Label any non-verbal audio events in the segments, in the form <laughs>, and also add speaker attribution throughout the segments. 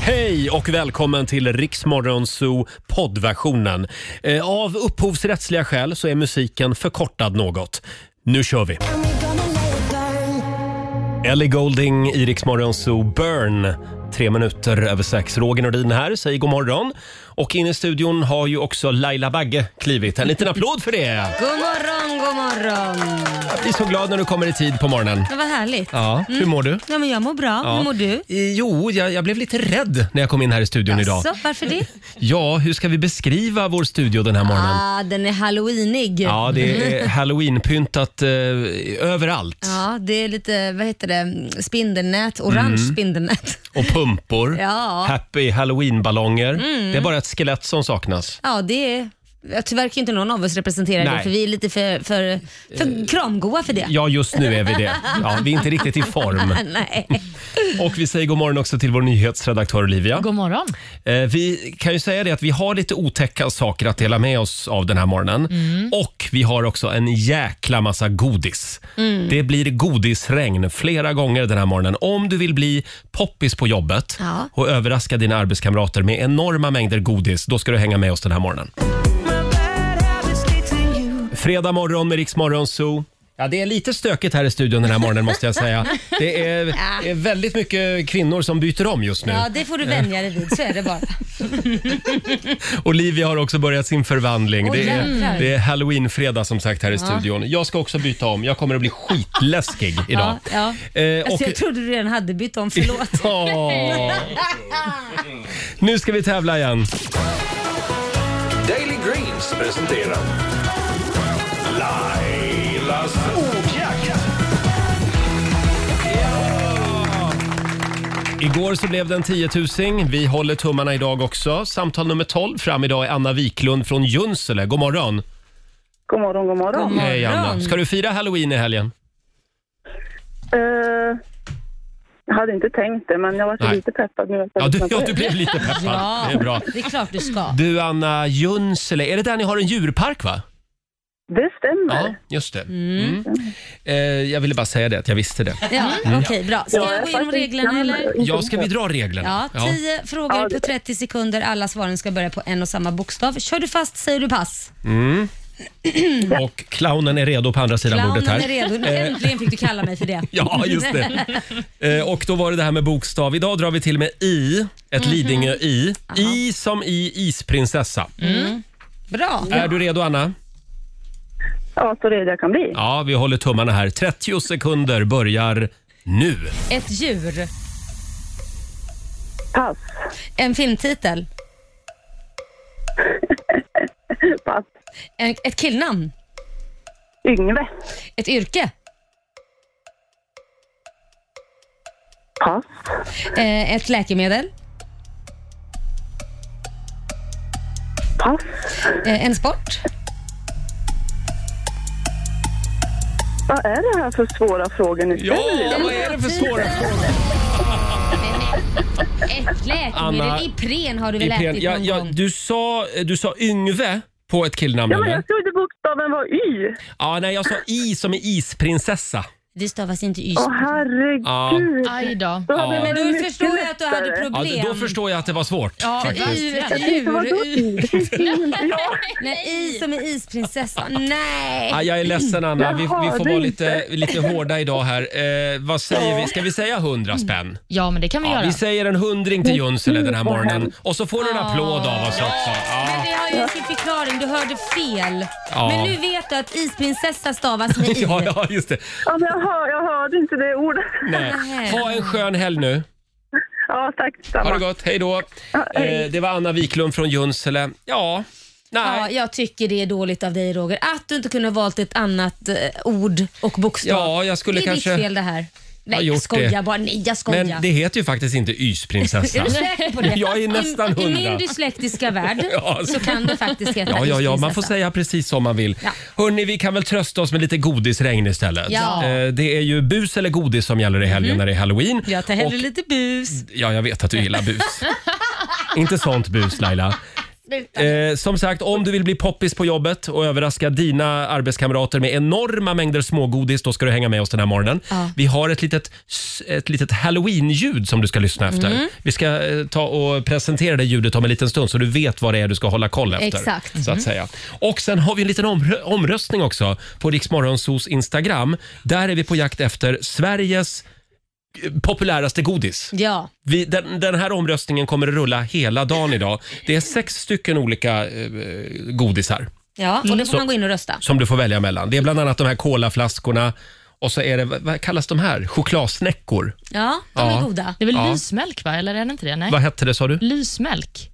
Speaker 1: Hej och välkommen till Riksmorgon Zoo poddversionen. Eh, Av upphovsrättsliga skäl så är musiken förkortad något. Nu kör vi! Ellie Golding i Riksmorgon Zoo Burn. Tre minuter över sex. Roger Nordin här, säger god morgon. Och in i studion har ju också Laila Bagge klivit. En liten applåd för det!
Speaker 2: God morgon, god morgon.
Speaker 1: Jag blir så glad när du kommer i tid på morgonen.
Speaker 2: Det var härligt.
Speaker 1: Ja, hur mår du?
Speaker 2: Ja, men jag mår bra.
Speaker 1: Ja.
Speaker 2: Hur mår du?
Speaker 1: Eh, Jo, jag, jag blev lite rädd när jag kom in här i studion idag.
Speaker 2: Jaså, varför det?
Speaker 1: Ja, hur ska vi beskriva vår studio den här morgonen?
Speaker 2: Ah, den är halloweenig.
Speaker 1: Ja, det
Speaker 2: <laughs>
Speaker 1: är eh, halloweenpyntat eh, överallt.
Speaker 2: Ja, det är lite, vad heter det, spindelnät, orange
Speaker 1: Mm.
Speaker 2: spindelnät.
Speaker 1: Och pumpor,
Speaker 2: Ja. Mm.
Speaker 1: happy halloweenballonger. Det är bara ett skelett som saknas.
Speaker 2: Ja, det är, ja, tyvärr kan ju inte någon av oss representera
Speaker 1: Nej. Eh,
Speaker 2: det, för vi är lite för, för, för kramgoa för det. Ah,
Speaker 1: Ja, just nu är vi det. Ja, vi är inte riktigt i form.
Speaker 2: Nej.
Speaker 1: Och vi säger god morgon också till vår nyhetsredaktör Olivia.
Speaker 3: God morgon.
Speaker 1: Eh, vi kan ju säga det att vi har lite otäcka saker att dela med oss av den här morgonen. Och vi har också en jäkla massa godis. Det blir godisregn flera gånger den här morgonen. Om du vill bli poppis på jobbet
Speaker 2: Ja.
Speaker 1: och överraska dina arbetskamrater med enorma mängder godis, då ska du hänga med oss den här morgonen. Fredag morgon med Riksmorgon Zoo. Ja, det är lite stökigt här i studion den här morgonen måste jag säga. Det är, det är väldigt mycket kvinnor som byter om just nu.
Speaker 2: Ja, det får du vänja dig vid. Så är
Speaker 1: <laughs>
Speaker 2: det bara.
Speaker 1: Olivia har också börjat sin förvandling.
Speaker 2: Åh,
Speaker 1: det, är,
Speaker 2: jävlar.
Speaker 1: det är halloween-fredag som sagt här i studion. Jag ska också byta om. Jag kommer att bli skitläskig idag.
Speaker 2: <laughs> Ja, ja.
Speaker 1: Eh, och-
Speaker 2: Alltså, jag trodde du redan hade bytt om, förlåt.
Speaker 1: Ja. Nu ska vi tävla igen.
Speaker 4: Daily Greens presenterar Lailas ordjakt.
Speaker 1: Igår så blev det en tiotusing. Vi håller tummarna idag också. Samtal nummer 12 fram idag är Anna Wiklund från Junsele. God morgon.
Speaker 5: God morgon, god morgon.
Speaker 2: God morgon.
Speaker 1: <laughs> Hej Anna. Ska du fira halloween i helgen?
Speaker 5: Eh, jag hade inte tänkt det, men jag var så
Speaker 1: Nej.
Speaker 5: lite peppad nu.
Speaker 1: Ja, du, ja, du <laughs> blev lite peppad.
Speaker 2: Ja.
Speaker 1: Det är bra.
Speaker 2: Det är klart du ska.
Speaker 1: Du Anna, Junsele. Är det där ni har en djurpark va?
Speaker 5: Det stämmer.
Speaker 1: Ja, just det. Mm. Eh, jag ville bara säga det, att jag visste det.
Speaker 2: Ja, Okej, bra. Ska
Speaker 5: Jag
Speaker 2: jag
Speaker 5: är
Speaker 2: gå igenom
Speaker 5: faktiskt
Speaker 2: reglerna
Speaker 5: gammal.
Speaker 2: eller?
Speaker 1: Ja, ska vi dra reglerna?
Speaker 2: Ja, 10 frågor
Speaker 5: Ja, det-
Speaker 2: på 30 sekunder. Alla svaren ska börja på en och samma bokstav. Kör du fast säger du pass.
Speaker 1: Ja. Och clownen är redo på andra sidan bordet
Speaker 2: Clownen
Speaker 1: här. Eh.
Speaker 2: är redo. Nu äntligen fick du kalla mig för det.
Speaker 1: <laughs> Ja, just det.
Speaker 2: <laughs>
Speaker 1: Eh, och då var det det här med bokstav. Idag drar vi till med i,
Speaker 2: Mhm.
Speaker 1: ett Lidingö-i. I som i isprinsessa.
Speaker 2: Mm. Bra.
Speaker 1: Är du redo Anna?
Speaker 5: Ja, så redo jag kan bli.
Speaker 1: Ja, vi håller tummarna här. 30 sekunder börjar nu.
Speaker 2: Ett djur.
Speaker 5: Pass,
Speaker 2: En filmtitel.
Speaker 5: pass.
Speaker 2: En, ett killnamn.
Speaker 5: Yngve.
Speaker 2: Ett yrke.
Speaker 5: Pass.
Speaker 2: Eh, ett läkemedel.
Speaker 5: Pass.
Speaker 2: Eh, en sport.
Speaker 5: Vad är det här för svåra frågor ni
Speaker 1: Ja,
Speaker 5: ställer?
Speaker 2: Mm.
Speaker 1: vad är det för svåra frågor?
Speaker 2: Ett läkemedel.
Speaker 1: Anna-
Speaker 2: Ipren har du väl
Speaker 1: Ipren,
Speaker 2: ätit
Speaker 1: ja,
Speaker 2: någon
Speaker 1: ja,
Speaker 2: gång?
Speaker 1: du, sa, eh, du sa Yngve på ett killnamn,
Speaker 5: Ja, men
Speaker 1: eller?
Speaker 5: jag trodde bokstaven var Y.
Speaker 1: Ja, nej, jag sa i som i isprinsessa.
Speaker 2: Det stavas inte y.
Speaker 5: Åh, herregud.
Speaker 3: Aj då.
Speaker 5: Då hade
Speaker 1: Ja.
Speaker 5: ni
Speaker 2: Men
Speaker 5: varit
Speaker 2: då
Speaker 5: mycket
Speaker 2: förstår jag att du hade
Speaker 5: lättare.
Speaker 1: Ja,
Speaker 2: problem.
Speaker 1: då förstår jag att det var svårt.
Speaker 3: Ja,
Speaker 1: faktiskt.
Speaker 2: Ur,
Speaker 5: Det var då
Speaker 2: ur,
Speaker 1: <laughs>
Speaker 2: ur.
Speaker 5: Y. Det finns ingen- Ja,
Speaker 2: Nej, i som är isprinsessa. Nej!
Speaker 1: Ah, jag är ledsen Anna, vi, vi
Speaker 5: Jaha,
Speaker 1: får
Speaker 5: det
Speaker 1: vara
Speaker 5: är
Speaker 1: lite, lite hårda idag här. Eh, vad säger vi? Ska vi säga 100
Speaker 2: Mm.
Speaker 1: spänn?
Speaker 3: Ja, men det kan vi
Speaker 1: Ja,
Speaker 3: göra.
Speaker 1: vi säger en hundring till Junsele den här
Speaker 2: Mm.
Speaker 1: morgonen. Och så får du en applåd av oss också. Ja.
Speaker 2: Men det har ju sin förklaring, du hörde fel.
Speaker 1: Ja.
Speaker 2: Men nu vet du att isprinsessa stavas med i.
Speaker 1: <laughs> Ja, ja, just det.
Speaker 5: Ja, men jag, hör, jag hörde inte det ordet.
Speaker 1: Nej.
Speaker 2: Mm.
Speaker 1: Ha en skön helg nu.
Speaker 5: Ja, tack
Speaker 1: Ha det
Speaker 5: detsamma.
Speaker 1: gott, hej då. Eh, det var Anna Wiklund från Junsele. Ja,
Speaker 2: Ja,
Speaker 1: nej.
Speaker 2: jag tycker det är dåligt av dig Roger, att du inte kunde ha valt ett annat eh, ord och bokstav.
Speaker 1: Ja, jag skulle
Speaker 2: det är
Speaker 1: kanske-
Speaker 2: ditt fel det här. Nej,
Speaker 1: gjort
Speaker 2: jag skojar
Speaker 1: det.
Speaker 2: bara. Nej, jag skojar.
Speaker 1: Men det heter ju faktiskt inte
Speaker 2: <laughs> Är
Speaker 1: Ysprinsessa.
Speaker 2: du säker
Speaker 1: <laughs>
Speaker 2: på det?
Speaker 1: Jag är nästan
Speaker 2: I, I
Speaker 1: hundra.
Speaker 2: min dyslektiska värld
Speaker 1: <laughs> Ja, alltså.
Speaker 2: så kan det faktiskt heta
Speaker 1: Ja, ja, ja, man får
Speaker 2: isprinsessa.
Speaker 1: säga precis som man vill.
Speaker 2: Ja.
Speaker 1: Hörni, vi kan väl trösta oss med lite godisregn istället.
Speaker 2: Ja.
Speaker 1: Eh, Det är ju bus eller godis som gäller i helgen när det är halloween.
Speaker 2: Jag tar hellre
Speaker 1: Och-
Speaker 2: lite bus. <laughs>
Speaker 1: Ja, jag vet att du gillar bus. Inte sånt bus Laila.
Speaker 2: Sluta.
Speaker 1: Eh, som sagt, om du vill bli poppis på jobbet och överraska dina arbetskamrater med enorma mängder smågodis, då ska du hänga med oss den här morgonen.
Speaker 2: Ja.
Speaker 1: Vi har ett litet, s- ett litet halloween-ljud som du ska lyssna efter.
Speaker 2: Mm.
Speaker 1: Vi ska eh, ta och presentera det ljudet om en liten stund så du vet vad det är du ska hålla koll efter.
Speaker 2: Exakt. Mm.
Speaker 1: Så att säga. Och sen har vi en liten omrö- omröstning också på Riksmorgonsos Instagram. Där är vi på jakt efter Sveriges eh, populäraste godis.
Speaker 2: Ja.
Speaker 1: Vi, den, den här omröstningen kommer att rulla hela dagen idag. Det är sex stycken olika eh, godisar
Speaker 2: ja, och då får
Speaker 1: Så-
Speaker 2: man gå in och rösta.
Speaker 1: som du får välja mellan. Det är bland annat de här kolaflaskorna och så är det, vad vad kallas de här? Chokladsnäckor.
Speaker 2: Ja, de
Speaker 1: Ja.
Speaker 2: är goda.
Speaker 3: Det är väl
Speaker 1: Ja.
Speaker 3: lysmjölk, va? Eller är det inte det? Nej.
Speaker 1: Vad hette det sa
Speaker 2: Mm-hmm.
Speaker 1: du?
Speaker 3: Lysmjölk.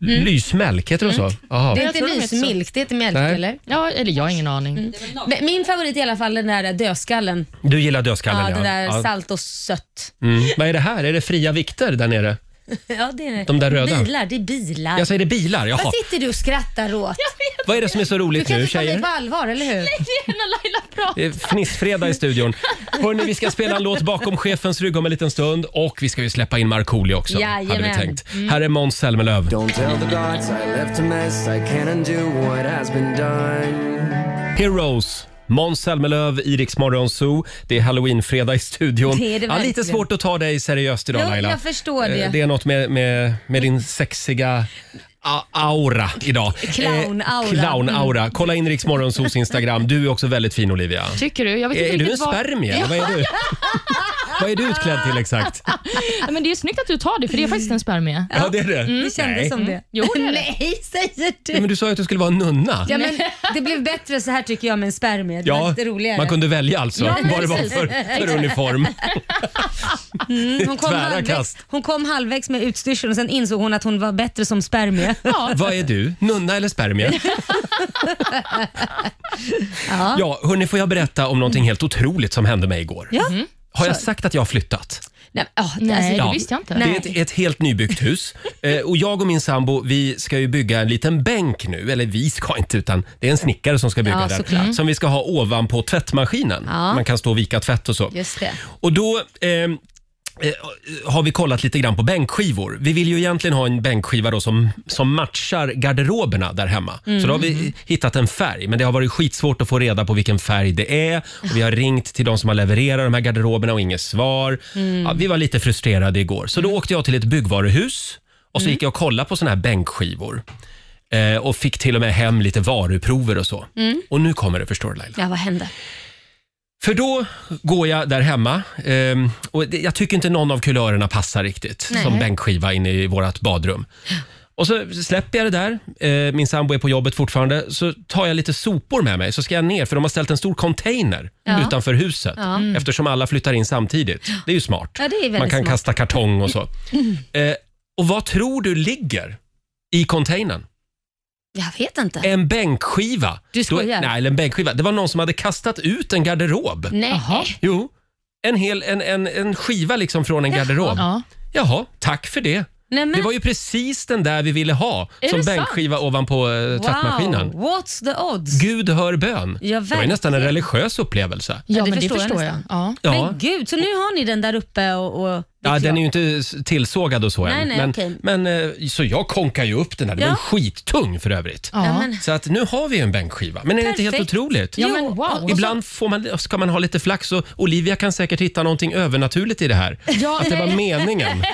Speaker 1: Lysmälk, heter det så? Jaha.
Speaker 2: Mm. Det är
Speaker 3: Jag
Speaker 2: inte
Speaker 3: tror de heter så.
Speaker 2: lysmilk, det är inte mjölk
Speaker 1: Nej.
Speaker 2: eller?
Speaker 3: Ja, eller jag har ingen aning.
Speaker 2: Mm. Men Min favorit är i alla fall den där dödskallen.
Speaker 1: Du gillar dödskallen
Speaker 2: Ja, den där
Speaker 1: Ja.
Speaker 2: salt och sött. <laughs>
Speaker 1: Mm. Vad är det här? Är det fria vikter där nere?
Speaker 2: Ja, det är
Speaker 1: De där röda.
Speaker 2: Bilar, det är bilar.
Speaker 1: Jag säger det är bilar, jaha.
Speaker 2: Vad sitter du och skrattar åt?
Speaker 1: Vad är det som är så
Speaker 2: Du
Speaker 1: roligt
Speaker 2: kan
Speaker 1: nu
Speaker 2: inte ta mig
Speaker 1: tjejer?
Speaker 2: på allvar, eller hur?
Speaker 3: när Laila pratar.
Speaker 1: Det är fnissfredag i studion. Hörrni, vi ska spela en låt bakom chefens rygg om en liten stund och vi ska ju släppa in Markoolio också. Hade vi
Speaker 2: Jajamän. Mm.
Speaker 1: tänkt. Här är Måns Zelmerlöw.
Speaker 6: Don't tell the gods I left a mess. I can't undo what has been done.
Speaker 1: Heroes. Måns Zelmerlöw, i Rix Morgon Zoo. Det är halloween-fredag i studion.
Speaker 2: Det är det
Speaker 1: ja, lite
Speaker 2: verkligen.
Speaker 1: svårt att ta dig seriöst idag
Speaker 2: Jo,
Speaker 1: Laila.
Speaker 2: jag förstår det.
Speaker 1: Eh, Det är något med, med, med din sexiga a- aura idag. Eh,
Speaker 2: Clown-aura. Mm.
Speaker 1: Clown-aura. Kolla in Rix Morgon Zoos Instagram. Du är också väldigt fin Olivia. Eh,
Speaker 3: Tycker du? Jag vet inte
Speaker 1: Är du en
Speaker 3: riktigt vad-
Speaker 1: spermie? Vad är
Speaker 2: <laughs>
Speaker 1: du? Vad är du utklädd till exakt?
Speaker 3: Ja, Men det är ju snyggt att du tar det, för det är faktiskt en spermie.
Speaker 1: Ja, det är det.
Speaker 2: Mm, Det kändes
Speaker 1: Nej. Mm.
Speaker 2: som det.
Speaker 3: Jo, det är det.
Speaker 2: Nej, säger
Speaker 1: Ja,
Speaker 2: du.
Speaker 1: men du sa ju att du skulle vara en nunna.
Speaker 2: Ja, men det blev bättre så här tycker jag med en spermie. Det var
Speaker 1: Ja,
Speaker 2: lite roligare.
Speaker 1: man kunde välja alltså
Speaker 3: Ja, men
Speaker 1: vad det var
Speaker 3: precis.
Speaker 1: för, för uniform.
Speaker 2: Mm, hon, kom
Speaker 1: Tvära
Speaker 2: halvvägs,
Speaker 1: kast.
Speaker 2: hon kom halvvägs med utstyrseln och sen insåg hon att hon var bättre som spermie.
Speaker 1: Vad är du? Nunna eller
Speaker 2: <laughs>
Speaker 1: spermie? ja. ja, hörni, får jag berätta om någonting helt otroligt som hände mig igår?
Speaker 2: Ja.
Speaker 1: Har jag sagt att jag har flyttat?
Speaker 2: Nej, men, ah,
Speaker 3: Nej,
Speaker 2: alltså,
Speaker 3: det
Speaker 1: Ja.
Speaker 3: visste jag inte.
Speaker 1: Det är ett, ett helt nybyggt
Speaker 2: <laughs>
Speaker 1: hus. Eh, och jag och min sambo vi ska ju bygga en liten bänk nu. Eller vi ska inte, utan det är en snickare som ska bygga
Speaker 2: Ja,
Speaker 1: den.
Speaker 2: såklart.
Speaker 1: Som vi ska ha ovanpå tvättmaskinen.
Speaker 2: Ja.
Speaker 1: Man kan stå och vika tvätt och så.
Speaker 2: Just det.
Speaker 1: Och då eh, eh, har vi kollat lite grann på bänkskivor. Vi vill ju egentligen ha en bänkskiva då som, som matchar garderoberna där hemma. Så då har vi hittat en färg, men det har varit skitsvårt att få reda på vilken färg det är. Och vi har ringt till de som har levererat de här garderoberna och inget svar. Ja, vi var lite frustrerade igår, så då åkte jag till ett byggvaruhus och så gick jag och kollade på såna här bänkskivor. Eh, och fick till och med hem lite varuprover och så. Och nu kommer det, förstår du Laila.
Speaker 2: Ja, vad hände?
Speaker 1: För då går jag där hemma ehm, och det- jag tycker inte någon av kulörerna passar riktigt som bänkskiva inne i vårt badrum. Och så släpper jag det där, eh, min sambo är på jobbet fortfarande, så tar jag lite sopor med mig så ska jag ner för de har ställt en stor container utanför huset eftersom alla flyttar in samtidigt. Det är ju smart.
Speaker 2: Ja, det är väldigt
Speaker 1: Man kan
Speaker 2: smart.
Speaker 1: kasta kartong och
Speaker 2: <laughs>
Speaker 1: så. Eh, och vad tror du ligger i containern?
Speaker 2: Jag vet inte.
Speaker 1: En bänkskiva.
Speaker 2: Du
Speaker 1: Då-
Speaker 2: skojar?
Speaker 1: Nej, eller en bänkskiva. Det var någon som hade kastat ut en garderob.
Speaker 2: Nej.
Speaker 3: Jaha.
Speaker 1: Jo, en, hel, en, en, en skiva liksom från en garderob. Jaha.
Speaker 3: Ja.
Speaker 1: tack för det.
Speaker 2: Nej, men,
Speaker 1: Det var ju precis den där vi ville ha
Speaker 3: Är
Speaker 1: som
Speaker 3: det sant?
Speaker 1: bänkskiva ovanpå eh, tvättmaskinen.
Speaker 2: Wow, what's the odds?
Speaker 1: Gud hör bön.
Speaker 2: Ja,
Speaker 1: det var ju nästan en
Speaker 2: verkligen.
Speaker 1: religiös upplevelse.
Speaker 3: Ja,
Speaker 2: det
Speaker 3: men det
Speaker 2: förstår jag
Speaker 3: förstår jag.
Speaker 2: nästan.
Speaker 3: Ja.
Speaker 1: Ja,
Speaker 2: Men gud, så nu har ni den där uppe och... och
Speaker 1: ja den är ju inte s- tillsågad och så
Speaker 2: Nej,
Speaker 1: än.
Speaker 2: nej,
Speaker 1: men,
Speaker 2: okej.
Speaker 1: men, eh, så jag konkar ju upp den här. Den var
Speaker 2: Ja.
Speaker 1: ju skittung för övrigt.
Speaker 3: Ja.
Speaker 2: Ja, men,
Speaker 1: Så att nu har vi ju en bänkskiva. Men är det inte helt
Speaker 2: Perfekt.
Speaker 1: otroligt?
Speaker 3: Ja,
Speaker 2: Jo,
Speaker 3: men wow.
Speaker 2: och-
Speaker 1: Ibland får man, ska man ha lite flax och Olivia kan säkert hitta någonting övernaturligt i det här.
Speaker 3: Ja,
Speaker 1: Att det var
Speaker 2: <laughs>
Speaker 1: meningen.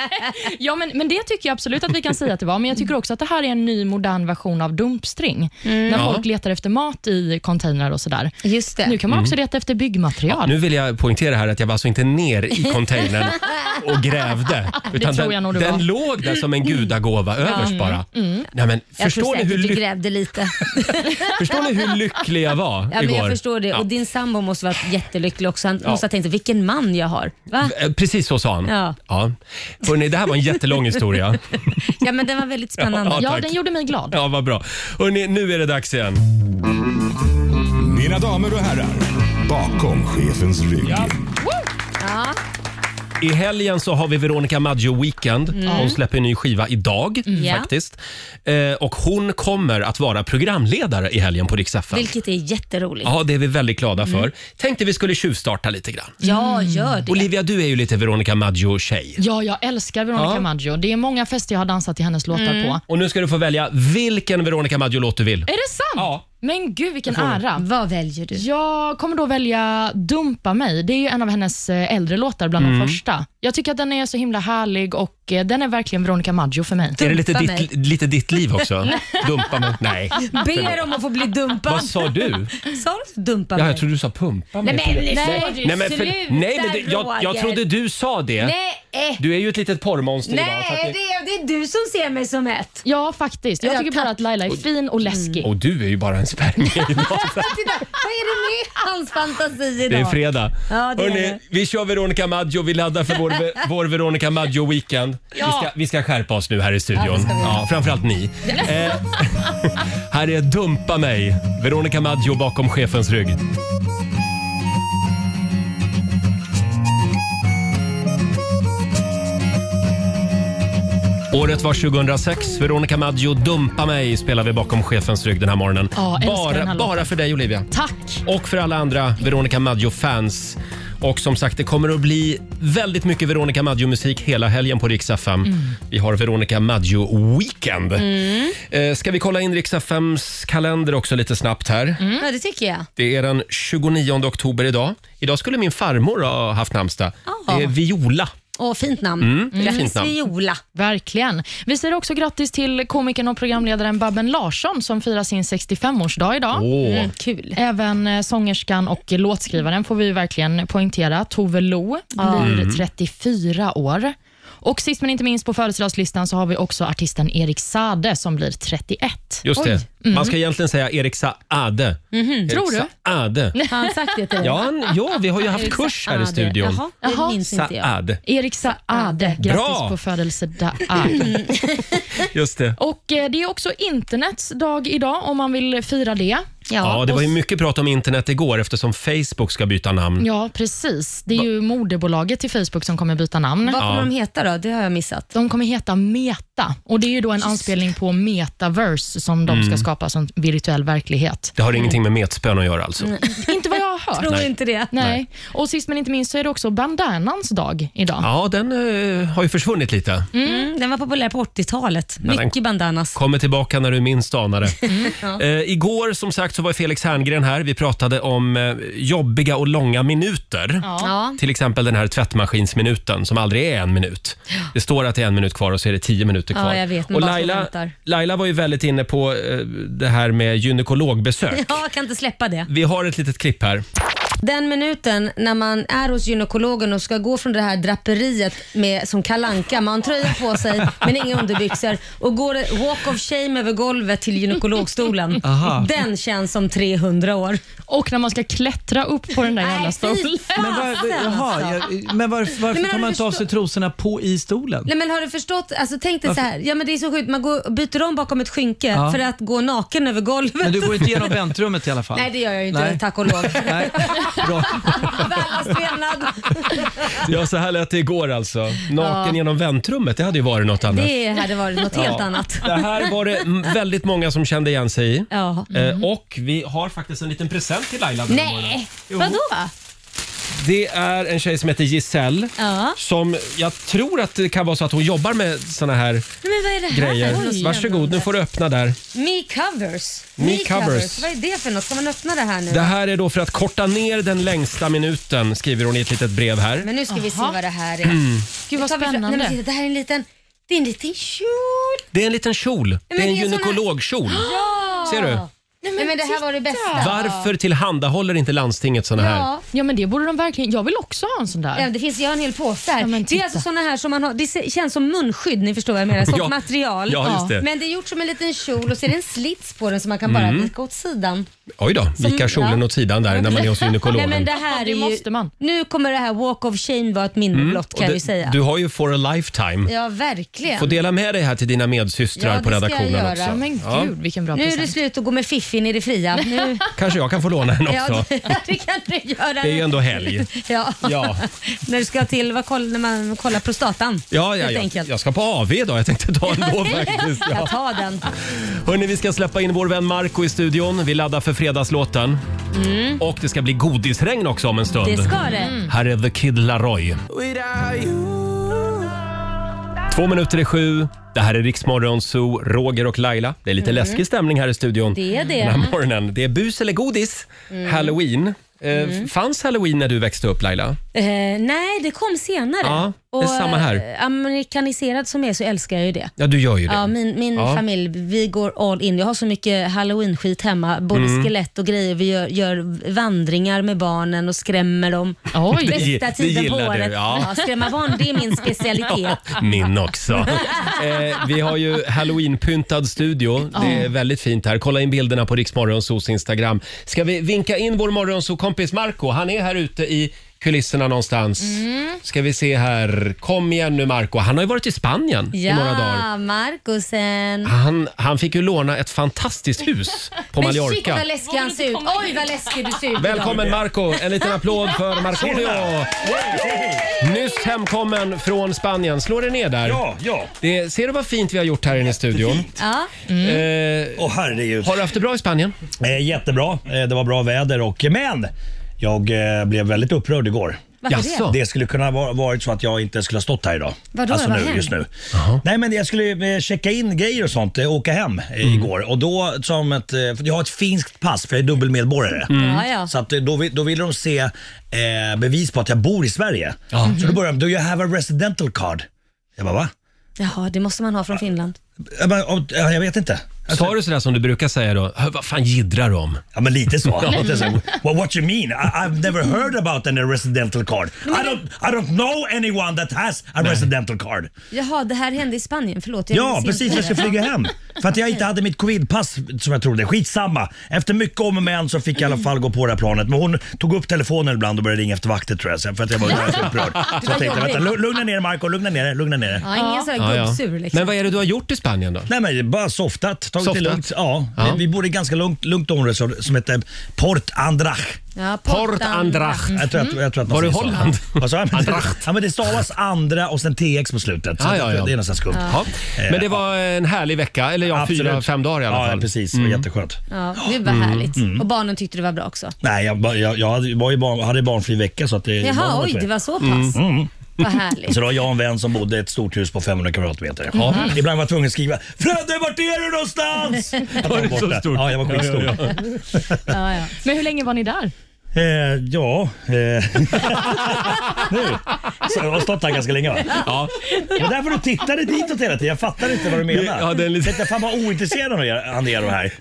Speaker 3: Ja, men, men det tycker jag absolut att vi kan säga att det var, men jag tycker också att det här är en ny modern version av dumpstring, när
Speaker 1: Ja.
Speaker 3: folk letar efter mat i containrar och sådär.
Speaker 2: Mm. just det.
Speaker 3: Nu kan man också leta efter byggmaterial.
Speaker 1: Mm. Nu vill jag poängtera här att jag var alltså inte ner
Speaker 2: <laughs>
Speaker 1: i containern och grävde. Utan
Speaker 3: tror
Speaker 1: den,
Speaker 3: jag nog du
Speaker 1: den
Speaker 3: var.
Speaker 1: låg där som en gudagåva överst bara. Nej, men,
Speaker 2: Mm, jag
Speaker 1: förstår,
Speaker 2: tror
Speaker 1: ni hur
Speaker 2: säkert du
Speaker 1: lyck- <laughs>
Speaker 2: grävde lite.
Speaker 1: förstår ni hur lycklig jag var
Speaker 2: Ja,
Speaker 1: igår?
Speaker 2: men jag förstår det.
Speaker 1: Ja.
Speaker 2: Och din sambo måste ha varit jättelycklig också. Han måste ha tänkt vilken man jag har.
Speaker 1: <laughs>
Speaker 2: Va?
Speaker 1: Eh, Precis så sa han. Ja.
Speaker 2: Ja.
Speaker 1: Hörrni, det här var en jättelång
Speaker 2: <laughs>
Speaker 1: historia.
Speaker 2: Ja, men den var väldigt spännande.
Speaker 1: Ja,
Speaker 3: ja,
Speaker 1: tack.
Speaker 3: den gjorde mig glad.
Speaker 1: Ja, vad bra. Hörrni, nu är det dags igen.
Speaker 4: Mina damer och herrar, bakom chefens rygg.
Speaker 2: Ja.
Speaker 1: I helgen så har vi Veronica Maggio Weekend. Hon släpper en ny skiva idag
Speaker 2: Mm. Ja.
Speaker 1: faktiskt. Eh, och hon kommer att vara programledare i helgen på Rix FM.
Speaker 2: Vilket är jätteroligt.
Speaker 1: Ja, det är vi väldigt glada för. Tänkte vi skulle tjuvstarta lite grann.
Speaker 2: Mm. Ja, gör det.
Speaker 1: Olivia, du är ju lite Veronica Maggio-tjej.
Speaker 3: Ja, jag älskar Veronica
Speaker 1: Ja.
Speaker 3: Maggio. Det är många fester jag har dansat till hennes låtar
Speaker 2: Mm.
Speaker 3: på.
Speaker 1: Och nu ska du få välja vilken Veronica Maggio-låt du vill.
Speaker 3: Är det sant?
Speaker 1: Ja.
Speaker 3: Men gud, vilken ära.
Speaker 1: Mm.
Speaker 2: Vad väljer du?
Speaker 3: Jag kommer då välja Dumpa mig. Det är ju en av hennes eh, äldre låtar, bland de första. Jag tycker att den är så himla härlig och eh, den är verkligen Veronica Maggio för mig.
Speaker 1: Är det lite
Speaker 2: Dumpa
Speaker 1: ditt, lite ditt liv
Speaker 2: <laughs>
Speaker 1: också? Dumpa mig? Nej.
Speaker 2: Ber om att få bli dumpad.
Speaker 1: Vad sa du?
Speaker 2: Sa du dumpa
Speaker 1: Ja,
Speaker 2: mig?
Speaker 1: jag trodde du sa pumpa mig.
Speaker 2: Nej men, nej,
Speaker 1: Nej, men, för,
Speaker 2: sluta
Speaker 1: nej, men det, jag, jag
Speaker 2: Roger.
Speaker 1: trodde du sa det.
Speaker 2: Nej, eh,
Speaker 1: Du är ju ett litet porrmonster idag. så att det-
Speaker 2: nej det, är, det är du som ser mig som ett.
Speaker 3: Ja, faktiskt. Jag
Speaker 2: Ja,
Speaker 3: tycker bara
Speaker 2: tack.
Speaker 3: att Laila är fin och läskig.
Speaker 1: Och du är ju bara en spermie idag.
Speaker 2: Titta, vad är det med hans fantasi idag?
Speaker 1: Det är fredag.
Speaker 2: Ja, det är
Speaker 1: Hörrni,
Speaker 2: det.
Speaker 1: vi kör Veronica Maggio. Vi laddar för
Speaker 2: <laughs>
Speaker 1: vår, vår Veronica Maggio-weekend. Vi, ska, vi ska skärpa oss nu här i studion.
Speaker 2: det ska vi.
Speaker 1: Ja, framförallt ni. Eh, <laughs> här är Dumpa mig. Veronica Maggio bakom chefens rygg. Året var 2006. Veronica Maggio, Dumpa mig spelar vi bakom chefens rygg den här morgonen.
Speaker 3: Ja, älskar den
Speaker 1: bara,
Speaker 3: här
Speaker 1: bara för dig Olivia
Speaker 3: Tack!
Speaker 1: och för alla andra Veronica Maggio-fans. Och som sagt, det kommer att bli väldigt mycket Veronica Maggio-musik hela helgen på Rix FM.
Speaker 2: Mm.
Speaker 1: Vi har Veronica Maggio-weekend. Eh, Ska vi kolla in Rix FMs kalender också lite snabbt här?
Speaker 2: Mm. Ja det tycker jag.
Speaker 1: Det är den 29 oktober idag. Idag skulle min farmor ha haft namnsdag.
Speaker 2: Ah.
Speaker 1: Det är Viola.
Speaker 2: Åh fint namn. Mm,
Speaker 1: det är fint
Speaker 2: Grattis
Speaker 1: namn.
Speaker 2: Viola.
Speaker 3: Verkligen. Vi säger också grattis till komikern och programledaren Babben Larsson som firar sin 65-årsdag idag.
Speaker 1: Åh,
Speaker 2: Mm, kul.
Speaker 3: Även eh, sångerskan och låtskrivaren får vi verkligen poängtera. Tove Lo blir
Speaker 1: Mm.
Speaker 3: 34 år. Och sist men inte minst på födelsedagslistan så har vi också artisten Erik Sade som blir 31.
Speaker 1: just det.
Speaker 2: Mm.
Speaker 1: Man ska egentligen säga Erik Saade.
Speaker 2: Mhm.
Speaker 1: Erik
Speaker 3: Tror du?
Speaker 1: Saade.
Speaker 2: <laughs> Har han sagt det till dig?
Speaker 1: Ja, han, ja, vi har ju haft
Speaker 2: Erik
Speaker 1: kurs här i
Speaker 2: Saade.
Speaker 1: studion.
Speaker 2: Jaha, det
Speaker 3: Jaha.
Speaker 2: minns inte jag.
Speaker 1: Saad.
Speaker 3: Erik Saade, grattis
Speaker 1: Bra!
Speaker 3: på födelsedagen.
Speaker 1: Just det.
Speaker 3: Och eh, det är också internets dag idag om man vill fira det.
Speaker 1: Ja,
Speaker 2: Ja.
Speaker 1: det var ju mycket prat om internet igår eftersom Facebook ska byta namn.
Speaker 3: Ja, precis. Det är ju moderbolaget till Facebook som kommer byta namn.
Speaker 2: Vad kommer de heta då? Det har jag missat.
Speaker 3: De kommer heta Meta och det är ju då en anspelning på metaverse som de
Speaker 1: Mm.
Speaker 3: ska skapa som virtuell verklighet.
Speaker 1: Det har ingenting med metspön att göra alltså.
Speaker 3: Inte vad jag har hört.
Speaker 2: Tror
Speaker 1: Nej.
Speaker 2: inte det.
Speaker 3: Nej. Och sist men inte minst så är det också bandanans dag idag.
Speaker 1: Ja, den eh, har ju försvunnit lite.
Speaker 2: Mm, den var populär på 80-talet.
Speaker 1: den-
Speaker 2: Mycket bandanas.
Speaker 1: Kommer tillbaka när du minst anar
Speaker 2: <laughs>
Speaker 1: det.
Speaker 2: Mm,
Speaker 1: eh, igår som sagt så var Felix Herngren här. Vi pratade om eh, jobbiga och långa minuter.
Speaker 2: Ja.
Speaker 1: Till exempel den här tvättmaskinsminuten som aldrig är en minut. Det står att det är en minut kvar och så är det tio minuter
Speaker 2: Ja,
Speaker 1: kvar.
Speaker 2: jag vet, men
Speaker 1: och
Speaker 2: bara så
Speaker 1: Laila,
Speaker 2: väntar.
Speaker 1: Laila var ju väldigt inne på eh, det här med gynekologbesök.
Speaker 2: <laughs> Ja, jag kan inte släppa det.
Speaker 1: Vi har ett litet klipp här.
Speaker 2: Den minuten när man är hos gynekologen och ska gå från det här draperiet med, som kalanka man har en tröja på sig men inga underbyxor och går walk of shame över golvet till gynekologstolen. Den känns som 300 år.
Speaker 3: Och när man ska klättra upp på den där jävla stolen.
Speaker 7: Men, var,
Speaker 2: alltså.
Speaker 7: jaha, jag, men varför, varför
Speaker 2: Nej, men
Speaker 7: tar man
Speaker 2: du
Speaker 7: inte av sig
Speaker 2: förstår-
Speaker 7: trosorna på i stolen?
Speaker 2: Nej men har du förstått? Alltså, tänk dig så här. Ja, men det är så sjukt, man går, byter om bakom ett skynke
Speaker 7: Ja.
Speaker 2: för att gå naken över golvet.
Speaker 7: Men du går inte igenom väntrummet i alla fall?
Speaker 2: <laughs> Nej det gör jag ju inte,
Speaker 7: Nej.
Speaker 2: tack och lov. <laughs>
Speaker 7: Nej, <laughs> bra.
Speaker 2: Välanspelad.
Speaker 1: Ja, så här lät det igår alltså. Naken genom väntrummet, det hade ju varit något annat.
Speaker 2: Det hade varit något helt
Speaker 1: Ja.
Speaker 2: annat.
Speaker 1: Det här var det m- väldigt många som kände igen sig i.
Speaker 2: Ja.
Speaker 1: Eh, Och vi har faktiskt en liten present till Laila. den här morgonen.
Speaker 2: Mm. Nej, vadå?
Speaker 1: Det är en tjej som heter Giselle.
Speaker 2: Ja.
Speaker 1: Som jag tror att det kan vara så att hon jobbar med såna här
Speaker 2: Men vad är det här för
Speaker 1: grejer.
Speaker 2: något
Speaker 1: Varsågod, nu får du öppna där.
Speaker 2: Me covers.
Speaker 1: Me covers.
Speaker 2: Vad är det för något? Ska man öppna det här nu?
Speaker 1: Det här är då för att korta ner den längsta minuten, skriver hon i ett litet brev här.
Speaker 2: Men nu ska vi se
Speaker 3: Aha.
Speaker 2: vad det här är.
Speaker 1: Mm.
Speaker 3: Gud vad
Speaker 2: Nu tar vi fram- Nej, men
Speaker 3: spännande.
Speaker 2: titta, det här är en liten, det är en liten kjol.
Speaker 1: Det är en liten kjol. Det
Speaker 2: men
Speaker 1: är en
Speaker 2: det är såna-
Speaker 1: gynekologkjol. Ser du?
Speaker 2: Nej, men, det här var det bästa.
Speaker 1: Varför tillhandahåller inte landstinget såna här?
Speaker 2: Ja.
Speaker 3: Ja men det borde de verkligen. Jag vill också ha en sån
Speaker 2: Ja,
Speaker 3: där.
Speaker 2: det finns, jag har en hel påse här.
Speaker 3: Ja, men
Speaker 2: det är
Speaker 3: titta.
Speaker 2: alltså såna här som man har, det se- känns som munskydd, ni förstår vad jag menar, som
Speaker 1: Ja.
Speaker 2: material.
Speaker 1: Ja, just det. Mm.
Speaker 2: Men det är gjort som en liten kjol och så är det en slits på den som man kan bara vika åt sidan.
Speaker 1: Oj då, vika kjolen
Speaker 2: ja.
Speaker 1: åt sidan där när man
Speaker 2: <laughs>
Speaker 1: är hos
Speaker 2: Nej, men
Speaker 1: gynekologen.
Speaker 2: det här är
Speaker 3: Det
Speaker 2: ju,
Speaker 3: måste man.
Speaker 2: Nu kommer det här walk of shame vara ett minne blott
Speaker 1: Mm. Och
Speaker 2: kan
Speaker 1: det-
Speaker 2: vi säga.
Speaker 1: Du har ju for a lifetime.
Speaker 2: Ja, verkligen.
Speaker 1: Får dela med dig här till dina medsystrar
Speaker 2: Ja, det
Speaker 1: på
Speaker 2: ska jag
Speaker 1: redaktionen
Speaker 2: göra.
Speaker 1: också.
Speaker 3: Ja, men
Speaker 1: Ja.
Speaker 3: gud vilken bra
Speaker 2: Nu är det
Speaker 3: present.
Speaker 2: slut att gå med fiffin i det fria.
Speaker 1: <laughs>
Speaker 2: Nu,
Speaker 1: Kanske jag kan få låna en också.
Speaker 2: <laughs> ja, det- det kan du göra.
Speaker 1: Det är ju ändå helg.
Speaker 2: Ja.
Speaker 1: Ja.
Speaker 2: <laughs> när du ska till, vad, koll- när man kollar prostatan. <laughs>
Speaker 1: Ja, ja,
Speaker 2: helt
Speaker 1: ja.
Speaker 2: enkelt.
Speaker 1: Jag ska på AV idag. Jag tänkte ta en då faktiskt. Ja.
Speaker 2: Jag tar den.
Speaker 1: Hörni, vi ska släppa in vår vän Marco i studion. Vi laddar för fredagslåten. Och det ska bli godisregn också om en stund.
Speaker 2: Mm. Det ska det.
Speaker 1: Här är The Kid Laroi. Två minuter i sju. Det här är Riksmorgon Zoo, Roger och Laila. Det är lite läskig stämning här i studion
Speaker 2: Mm. Det är det. Mm.
Speaker 1: den här morgonen. Det är bus eller godis. Halloween. Eh, Fanns halloween när du växte upp Laila?
Speaker 2: Eh, nej, det kom senare.
Speaker 1: Ja, det är samma här.
Speaker 2: eh, amerikaniserad som jag är så älskar jag ju det.
Speaker 1: Ja, du gör ju det.
Speaker 2: Ja, min min
Speaker 1: Mm. Ja.
Speaker 2: familj, vi går all in. Jag har så mycket halloween-skit hemma, både
Speaker 1: Mm.
Speaker 2: skelett och grejer. Vi gör, gör vandringar med barnen och skrämmer dem.
Speaker 1: <laughs> Det
Speaker 3: Oj,
Speaker 1: gi-
Speaker 2: Bästa
Speaker 1: det
Speaker 2: tiden på
Speaker 1: gillar du,
Speaker 2: året.
Speaker 1: ja.
Speaker 2: skrämma barn, det är
Speaker 1: <laughs>
Speaker 2: min specialitet.
Speaker 1: Min också.
Speaker 2: <laughs>
Speaker 1: Eh, vi har ju halloweenpyntad studio. Det är väldigt fint här. Kolla in bilderna på Riksmorgonsos Instagram. Ska vi vinka in vår morgonsokompis Marco? Han är här ute i kulisserna någonstans.
Speaker 2: Mm.
Speaker 1: Ska vi se här. Kom igen nu Marco. Han har ju varit i Spanien i några dagar.
Speaker 2: Ja, Marcusen.
Speaker 1: Han, han fick ju låna ett fantastiskt hus på
Speaker 2: Men shit
Speaker 1: Mallorca.
Speaker 2: vad läskig han ser ut. Oj vad läskig du ser ut.
Speaker 1: Välkommen Marco! En liten applåd för Markoolio! Nyss hemkommen från Spanien. Slå dig ner där.
Speaker 4: Ja, ja.
Speaker 1: Det, ser du vad fint vi har gjort här inne i studion?
Speaker 2: Ja.
Speaker 1: Eh,
Speaker 4: Åh herregud.
Speaker 1: har du haft det bra i Spanien?
Speaker 4: Eh, jättebra. Eh, det var bra väder och men jag eh, blev väldigt upprörd igår.
Speaker 2: Varför
Speaker 1: Jaså?
Speaker 2: det?
Speaker 4: Det skulle kunna ha varit så att jag inte skulle ha stått här idag.
Speaker 2: Vadå,
Speaker 4: alltså
Speaker 2: vad
Speaker 4: nu,
Speaker 2: hänt?
Speaker 4: just nu. Nej men jag skulle eh, checka in grejer och sånt, eh, åka hem eh, igår. Och då som ett, eh, för jag har ett finskt pass för jag är dubbelmedborgare.
Speaker 2: Ja, Mm.
Speaker 1: Mm.
Speaker 2: ja.
Speaker 4: Så att eh, då, vi- då ville de se eh, bevis på att jag bor i Sverige. Så då började de, do you have a residential card? Jag bara va?
Speaker 2: Jaha, det måste man ha från Finland.
Speaker 4: Jag, bara, "Ja, jag vet inte.
Speaker 1: Sa du sådär som du brukar säga då? "Hör, Vad fan jiddrar du om?
Speaker 4: Ja, men lite så. Lite så. Well, what you mean? I, I've never heard about any residential card. I don't, I don't know anyone that has a residential card.
Speaker 2: Jaha, det här hände i Spanien. Förlåt. jag
Speaker 4: Ja,
Speaker 2: minns
Speaker 4: precis.
Speaker 2: inte
Speaker 4: Jag ska
Speaker 2: det.
Speaker 4: flyga hem. För att jag inte hade mitt covidpass som jag trodde. Skitsamma. Efter mycket om och men så fick jag i alla fall gå på det här planet. Men hon tog upp telefonen ibland och började ringa efter vakter tror jag. sen, För att jag var så
Speaker 2: <laughs>
Speaker 4: upprörd. Så jag tänkte,
Speaker 2: jobbigt.
Speaker 4: vänta, lu- lugna ner dig, Marco, lugna ner dig, lugna ner dig.
Speaker 2: Ja, ingen sån
Speaker 1: Ja,
Speaker 2: här
Speaker 1: ja.
Speaker 2: gubbsur liksom.
Speaker 1: Men vad är det du har gjort i Spanien då?
Speaker 4: Nej men bara softat, tagit
Speaker 1: Softat?
Speaker 4: det lugnt. Ja,
Speaker 1: Ja.
Speaker 4: Vi, vi bor i ett ganska lugnt, lugnt område som, som heter Port Andrach.
Speaker 2: Ja,
Speaker 1: Port
Speaker 2: pottan.
Speaker 1: Andracht.
Speaker 4: Jag tror att, jag tror att man
Speaker 1: Var det
Speaker 4: säger så.
Speaker 1: Holland?
Speaker 4: Vad sa jag?
Speaker 1: Andracht.
Speaker 4: Ja, men det stavas andra och sen TX på slutet. Så
Speaker 1: Ja, ja, ja.
Speaker 4: Det är nästan skumt.
Speaker 1: Ja. Men det var en härlig vecka, eller ja,
Speaker 4: Absolut.
Speaker 1: fyra, fem dagar i alla
Speaker 4: Ja,
Speaker 1: fall. Mm.
Speaker 4: Ja, precis. Det var Jätteskönt.
Speaker 2: Ja, det var härligt. Och barnen tyckte det var bra också.
Speaker 4: Nej, jag, ba- jag, jag hade- var ju barn, hade barnfri vecka så att det... barnen
Speaker 2: Jaha, oj,
Speaker 4: med.
Speaker 2: det var så pass.
Speaker 1: Mm.
Speaker 2: Vad härligt.
Speaker 4: Så då har jag en vän som bodde i ett stort hus på 500 kvadratmeter.
Speaker 1: Mm-hmm.
Speaker 4: Ibland var jag tvungen att skriva “Fredde, vart är du
Speaker 1: <laughs>
Speaker 4: någonstans?” Jag var
Speaker 1: det så
Speaker 4: borta.
Speaker 1: stort?
Speaker 4: Ja, jag var skitstor. Ja, ja,
Speaker 2: Ja, ja.
Speaker 3: men hur länge var ni där?
Speaker 4: ja. Eh, ja eh. <laughs> nu. Så jag har stått här ganska länge va?
Speaker 1: Ja.
Speaker 4: Det var därför du tittade ditåt hela tiden. Jag fattar inte vad du menar.
Speaker 1: Ja, det är en liten-
Speaker 4: Titta, fan vad ointresserad han är- han är av det här.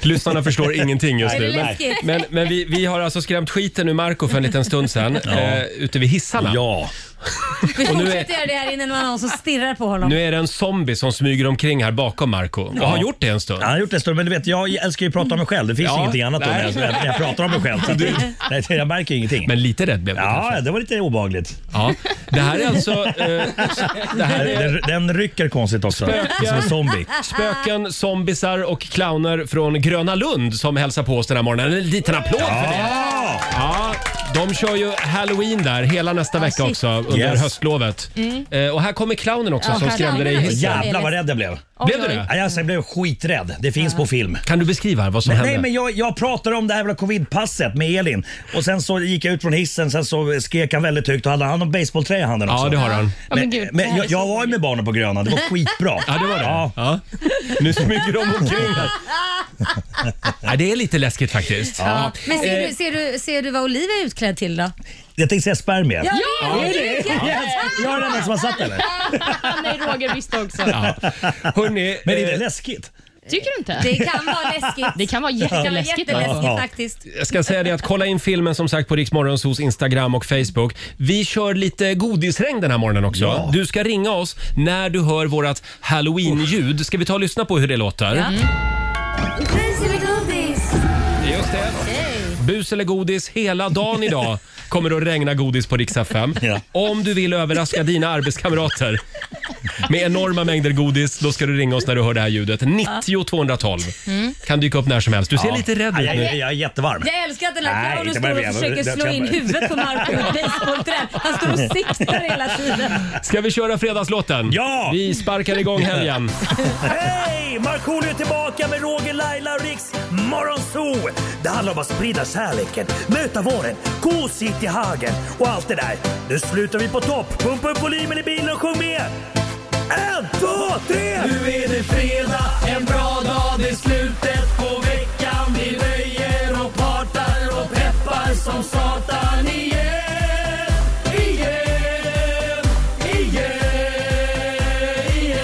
Speaker 1: Lyssnarna förstår ingenting just
Speaker 2: Är det
Speaker 1: nu. Men,
Speaker 2: läskigt?
Speaker 1: men, men vi, vi har alltså skrämt skiten ur Marco för en liten stund sedan, eh, ute vid hissarna.
Speaker 4: Ja.
Speaker 2: Vi
Speaker 1: nu är-
Speaker 2: fortsätter göra det här innan det var någon som stirrar på honom.
Speaker 1: Nu är det en zombie som smyger omkring här bakom Marco och har gjort det en stund.
Speaker 4: Han har gjort det en stund, men du vet, jag älskar ju att prata om mig själv. Det finns
Speaker 1: Ja,
Speaker 4: ingenting annat då när
Speaker 1: nej.
Speaker 4: jag, när jag pratar om mig själv. Så att, nej, jag märker ju ingenting.
Speaker 1: Men lite rädd blev du kanske?
Speaker 4: ja, det var lite obehagligt.
Speaker 1: Ja. Det här är alltså eh, det här är
Speaker 4: Den, den rycker konstigt också. Det är som en zombie.
Speaker 1: spöken, zombisar och clowner från Gröna Lund som hälsar på oss den här morgonen. En liten applåd för det!
Speaker 4: Ja!
Speaker 1: Ja, de kör ju halloween där hela nästa vecka
Speaker 2: shit.
Speaker 1: också under
Speaker 4: Yes.
Speaker 1: höstlovet. Eh, och här kommer clownen också
Speaker 2: Ja,
Speaker 1: som
Speaker 2: här-
Speaker 1: skrämde dig i hissen.
Speaker 4: Jävlar vad rädd jag blev.
Speaker 1: Blev du det?
Speaker 4: Ja, Alltså, jag blev skiträdd. Det finns på film.
Speaker 1: Kan du beskriva vad som hände?
Speaker 4: Nej men jag, jag pratade om det här jävla covidpasset med Elin och sen så gick jag ut från hissen sen så skrek han väldigt högt och hade han en basebollträ i handen också.
Speaker 1: Ja, det har han.
Speaker 3: Ja,
Speaker 4: Men,
Speaker 3: men gud, det
Speaker 4: men
Speaker 3: här
Speaker 4: jag,
Speaker 3: är
Speaker 4: jag
Speaker 3: så
Speaker 4: var ju med barnen på Gröna, det var skitbra.
Speaker 1: <laughs> Ja, det var det. Ja. Nu smyger de omkring här. Ja, det är lite läskigt faktiskt.
Speaker 2: Ja. Men ser
Speaker 1: Eh.
Speaker 2: du, ser, du, ser du vad Olivia är utklädd till då?
Speaker 4: Jag tänkte säga spermier.
Speaker 2: Ja,
Speaker 4: Är det? Yes. Jag är den enda som har satt henne.
Speaker 3: Nej, Roger visste också.
Speaker 1: Ja. Hörrni,
Speaker 4: Men det är
Speaker 1: eh,
Speaker 4: väl läskigt?
Speaker 3: Tycker du inte?
Speaker 2: Det
Speaker 3: Det,
Speaker 2: kan vara läskigt.
Speaker 3: kan vara
Speaker 2: Det kan vara
Speaker 3: jätteläskigt.
Speaker 2: jätteläskigt
Speaker 4: Ja.
Speaker 2: faktiskt.
Speaker 1: Jag ska säga det att kolla in filmen som sagt på Riksmorgonsos Instagram och Facebook. Vi kör lite godisregn den här morgonen också.
Speaker 4: Ja.
Speaker 1: Du ska ringa oss när du hör vårt halloween-ljud. Ska vi ta och lyssna på hur det låter?
Speaker 2: Ja.
Speaker 8: Godis eller godis?
Speaker 1: Just det. Bus eller godis hela dagen idag kommer det att regna godis på Rix FM.
Speaker 4: Ja.
Speaker 1: Om du vill överraska dina arbetskamrater med enorma mängder godis, då ska du ringa oss när du hör det här ljudet. 90 212. Kan dyka upp när som helst. Du ser lite rädd
Speaker 4: Ja,
Speaker 1: ut
Speaker 4: Jag,
Speaker 1: nu.
Speaker 4: jag, jag är jättevarm.
Speaker 2: Jag älskar att den här
Speaker 4: Nej,
Speaker 2: clownen
Speaker 4: inte
Speaker 2: står och
Speaker 4: börja.
Speaker 2: försöker slå in huvudet på Marco med ett basebollträ. Han står och siktar hela tiden.
Speaker 1: Ska vi köra fredagslåten?
Speaker 4: Ja!
Speaker 1: Vi sparkar igång helgen.
Speaker 4: Hej! Markoolio är tillbaka med Roger, Laila och Riks Morgonzoo! Det handlar om att sprida kärleken, möta våren, gosigt i hagen och allt det där. Nu slutar vi på topp! Pumpa upp volymen i bilen och sjung med! En, två, tre! Nu är det fredag, en bra dag, det är slutet på veckan. Vi röjer och partar och peppar som satan igen, igen, igen, igen.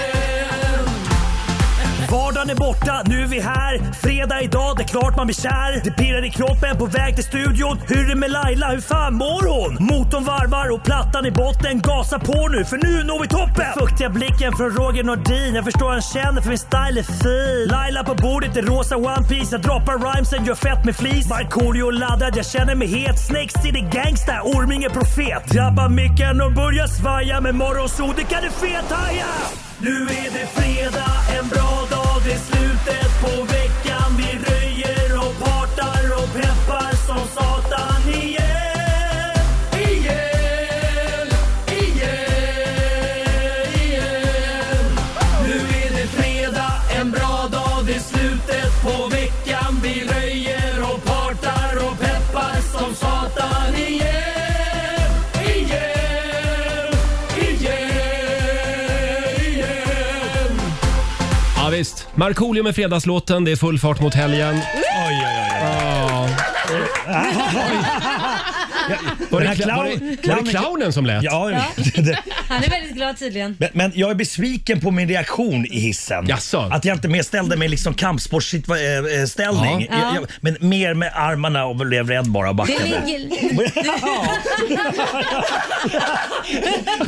Speaker 4: Vardagen är borta, nu är vi här. Fredag idag, det är klart man blir kär. Det pirrar i kroppen på väg till studion. Hur är det med Laila, hur fan mår hon? Motorn varvar och plattan i botten. Gasa på nu, för nu når vi toppen! Den fuktiga blicken från Roger Nordin. Jag förstår han känner för min style är fin. Laila på bordet i rosa One Piece Jag droppar rhymesen, gör fett med flis. Markoolio laddad, jag känner mig het. Snake City gangsta, Orming är profet. Drabbar micken och börjar svaja. Med morgonsol, det kan du fethaja! Nu är det fredag, en bra dag, det är slutet på veckan. Vi röjer och partar och peppar som satan igen. Igen, igen, igen. Nu är det fredag, en bra dag, det är slutet på veckan. Vi röjer och partar och peppar som satan igen. Igen, igen, igen.
Speaker 1: Ja, visst. Markoolio med fredagslåten. Det är full fart mot helgen.
Speaker 4: Oj, oj, oj.
Speaker 1: Var det,
Speaker 4: Den här
Speaker 1: kla- var
Speaker 4: clown-
Speaker 1: det, var det clownen som lät?
Speaker 4: Ja, det-
Speaker 2: Han är väldigt glad tydligen.
Speaker 4: men, men jag är besviken på min reaktion i hissen.
Speaker 1: Jaså?
Speaker 4: Att jag inte mer ställde mig i liksom kampsportsställning.
Speaker 2: Ja.
Speaker 4: Jag, jag, men mer med armarna och blev rädd bara och
Speaker 2: Det
Speaker 4: backade.
Speaker 2: ligger...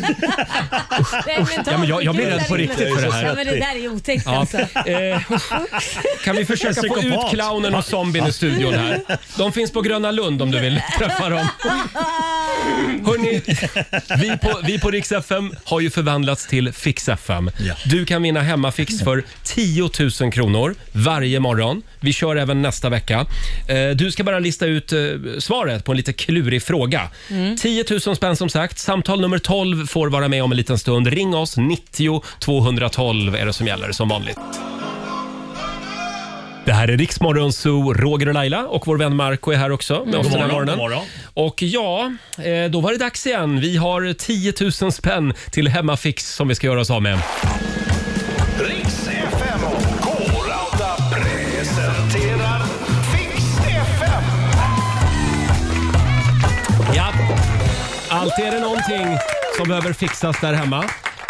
Speaker 2: Nej, men ta-
Speaker 1: Ja, men jag- jag blir rädd på riktigt för det här.
Speaker 2: Ja, men det där är otäckt
Speaker 1: Ja.
Speaker 2: alltså.
Speaker 1: Eh, kan vi försöka få ut
Speaker 4: Psykopat.
Speaker 1: clownen och zombien i studion här? De finns på Gröna Lund om du vill träffa
Speaker 4: <laughs>
Speaker 1: dem. Hörrni, vi på, vi på Rix FM har ju förvandlats till Fix FM.
Speaker 4: Ja.
Speaker 1: Du kan vinna hemmafix för 10 000 kronor varje morgon. Vi kör även nästa vecka. Eh, Du ska bara lista ut eh, svaret på en lite klurig fråga. 10 000 spänn som sagt. Samtal nummer 12 får vara med om en liten stund. Ring oss, 90 212 är det som gäller som vanligt. Det här är Riksmorgon Zoo, Roger och Laila och vår vän Marco är här också med oss den här
Speaker 4: morgon,
Speaker 1: morgonen.
Speaker 4: Mm. god morgon.
Speaker 1: Och ja, eh, då var det dags igen. Vi har 10 000 spänn till hemmafix som vi ska göra oss av med.
Speaker 8: Riks FM och K-Rauta presenterar Fix FM.
Speaker 1: Ja, alltid är det någonting som behöver fixas där hemma.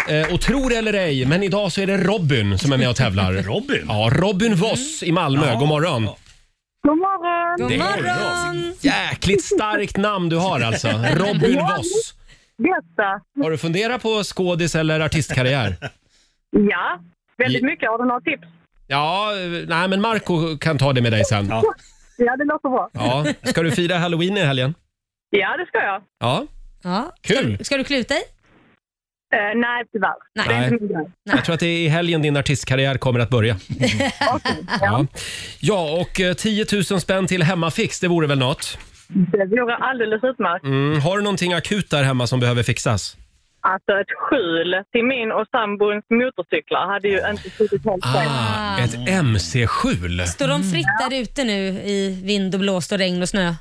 Speaker 1: Eh, Och tror eller ej, men idag så är det Robin som är med och tävlar.
Speaker 4: <laughs> Robin?
Speaker 1: Ja, Robin Voss i Malmö. God morgon.
Speaker 5: God morgon!
Speaker 2: God
Speaker 1: Det är
Speaker 2: morgon!
Speaker 1: Jäkligt starkt namn du har alltså.
Speaker 2: <laughs>
Speaker 1: Robin Voss.
Speaker 5: Bästa!
Speaker 1: Har du funderat på skådis eller artistkarriär?
Speaker 5: Ja, väldigt
Speaker 1: Ja.
Speaker 5: mycket. Har du några tips?
Speaker 1: Ja, eh, nej men Marco kan ta det med dig sen.
Speaker 4: Ja.
Speaker 5: Ja, det låter bra.
Speaker 1: Ja. Ska du fira halloween i helgen?
Speaker 5: Ja, det ska jag.
Speaker 1: Ja.
Speaker 2: Ja.
Speaker 1: Kul.
Speaker 2: Ska du kluta i?
Speaker 5: Eh, nej, tyvärr.
Speaker 2: Nej.
Speaker 5: Det är
Speaker 1: Nej.
Speaker 5: inte min grej.
Speaker 1: Jag tror att det är i helgen din artistkarriär kommer att börja.
Speaker 5: Okej,
Speaker 1: Ja, ja och eh, 10 000 spänn till hemmafix, det vore väl något?
Speaker 5: Det vore alldeles utmärkt.
Speaker 1: Mm, har du någonting akut där hemma som behöver fixas?
Speaker 5: Alltså ett skjul till min och sambons motorcyklar hade ju inte suttit helt fel.
Speaker 1: Ah, ett mc-skjul.
Speaker 2: Står de fritt där ute nu i vind och blåst och regn och snö?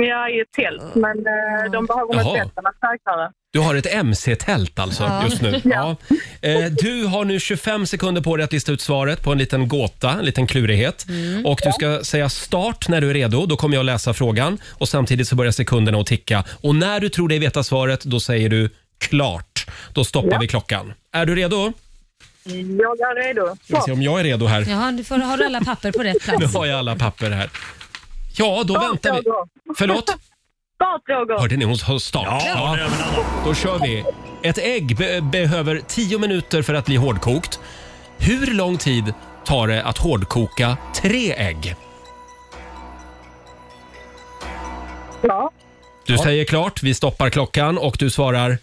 Speaker 5: Ja, i ett tält, men eh, de behöver
Speaker 1: Ah. Jaha.
Speaker 5: något bättre, något säkrare.
Speaker 1: Du har ett mc-tält alltså just nu. <laughs> Ja. Eh, Du har nu 25 sekunder på dig att lista ut svaret på en liten gåta, en liten klurighet. Och du ska säga start när du är redo. Då kommer jag läsa frågan och samtidigt så börjar sekunderna att ticka. Och när du tror dig veta svaret, då säger du klart. Då stoppar vi klockan. Är du redo?
Speaker 5: Jag är redo.
Speaker 1: Vi se
Speaker 5: Så,
Speaker 1: om jag är redo här.
Speaker 2: Jaha, du får, har du alla papper på rätt
Speaker 1: <laughs>
Speaker 2: plats?
Speaker 1: Nu har jag alla papper här. Ja, då väntar vi.
Speaker 5: Roger.
Speaker 1: Förlåt?
Speaker 5: Start, Roger!
Speaker 1: Hörde ni? Hon sa start.
Speaker 4: Ja,
Speaker 1: Då kör vi. Ett ägg be- behöver 10 minuter för att bli hårdkokt. Hur lång tid tar det att hårdkoka tre ägg?
Speaker 5: Ja,
Speaker 1: Du säger klart, vi stoppar klockan och du svarar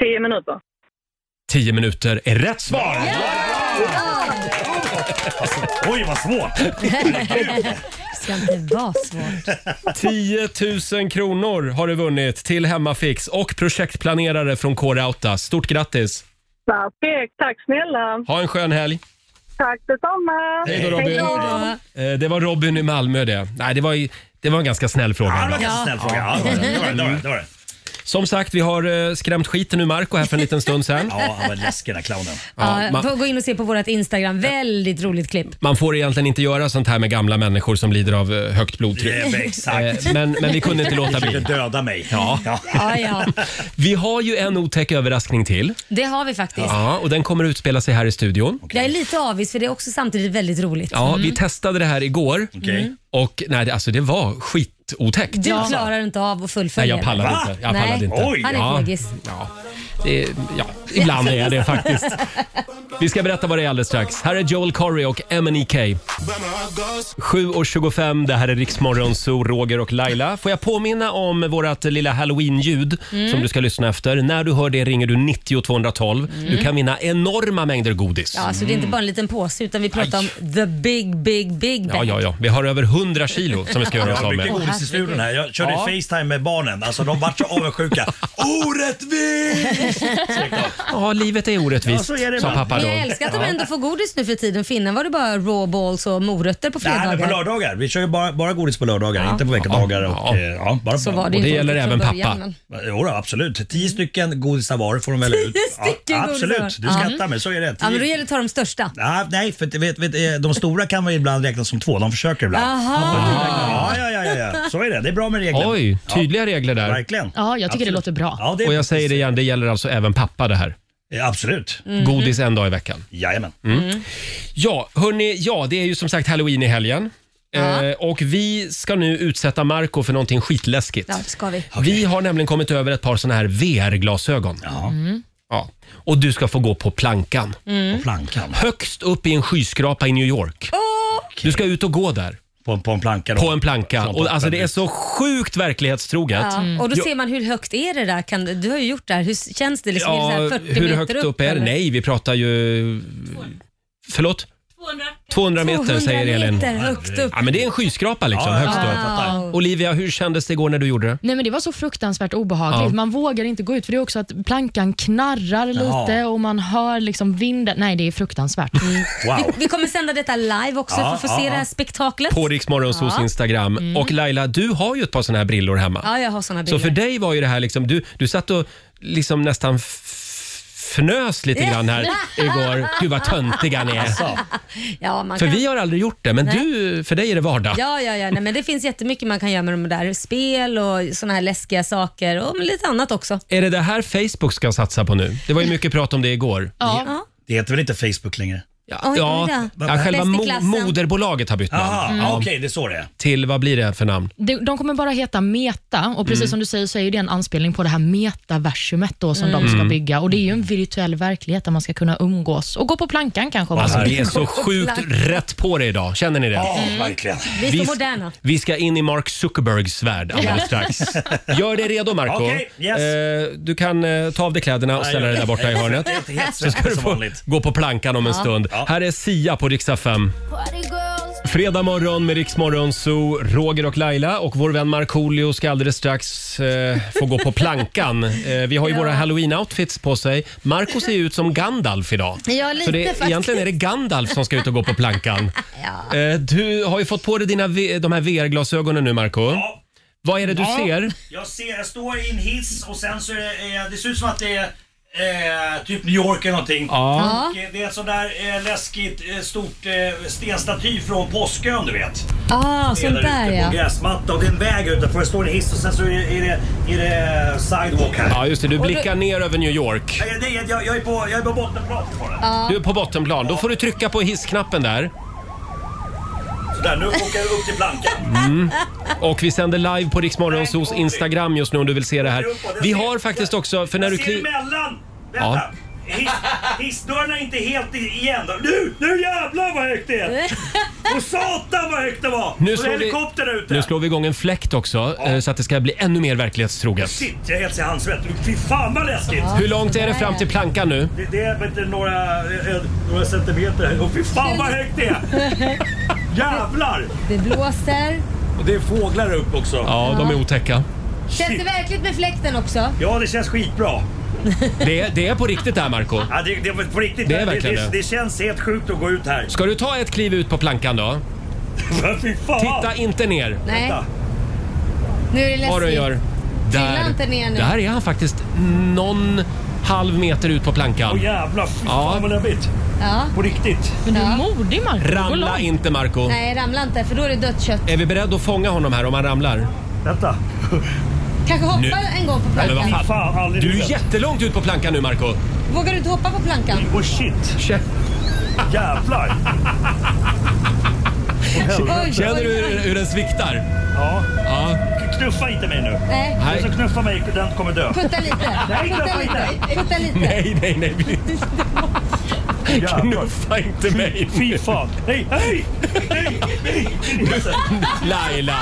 Speaker 5: tio minuter.
Speaker 1: 10 minuter är rätt svar!
Speaker 4: Oj, vad svårt!
Speaker 2: Det ska inte vara svårt.
Speaker 1: 10 000 kronor har du vunnit till Hemmafix och projektplanerare från K-Rauta. Stort grattis!
Speaker 5: Perfekt, tack snälla.
Speaker 1: Ha en skön helg!
Speaker 5: Tack detsamma.
Speaker 1: Hej då Robin!
Speaker 2: Ja.
Speaker 1: Eh, Det var Robin i Malmö det. Nej, det var, ju- det var en ganska snäll fråga.
Speaker 4: Ja, det
Speaker 1: ändå.
Speaker 4: var kanske en snäll fråga. Ja, det var det. Det var det, det var det, det var det.
Speaker 1: Som sagt, vi har eh, skrämt skiten ur Marco här för en liten stund sedan.
Speaker 4: Ja, han var läskig den där clownen.
Speaker 1: Ja,
Speaker 2: Ja,
Speaker 1: man-
Speaker 2: Gå in och se på vårt Instagram. Väldigt roligt klipp.
Speaker 1: Man får egentligen inte göra sånt här med gamla människor som lider av eh, högt blodtryck.
Speaker 4: Det är Exakt.
Speaker 1: Eh, Men, men vi kunde inte låta
Speaker 4: Du
Speaker 1: bli.
Speaker 4: döda mig. Ja.
Speaker 2: Ja, ja.
Speaker 1: Vi har ju en otäck överraskning till
Speaker 2: Det har vi faktiskt.
Speaker 1: ja, och den kommer utspela sig här i studion.
Speaker 2: Jag är lite avis för det är också samtidigt väldigt roligt.
Speaker 1: Ja, Vi testade det här igår
Speaker 4: Mm. Okej.
Speaker 1: och nej, det- alltså, det var skitotäckt.
Speaker 2: Du klarar inte av att
Speaker 1: Nej,
Speaker 2: fullfölja
Speaker 1: jag pallar
Speaker 4: Va?
Speaker 1: inte. Jag pallar
Speaker 2: Nej.
Speaker 1: inte.
Speaker 4: Oj.
Speaker 2: Han är
Speaker 1: Ja.
Speaker 2: fegis.
Speaker 1: Ja, det, ja, ibland är jag det faktiskt. Vi ska berätta vad det är alldeles strax. Här är Joel Corey och E MNEK. 7.25, det här är Riksmorgon Zoo, Roger och Laila. Får jag påminna om vårt lilla halloween-ljud
Speaker 4: Mm.
Speaker 1: som du ska lyssna efter. När du hör det ringer du 90 212. Du
Speaker 4: Mm.
Speaker 1: kan vinna enorma mängder godis.
Speaker 2: Ja, alltså det är inte bara en liten påse utan vi pratar om the big, big, big
Speaker 1: Ja,
Speaker 2: bag.
Speaker 1: ja, ja. Vi har över 100 kilo som vi ska göra
Speaker 4: Jag
Speaker 1: oss
Speaker 4: har
Speaker 1: av med.
Speaker 4: mycket godis i studion här. Jag körde
Speaker 1: Ja.
Speaker 4: Facetime med barnen. Alltså de vart så avundsjuka. Orättvist!
Speaker 1: Ja, livet är
Speaker 4: Ja,
Speaker 1: orättvist,
Speaker 4: så är det
Speaker 1: sa
Speaker 4: ibland.
Speaker 1: pappa
Speaker 2: Men
Speaker 1: då.
Speaker 2: jag älskar att de ändå får godis nu för tiden. Finnen var det bara raw balls och morötter på
Speaker 4: Nej, men på
Speaker 2: fredagar.
Speaker 4: lördagar. Vi kör ju bara, bara godis på lördagar, inte på veckodagar.
Speaker 1: Ja.
Speaker 4: Och, eh, ja, bara,
Speaker 2: Så var det,
Speaker 1: Och det
Speaker 2: ju
Speaker 1: gäller
Speaker 2: från
Speaker 1: även
Speaker 2: början,
Speaker 1: pappa.
Speaker 2: men-
Speaker 4: Jo då, absolut. Tio stycken godisar var får de välja ut.
Speaker 2: Tio stycken
Speaker 4: ja,
Speaker 2: godisar var.
Speaker 4: Absolut, du skrattar men så är det.
Speaker 2: Ja, men då
Speaker 4: Tio-
Speaker 2: gäller det att ta de största.
Speaker 4: Ja, nej, för det- vet, vet, eh, de stora kan man ju ibland räkna som två. De försöker ibland.
Speaker 2: Aha.
Speaker 4: Ja, ja, ja, ja, ja. Så är det. Det är bra med regler.
Speaker 1: Oj, tydliga regler
Speaker 4: Ja,
Speaker 1: där.
Speaker 4: verkligen.
Speaker 3: Ja, jag tycker det låter bra.
Speaker 4: Ja, det,
Speaker 1: Och jag säger det igen, det gäller alltså även pappa det här.
Speaker 4: eh, Absolut.
Speaker 1: Godis en dag i veckan.
Speaker 4: Jajamän.
Speaker 1: Mm. Ja, hörni, ja, det är ju som sagt halloween i helgen. Eh, och vi ska nu utsätta Marco för någonting skitläskigt.
Speaker 2: Ja, det ska vi.
Speaker 1: Vi har nämligen kommit över ett par såna här VR-glasögon.
Speaker 4: Ja,
Speaker 1: Ja. Och du ska få gå på plankan.
Speaker 2: Mm.
Speaker 4: på plankan.
Speaker 1: Högst upp i en skyskrapa i New York. Du ska ut och gå där.
Speaker 4: På, på en planka då.
Speaker 1: På en planka.
Speaker 4: Från
Speaker 1: Och alltså det är så
Speaker 4: toppen.
Speaker 1: sjukt verklighetstroget.
Speaker 2: Ja. Och då
Speaker 1: Jo.
Speaker 2: ser man hur högt är det där? Kan, du har ju gjort det här. Hur känns det? Liksom, är det
Speaker 1: Ja,
Speaker 2: så här 40
Speaker 1: hur
Speaker 2: meter
Speaker 1: högt upp är det?
Speaker 2: eller?
Speaker 1: Nej, vi pratar ju... Förlåt? 200 meter säger
Speaker 2: 200
Speaker 1: Elin.
Speaker 2: meter högt upp.
Speaker 1: Ja, men det är en skyskrapa liksom,
Speaker 4: Ja, ja,
Speaker 1: högst
Speaker 4: ja, jag
Speaker 1: upp.
Speaker 4: fattar.
Speaker 1: Olivia, hur kändes det igår när du gjorde det?
Speaker 3: Nej, men Det var så fruktansvärt obehagligt. Man vågar inte gå ut, för det är också att plankan knarrar
Speaker 4: Ja.
Speaker 3: lite och man hör liksom vinden. Nej, det är fruktansvärt.
Speaker 4: Wow.
Speaker 2: Vi kommer sända detta live också
Speaker 4: Ja,
Speaker 2: för att få
Speaker 4: ja,
Speaker 2: se
Speaker 4: ja.
Speaker 2: det här spektaklet.
Speaker 1: På Rix Morgonzoos Instagram.
Speaker 2: Mm.
Speaker 1: Och Laila, du har ju ett par såna här brillor hemma.
Speaker 2: Ja, jag har såna bilder.
Speaker 1: Så för dig var ju det här liksom, du, du satt och liksom nästan f- fnös lite grann
Speaker 2: <laughs>
Speaker 1: här igår. Gud vad töntiga ni är.
Speaker 2: ja, Alltså, man
Speaker 1: För
Speaker 2: kan...
Speaker 1: vi har aldrig gjort det, men du, för dig är det vardag.
Speaker 2: Ja, ja, ja. Nej, men det finns jättemycket man kan göra med de där. Spel och såna här läskiga saker och men lite annat också.
Speaker 1: Är det det här Facebook ska satsa på nu? Det var ju
Speaker 2: Mm.
Speaker 1: mycket prat om det igår.
Speaker 3: Ja.
Speaker 4: Det heter väl inte Facebook längre?
Speaker 1: Ja,
Speaker 2: Oj,
Speaker 1: ja,
Speaker 2: oj då.
Speaker 1: ja själva
Speaker 2: Bäst i
Speaker 1: mo-
Speaker 2: klassen.
Speaker 1: moderbolaget har bytt
Speaker 4: Jaha,
Speaker 1: namn.
Speaker 4: ja, okej det är så det är.
Speaker 1: Till, vad blir det för namn?
Speaker 3: De, de kommer bara heta Meta och precis som du säger så är ju det en anspelning på det här metaversumet då, som de ska bygga. Och Det är ju en virtuell verklighet där man ska kunna umgås och gå på plankan kanske. om man
Speaker 1: Alltså,
Speaker 3: vill.
Speaker 1: vi är så sjukt rätt på det idag. Känner ni det?
Speaker 4: Ja, verkligen.
Speaker 2: Vi är
Speaker 1: Vi,
Speaker 2: så moderna.
Speaker 1: vi ska in i Mark Zuckerbergs värld alldeles strax.
Speaker 2: <laughs>
Speaker 1: Gör dig redo Marco.
Speaker 4: Okej, yes.
Speaker 1: Eh, du kan eh, ta av dig kläderna och ställa dig där borta i hörnet.
Speaker 4: <laughs> Det är helt
Speaker 1: Så ska du
Speaker 4: som
Speaker 1: få
Speaker 4: vanligt.
Speaker 1: gå på plankan om en stund.
Speaker 4: Ja.
Speaker 1: Här är Sia på riksdag 5. Fredag morgon med Riksmorgon Zoo, Roger och Laila och vår vän Markoolio ska alldeles strax eh, få gå på
Speaker 2: <laughs>
Speaker 1: plankan. Eh, vi har ju våra halloween-outfits på sig. Marco ser ju ut som Gandalf idag.
Speaker 2: Ja, lite
Speaker 1: Så det,
Speaker 2: faktiskt.
Speaker 1: egentligen är det Gandalf som ska ut och gå på
Speaker 2: <laughs>
Speaker 1: plankan. Eh, du har ju fått på dig dina, V- de här VR-glasögonen nu Marco.
Speaker 4: Ja,
Speaker 1: Vad är det du
Speaker 4: Ja.
Speaker 1: ser?
Speaker 4: Jag ser, jag står i en hiss och sen så är det, eh, det ser ut som att det är Eh, typ New York eller någonting.
Speaker 1: Ja.
Speaker 4: Och, eh, det är ett sånt där eh, läskigt eh, stort eh, stenstaty från Påskön du vet.
Speaker 2: Ah, sånt där
Speaker 4: ute på
Speaker 2: ja.
Speaker 4: gräsmatta och det är en väg utanför. Det står en hiss och sen så är det, är det, är det sidewalk här.
Speaker 1: Ja, just det. Du blickar ner över New York.
Speaker 4: Nej, det är, jag, jag, är på, jag är på bottenplan fortfarande.
Speaker 1: Du är på bottenplan. Då får du trycka på hissknappen där.
Speaker 4: Sådär, nu åker jag upp till plankan.
Speaker 1: Och vi sänder live på Riksmorgonsos Instagram just nu om du vill se det här. Vi har faktiskt också, för när du
Speaker 4: Jag ser
Speaker 1: kliver...
Speaker 4: emellan! Vänta!
Speaker 1: Ja.
Speaker 4: hiss, hissdörren är inte helt i- igen. Då. Nu, nu jävlar vad högt
Speaker 2: <laughs>
Speaker 4: det är! Och satan vad högt det var!
Speaker 1: Nu
Speaker 4: och det
Speaker 1: slår
Speaker 4: är
Speaker 1: vi-
Speaker 4: helikopter där ute.
Speaker 1: Nu slår vi igång en fläkt också eh, så att det ska bli ännu mer verklighetstroget.
Speaker 4: Shit, jag är helt handsvett. Fy fan vad läskigt!
Speaker 1: Hur långt är det fram till plankan nu?
Speaker 4: Det, det är vet du, några, eh, eh, några centimeter här. Och fy fan vad
Speaker 1: <laughs>
Speaker 4: högt det är! Jävlar!
Speaker 2: Det blåser.
Speaker 4: Och det är fåglar där uppe också.
Speaker 1: Ja, de är otäcka.
Speaker 2: Känns det verkligt med fläkten också?
Speaker 4: Ja, det känns skitbra.
Speaker 1: Det är, det är på riktigt där Marco.
Speaker 4: Ja, det, det, var på riktigt,
Speaker 1: Det är verkligen
Speaker 4: det,
Speaker 1: det.
Speaker 4: det känns helt sjukt att gå ut här. <laughs>
Speaker 1: Ska du ta ett kliv ut på plankan då?
Speaker 4: Fy fan!
Speaker 1: Titta inte ner
Speaker 2: Nej,
Speaker 4: Vänta.
Speaker 2: nu är det läskigt.
Speaker 1: vad du gör.
Speaker 2: Trilla inte ner nu.
Speaker 1: Där är han faktiskt någon halv meter ut på plankan.
Speaker 4: Åh jävlar, fy
Speaker 1: Ja.
Speaker 4: fan vad läbbigt.
Speaker 2: Ja.
Speaker 4: På riktigt.
Speaker 3: Men du är modig Marco. Du går
Speaker 1: Ramla
Speaker 3: långt.
Speaker 1: inte Marco.
Speaker 2: Nej, ramla inte för då är det dött kött.
Speaker 1: Är vi beredda att fånga honom här om han ramlar?
Speaker 4: Vänta.
Speaker 2: Kanske hoppa
Speaker 1: Nu.
Speaker 2: en gång på
Speaker 1: men vad
Speaker 2: plankan.
Speaker 1: fan.
Speaker 4: Fan, aldrig
Speaker 1: Du
Speaker 4: lyckats.
Speaker 1: är jättelångt ut på plankan nu Marco.
Speaker 2: Vågar du inte hoppa på plankan?
Speaker 4: Åh shit,
Speaker 1: Kä-
Speaker 4: jävlar. Åh, helvete.
Speaker 2: Oj,
Speaker 1: Känner
Speaker 2: oj,
Speaker 1: du hur,
Speaker 2: oj.
Speaker 1: hur den sviktar?
Speaker 4: Ja.
Speaker 1: Ja.
Speaker 4: Knuffa inte mig nu.
Speaker 2: Nej,
Speaker 4: Den
Speaker 1: Nej,
Speaker 4: som knuffar mig, den kommer dö.
Speaker 2: putta lite.
Speaker 4: Nej,
Speaker 2: Putta
Speaker 4: knuffa
Speaker 2: lite.
Speaker 4: inte.
Speaker 2: Putta lite.
Speaker 1: nej, <laughs> nej. nej.
Speaker 4: Jävlar.
Speaker 1: Knuffa inte mig.
Speaker 4: Fy fan. Nej, hej!
Speaker 1: Laila,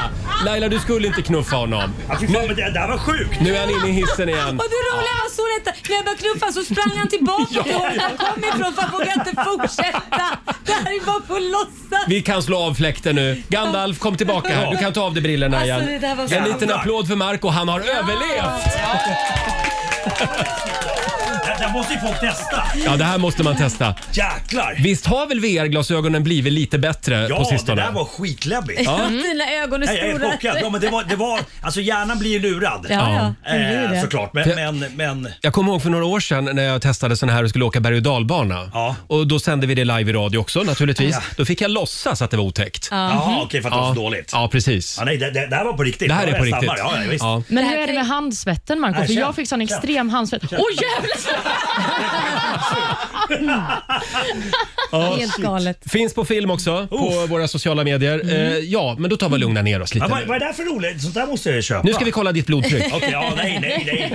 Speaker 1: Laila du skulle inte knuffa honom.
Speaker 4: Ja, fy fan, men det, det här var sjukt.
Speaker 1: Nu är han inne i hissen igen.
Speaker 9: Och det roliga var så detta, när jag började knuffa så sprang han tillbaka till honom han kom ifrån för han vågade inte fortsätta. Det här är bara på låtsas.
Speaker 1: Vi kan slå av fläkten nu. Gandalf, kom tillbaka här. Du kan ta av dig brillorna igen.
Speaker 2: Alltså, det där var så-
Speaker 1: En liten applåd för Marco. Han har överlevt!
Speaker 4: Det, det måste ju folk testa.
Speaker 1: Ja, det här måste man testa.
Speaker 4: Jäklar.
Speaker 1: Visst har väl VR-glasögonen blivit lite bättre på
Speaker 4: Ja, det
Speaker 1: sistone?
Speaker 4: där var skitläbbigt.
Speaker 2: Mm.
Speaker 9: Dina ögon är
Speaker 4: Nej, jag är
Speaker 9: stora.
Speaker 4: chockad. Ja, men det var, det var, alltså hjärnan blir ju lurad.
Speaker 9: Ja, ja. det blir
Speaker 4: Eh,
Speaker 9: det.
Speaker 4: såklart. Men, men, men
Speaker 1: Jag kommer ihåg för några år sedan när jag testade sån här och skulle åka berg och dalbana.
Speaker 4: Ja.
Speaker 1: Och då sände vi det live i radio också naturligtvis.
Speaker 4: Ja.
Speaker 1: Då fick jag låtsas att det var otäckt.
Speaker 4: jaha, okej för att det var så dåligt. Ja.
Speaker 1: Ja, precis.
Speaker 4: nej, det, det, det här var på riktigt.
Speaker 1: Det här är på
Speaker 4: Jag
Speaker 1: riktigt.
Speaker 4: stammar. Ja, ja, visst.
Speaker 1: Ja.
Speaker 3: Men
Speaker 2: Det här
Speaker 3: hur
Speaker 2: kan
Speaker 3: är det
Speaker 2: ju-
Speaker 3: med handsvetten Marco?
Speaker 4: Nej,
Speaker 3: För
Speaker 4: känn,
Speaker 3: jag fick sån
Speaker 4: känn.
Speaker 3: extrem handsvett. Åh jävlar!
Speaker 9: Helt galet.
Speaker 1: Finns på film också på våra sociala medier. Eh, ja, men då tar vi och lugnar ner oss lite
Speaker 4: Men vad,
Speaker 1: nu.
Speaker 4: vad är det här för roligt? Sånt där måste jag ju köpa.
Speaker 1: Nu ska vi kolla ditt blodtryck.
Speaker 4: Okej, ja, nej, nej,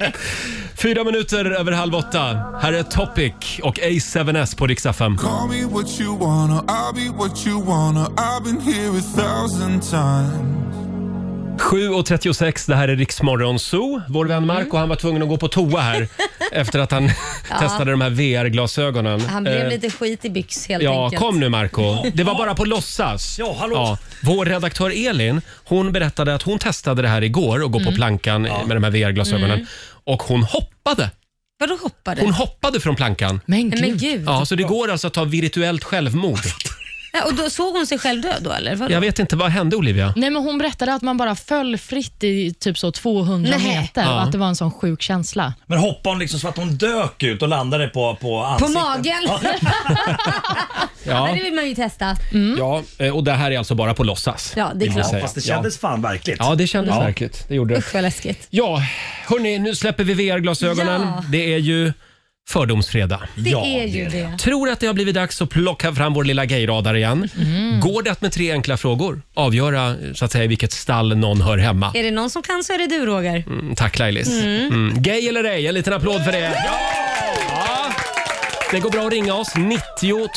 Speaker 4: nej.
Speaker 1: <laughs> Fyra minuter över halv åtta. Här är Topic och A7S på Rix FM.
Speaker 10: Call me what you wanna, I'll be what you wanna. I've been here a thousand times.
Speaker 1: 7.36, det här är Riksmorgon Zoo. Vår vän Marco han var tvungen att gå på toa <laughs> här efter att han testade de här VR-glasögonen.
Speaker 2: Han blev
Speaker 1: Eh,
Speaker 2: lite skit i byx helt
Speaker 1: Ja,
Speaker 2: enkelt.
Speaker 1: kom nu Marco Det var bara på låtsas.
Speaker 4: Ja, hallå.
Speaker 1: Vår redaktör Elin hon berättade att hon testade det här igår och gå på plankan eh, med de här VR-glasögonen. Och hon hoppade.
Speaker 2: Vadå hoppade?
Speaker 1: Hon hoppade från plankan.
Speaker 3: Men
Speaker 2: Nej, Men
Speaker 3: gud.
Speaker 2: gud.
Speaker 1: Ja, så det går alltså att ta virtuellt självmord.
Speaker 2: Nej, Och då såg hon sig själv död då eller? Vadå?
Speaker 1: Jag vet inte, vad hände Olivia?
Speaker 3: Nej, men hon berättade att man bara föll fritt i typ så 200
Speaker 2: Nej.
Speaker 3: meter
Speaker 1: Ja.
Speaker 3: och att det var en sån sjuk känsla.
Speaker 4: Men hoppade hon liksom så att hon dök ut och landade på, på
Speaker 2: På
Speaker 4: ansiktet?
Speaker 2: magen? Nej, <laughs> det vill man ju testa.
Speaker 1: Ja, eh, och det här är alltså bara på låtsas.
Speaker 2: mm. Ja, det
Speaker 1: vill
Speaker 2: är
Speaker 1: vi
Speaker 2: klart.
Speaker 1: säga.
Speaker 4: Fast det kändes fan verkligt.
Speaker 1: Ja, det kändes verkligt. Det gjorde det.
Speaker 2: Usch vad läskigt.
Speaker 1: Ja, hörni, nu släpper vi VR-glasögonen.
Speaker 2: Ja.
Speaker 1: Det är ju fördomsfredag.
Speaker 2: Det
Speaker 4: Ja,
Speaker 2: är ju det.
Speaker 1: Tror att det har blivit dags att plocka fram vår lilla gayradar igen.
Speaker 2: Mm.
Speaker 1: Går det att med tre enkla frågor avgöra eh, så att säga, i vilket stall någon hör hemma?
Speaker 2: Är det någon som kan så är det du Roger.
Speaker 1: Mm, Tack Lailis. Mm. Gay eller ej, en liten applåd för det. Ja. Det går bra att ringa oss, 90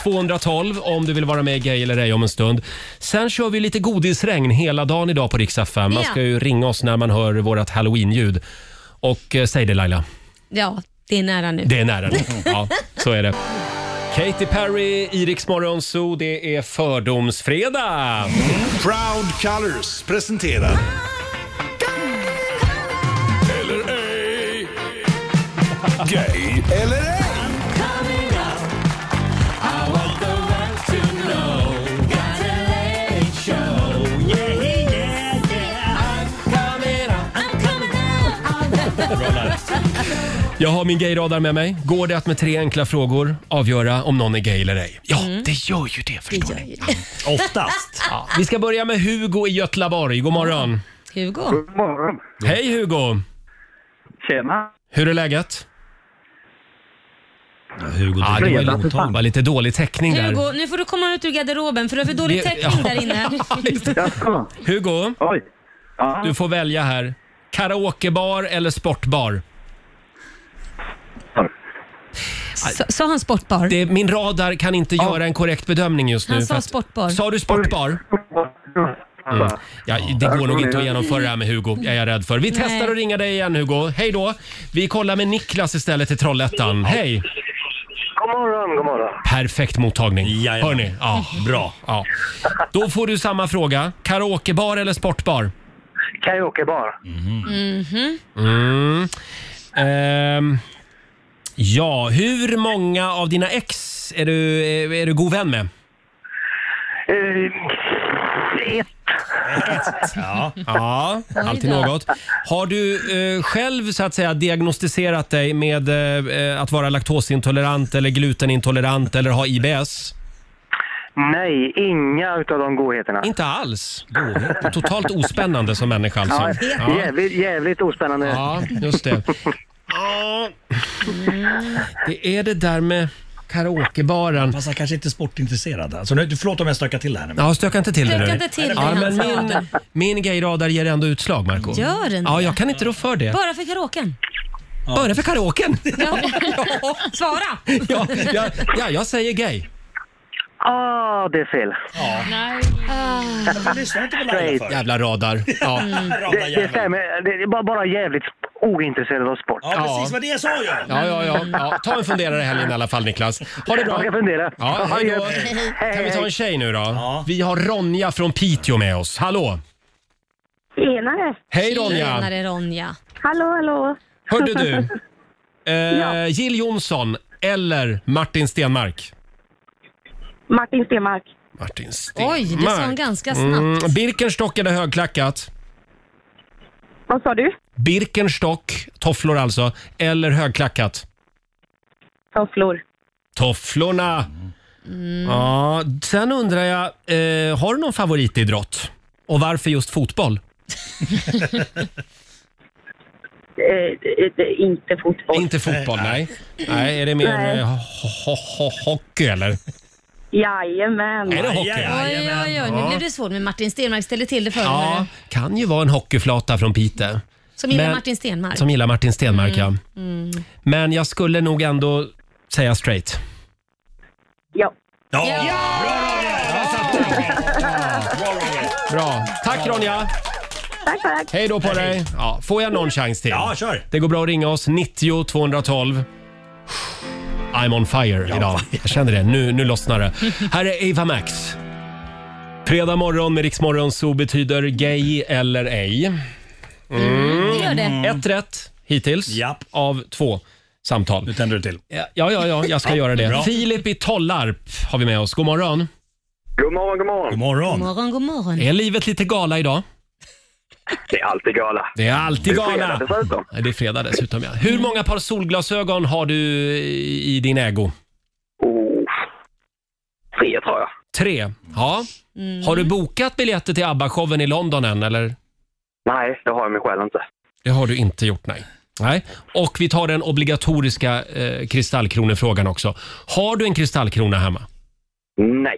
Speaker 1: 212 om du vill vara med i Gay eller ej om en stund. Sen kör vi lite godisregn hela dagen idag på Rix FM. Man
Speaker 2: Ja.
Speaker 1: ska ju ringa oss när man hör vårt halloween-ljud. Och eh, säg det Laila,
Speaker 2: Ja, det är nära nu.
Speaker 1: det är nära nu. Ja, så är det. Katy Perry, i Rix Morgon Zoo, det är fördomsfredag.
Speaker 8: Proud Colors presenterar... Eller ej. Gay eller ej.
Speaker 1: Jag har min gayradar med mig. Går det att med tre enkla frågor avgöra om någon är gay eller ej? Ja, det gör ju det förstår ni.
Speaker 4: Oftast.
Speaker 11: <laughs>
Speaker 1: Ja. Vi ska börja med Hugo i Götlaborg. God morgon.
Speaker 2: Hugo.
Speaker 12: God morgon.
Speaker 1: Hej Hugo!
Speaker 12: Tjena.
Speaker 1: Hur är läget?
Speaker 4: Hugo,
Speaker 1: Ja,
Speaker 4: du-
Speaker 1: det
Speaker 12: Fredag, för
Speaker 1: var,
Speaker 12: fan.
Speaker 1: var lite dålig täckning där.
Speaker 2: Hugo, nu får du komma ut ur garderoben för du har för dålig
Speaker 1: Det-
Speaker 2: täckning
Speaker 1: ja.
Speaker 2: där inne.
Speaker 1: <laughs>
Speaker 12: Jaså?
Speaker 1: Hugo,
Speaker 12: Oj. Ja.
Speaker 1: du får välja här. Karaokebar eller sportbar?
Speaker 2: Sa- Sa han sportbar?
Speaker 1: Det, min radar kan inte göra en korrekt bedömning just nu.
Speaker 2: Han sa
Speaker 1: för att-
Speaker 2: sportbar.
Speaker 1: Sa du sportbar? Mm. Ja, det går nog inte att genomföra det här med Hugo, är jag rädd för. Vi
Speaker 2: Nej.
Speaker 1: testar att ringa dig igen Hugo. Hej då! Vi kollar med Niklas istället i Trollhättan. Hej!
Speaker 13: God morgon, god morgon.
Speaker 1: Perfekt mottagning. Hörni, ja. Bra. Ja. Då får du samma fråga. Karaokebar eller sportbar?
Speaker 13: Karaokebar.
Speaker 2: Mhm.
Speaker 1: Mm. Ehm, ja, hur många av dina ex är du, är, är du god vän med?
Speaker 13: Ett.
Speaker 1: Ja, ja
Speaker 13: Oj
Speaker 1: alltid
Speaker 13: då.
Speaker 1: något. Har du eh, själv så att säga diagnostiserat dig med eh, eh, att vara laktosintolerant eller glutenintolerant eller ha IBS?
Speaker 13: Nej, inga utav de godheterna.
Speaker 1: Inte alls. Totalt ospännande som människa alltså.
Speaker 13: Ja, jävligt, jävligt ospännande.
Speaker 1: Ja, just det. Det är det där med karaokebaren.
Speaker 11: Fast han kanske inte är sportintresserad. Alltså, nu, förlåt om jag stökar till det här nu.
Speaker 1: Ja, stöka inte till det
Speaker 11: Stöka
Speaker 1: nu.
Speaker 11: inte till det,
Speaker 1: ja, men
Speaker 11: han sa.
Speaker 1: min, min gayradar ger ändå utslag, Marco.
Speaker 2: Gör den
Speaker 1: Ja,
Speaker 2: det?
Speaker 1: jag kan inte rå för det.
Speaker 2: Bara för karaoken?
Speaker 1: Bara för karaoken?
Speaker 2: Ja. Svara!
Speaker 1: Ja, ja, ja, jag säger gay.
Speaker 13: Ah, det är fel.
Speaker 2: Nej.
Speaker 13: Straight.
Speaker 1: Jävla radar. Ja.
Speaker 13: Det, det stämmer. Det är bara, bara jävligt ointresserad av sport.
Speaker 1: Ja, precis vad
Speaker 11: det jag sa ju!
Speaker 1: Ja, ja, ja, ja. Ta en funderare i helgen i alla fall, Niklas. Ha det bra.
Speaker 13: Jag ska fundera.
Speaker 1: Ja, hej då.
Speaker 13: Ha det gött.
Speaker 1: Kan vi ta
Speaker 13: hej.
Speaker 1: en tjej nu då? Vi har Ronja från Piteå med oss. Hallå!
Speaker 14: Tjenare!
Speaker 1: Hej Ronja!
Speaker 2: Tjenare Ronja.
Speaker 14: Hallå, hallå!
Speaker 1: Hörde du? Eh, Jill Johnson eller Martin Stenmark?
Speaker 14: Martin Stenmark.
Speaker 1: Martin Stenmark.
Speaker 2: Oj, det sa hon ganska snabbt.
Speaker 1: Mm, Birkenstock eller högklackat?
Speaker 14: Vad sa du?
Speaker 1: Birkenstock, tofflor alltså, eller högklackat?
Speaker 14: Tofflor.
Speaker 1: Tofflorna! Mm. Ja, sen undrar jag, eh, har du någon favoritidrott? Och varför just fotboll?
Speaker 15: eh,
Speaker 14: inte fotboll.
Speaker 1: Inte fotboll, nej. Nej, är det mer
Speaker 14: Nej.
Speaker 1: eh, ho- ho- ho- hockey eller?
Speaker 14: Jajamän!
Speaker 1: Är det hockey?
Speaker 2: Oj, oj, oj. Nu
Speaker 1: Ja.
Speaker 2: blev det svårt med Martin Stenmark. Ställde till det för
Speaker 1: Ja,
Speaker 2: ja.
Speaker 1: kan ju vara en hockeyflata från Piteå.
Speaker 2: Som gillar
Speaker 1: Men-
Speaker 2: Martin Stenmark.
Speaker 1: Som gillar Martin Stenmark, ja.
Speaker 2: Mm.
Speaker 1: Men jag skulle nog ändå säga straight.
Speaker 14: Ja.
Speaker 1: Ja! Bra. Tack Ronja!
Speaker 14: Tack, tack!
Speaker 1: Hej då på dig! Ja, får jag någon chans till?
Speaker 11: Ja, kör.
Speaker 1: Det går bra att ringa oss, 90 212. I'm on fire idag. Jag känner det, nu, nu lossnar det. Här är Ava Max. Fredag morgon med Riksmorgon så betyder gay eller ej.
Speaker 2: Mm, det gör det.
Speaker 1: Ett rätt hittills av två samtal. Nu
Speaker 11: tänder du till.
Speaker 1: Ja, ja, ja, jag ska
Speaker 11: Ja,
Speaker 1: göra det.
Speaker 11: bra.
Speaker 1: Filip i Tollarp har vi med oss. God morgon.
Speaker 13: God morgon, god morgon.
Speaker 11: God morgon.
Speaker 2: God morgon, god morgon.
Speaker 1: Är livet lite gala idag?
Speaker 13: Det är alltid gala.
Speaker 1: Det är alltid
Speaker 13: Det är fredag
Speaker 1: gala.
Speaker 13: dessutom.
Speaker 1: Ja, Det är fredag dessutom, ja. Hur många par solglasögon har du i i din ägo?
Speaker 12: Oh,
Speaker 13: Tre tror jag.
Speaker 1: Tre. Ja.
Speaker 2: Mm.
Speaker 1: Har du bokat biljetter till ABBA-showen i London än, eller?
Speaker 13: Nej, det har jag mig själv inte.
Speaker 1: Det har du inte gjort, nej. Nej. Och vi tar den obligatoriska eh, kristallkronefrågan också. Har du en kristallkrona hemma?
Speaker 13: Nej.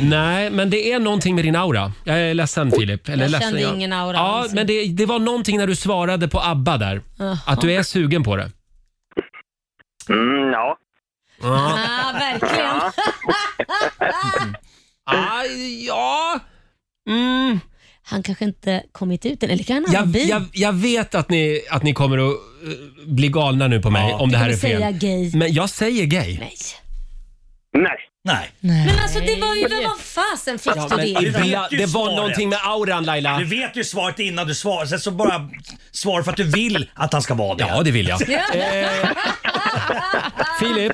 Speaker 1: Nej, men det är någonting med din aura. Jag är ledsen Filip. Eller
Speaker 2: Mm. Jag
Speaker 1: ledsen,
Speaker 2: kände ingen aura
Speaker 1: Ja,
Speaker 2: alls.
Speaker 1: men det, det var någonting när du svarade på ABBA där.
Speaker 2: Jaha.
Speaker 1: Att du är sugen på det.
Speaker 13: Mm, ja.
Speaker 1: Ja.
Speaker 2: Ah, verkligen.
Speaker 1: ah, ja. Mm.
Speaker 2: Han kanske inte kommit ut än, eller kan han ha
Speaker 1: Jag,
Speaker 2: bil?
Speaker 1: jag, jag vet att ni, att ni kommer att eh, bli galna nu på mig om det här är
Speaker 2: Du kommer
Speaker 1: fel.
Speaker 2: säga gay.
Speaker 1: Men jag säger gay.
Speaker 2: Nej.
Speaker 13: Nej.
Speaker 11: Nej.
Speaker 2: Men alltså det var ju, vad fasen fick
Speaker 11: Ja,
Speaker 2: du
Speaker 11: men
Speaker 2: det
Speaker 11: ibland-
Speaker 2: ifrån?
Speaker 11: Ja, det var någonting med
Speaker 1: auran Laila.
Speaker 11: Du vet ju svaret innan du svarar. Sen så bara svar för att du vill att han ska vara det.
Speaker 1: Ja, det vill jag. Filip,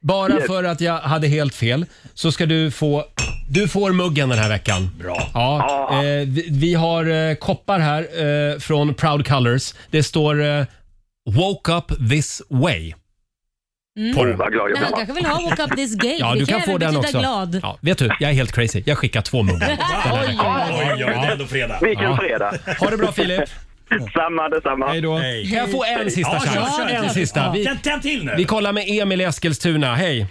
Speaker 1: bara för att jag hade helt fel så ska du få du får muggen den här veckan. Bra. Ja,
Speaker 13: Ah.
Speaker 1: eh, vi, vi har eh, koppar här eh, från Proud Colors. Det står eh, “Woke up this way”.
Speaker 2: Mm.
Speaker 1: På den.
Speaker 2: Men han kanske vill ha Walk Up This Gay.
Speaker 1: Ja,
Speaker 2: Det
Speaker 1: du kan
Speaker 2: även
Speaker 1: få den
Speaker 2: betyda
Speaker 1: också.
Speaker 2: Glad.
Speaker 1: Ja, vet du, jag är helt crazy. Jag skickar två
Speaker 2: <laughs>
Speaker 1: muggar.
Speaker 2: Oj, oj,
Speaker 11: oj, det är ändå fredag.
Speaker 13: Vilken
Speaker 1: Ja.
Speaker 13: fredag.
Speaker 1: Ha det bra Filip.
Speaker 13: Samma, detsamma.
Speaker 1: Hej då. Kan jag få en sista
Speaker 11: Ja, kör,
Speaker 1: chans?
Speaker 11: kör,
Speaker 1: en
Speaker 11: kör.
Speaker 1: sista.
Speaker 11: Ja.
Speaker 1: Vi,
Speaker 11: Tänd- tänd till nu.
Speaker 1: vi kollar med Emil i Eskilstuna. Hej.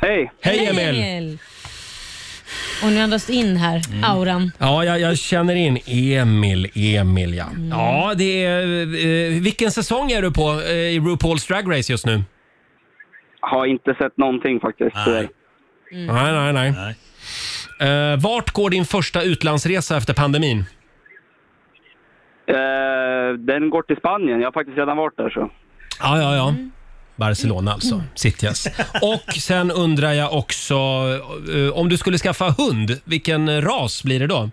Speaker 13: Hej.
Speaker 1: Hej Emil.
Speaker 2: Och nu andas in här, auran.
Speaker 1: Ja, jag, jag känner in Emil, Emil ja. Ja, det är, eh, vilken säsong är du på eh, i RuPaul's Drag Race just nu?
Speaker 12: Har inte sett någonting faktiskt. tyvärr.
Speaker 1: Nej, nej, nej. Eh, vart går din första utlandsresa efter pandemin?
Speaker 12: Eh, den går till Spanien. Jag har faktiskt redan varit där så.
Speaker 1: Ja, ja, ja. Barcelona alltså,
Speaker 12: Mm.
Speaker 1: City yes. Och sen undrar jag också, eh, om du skulle skaffa hund, vilken ras blir det då?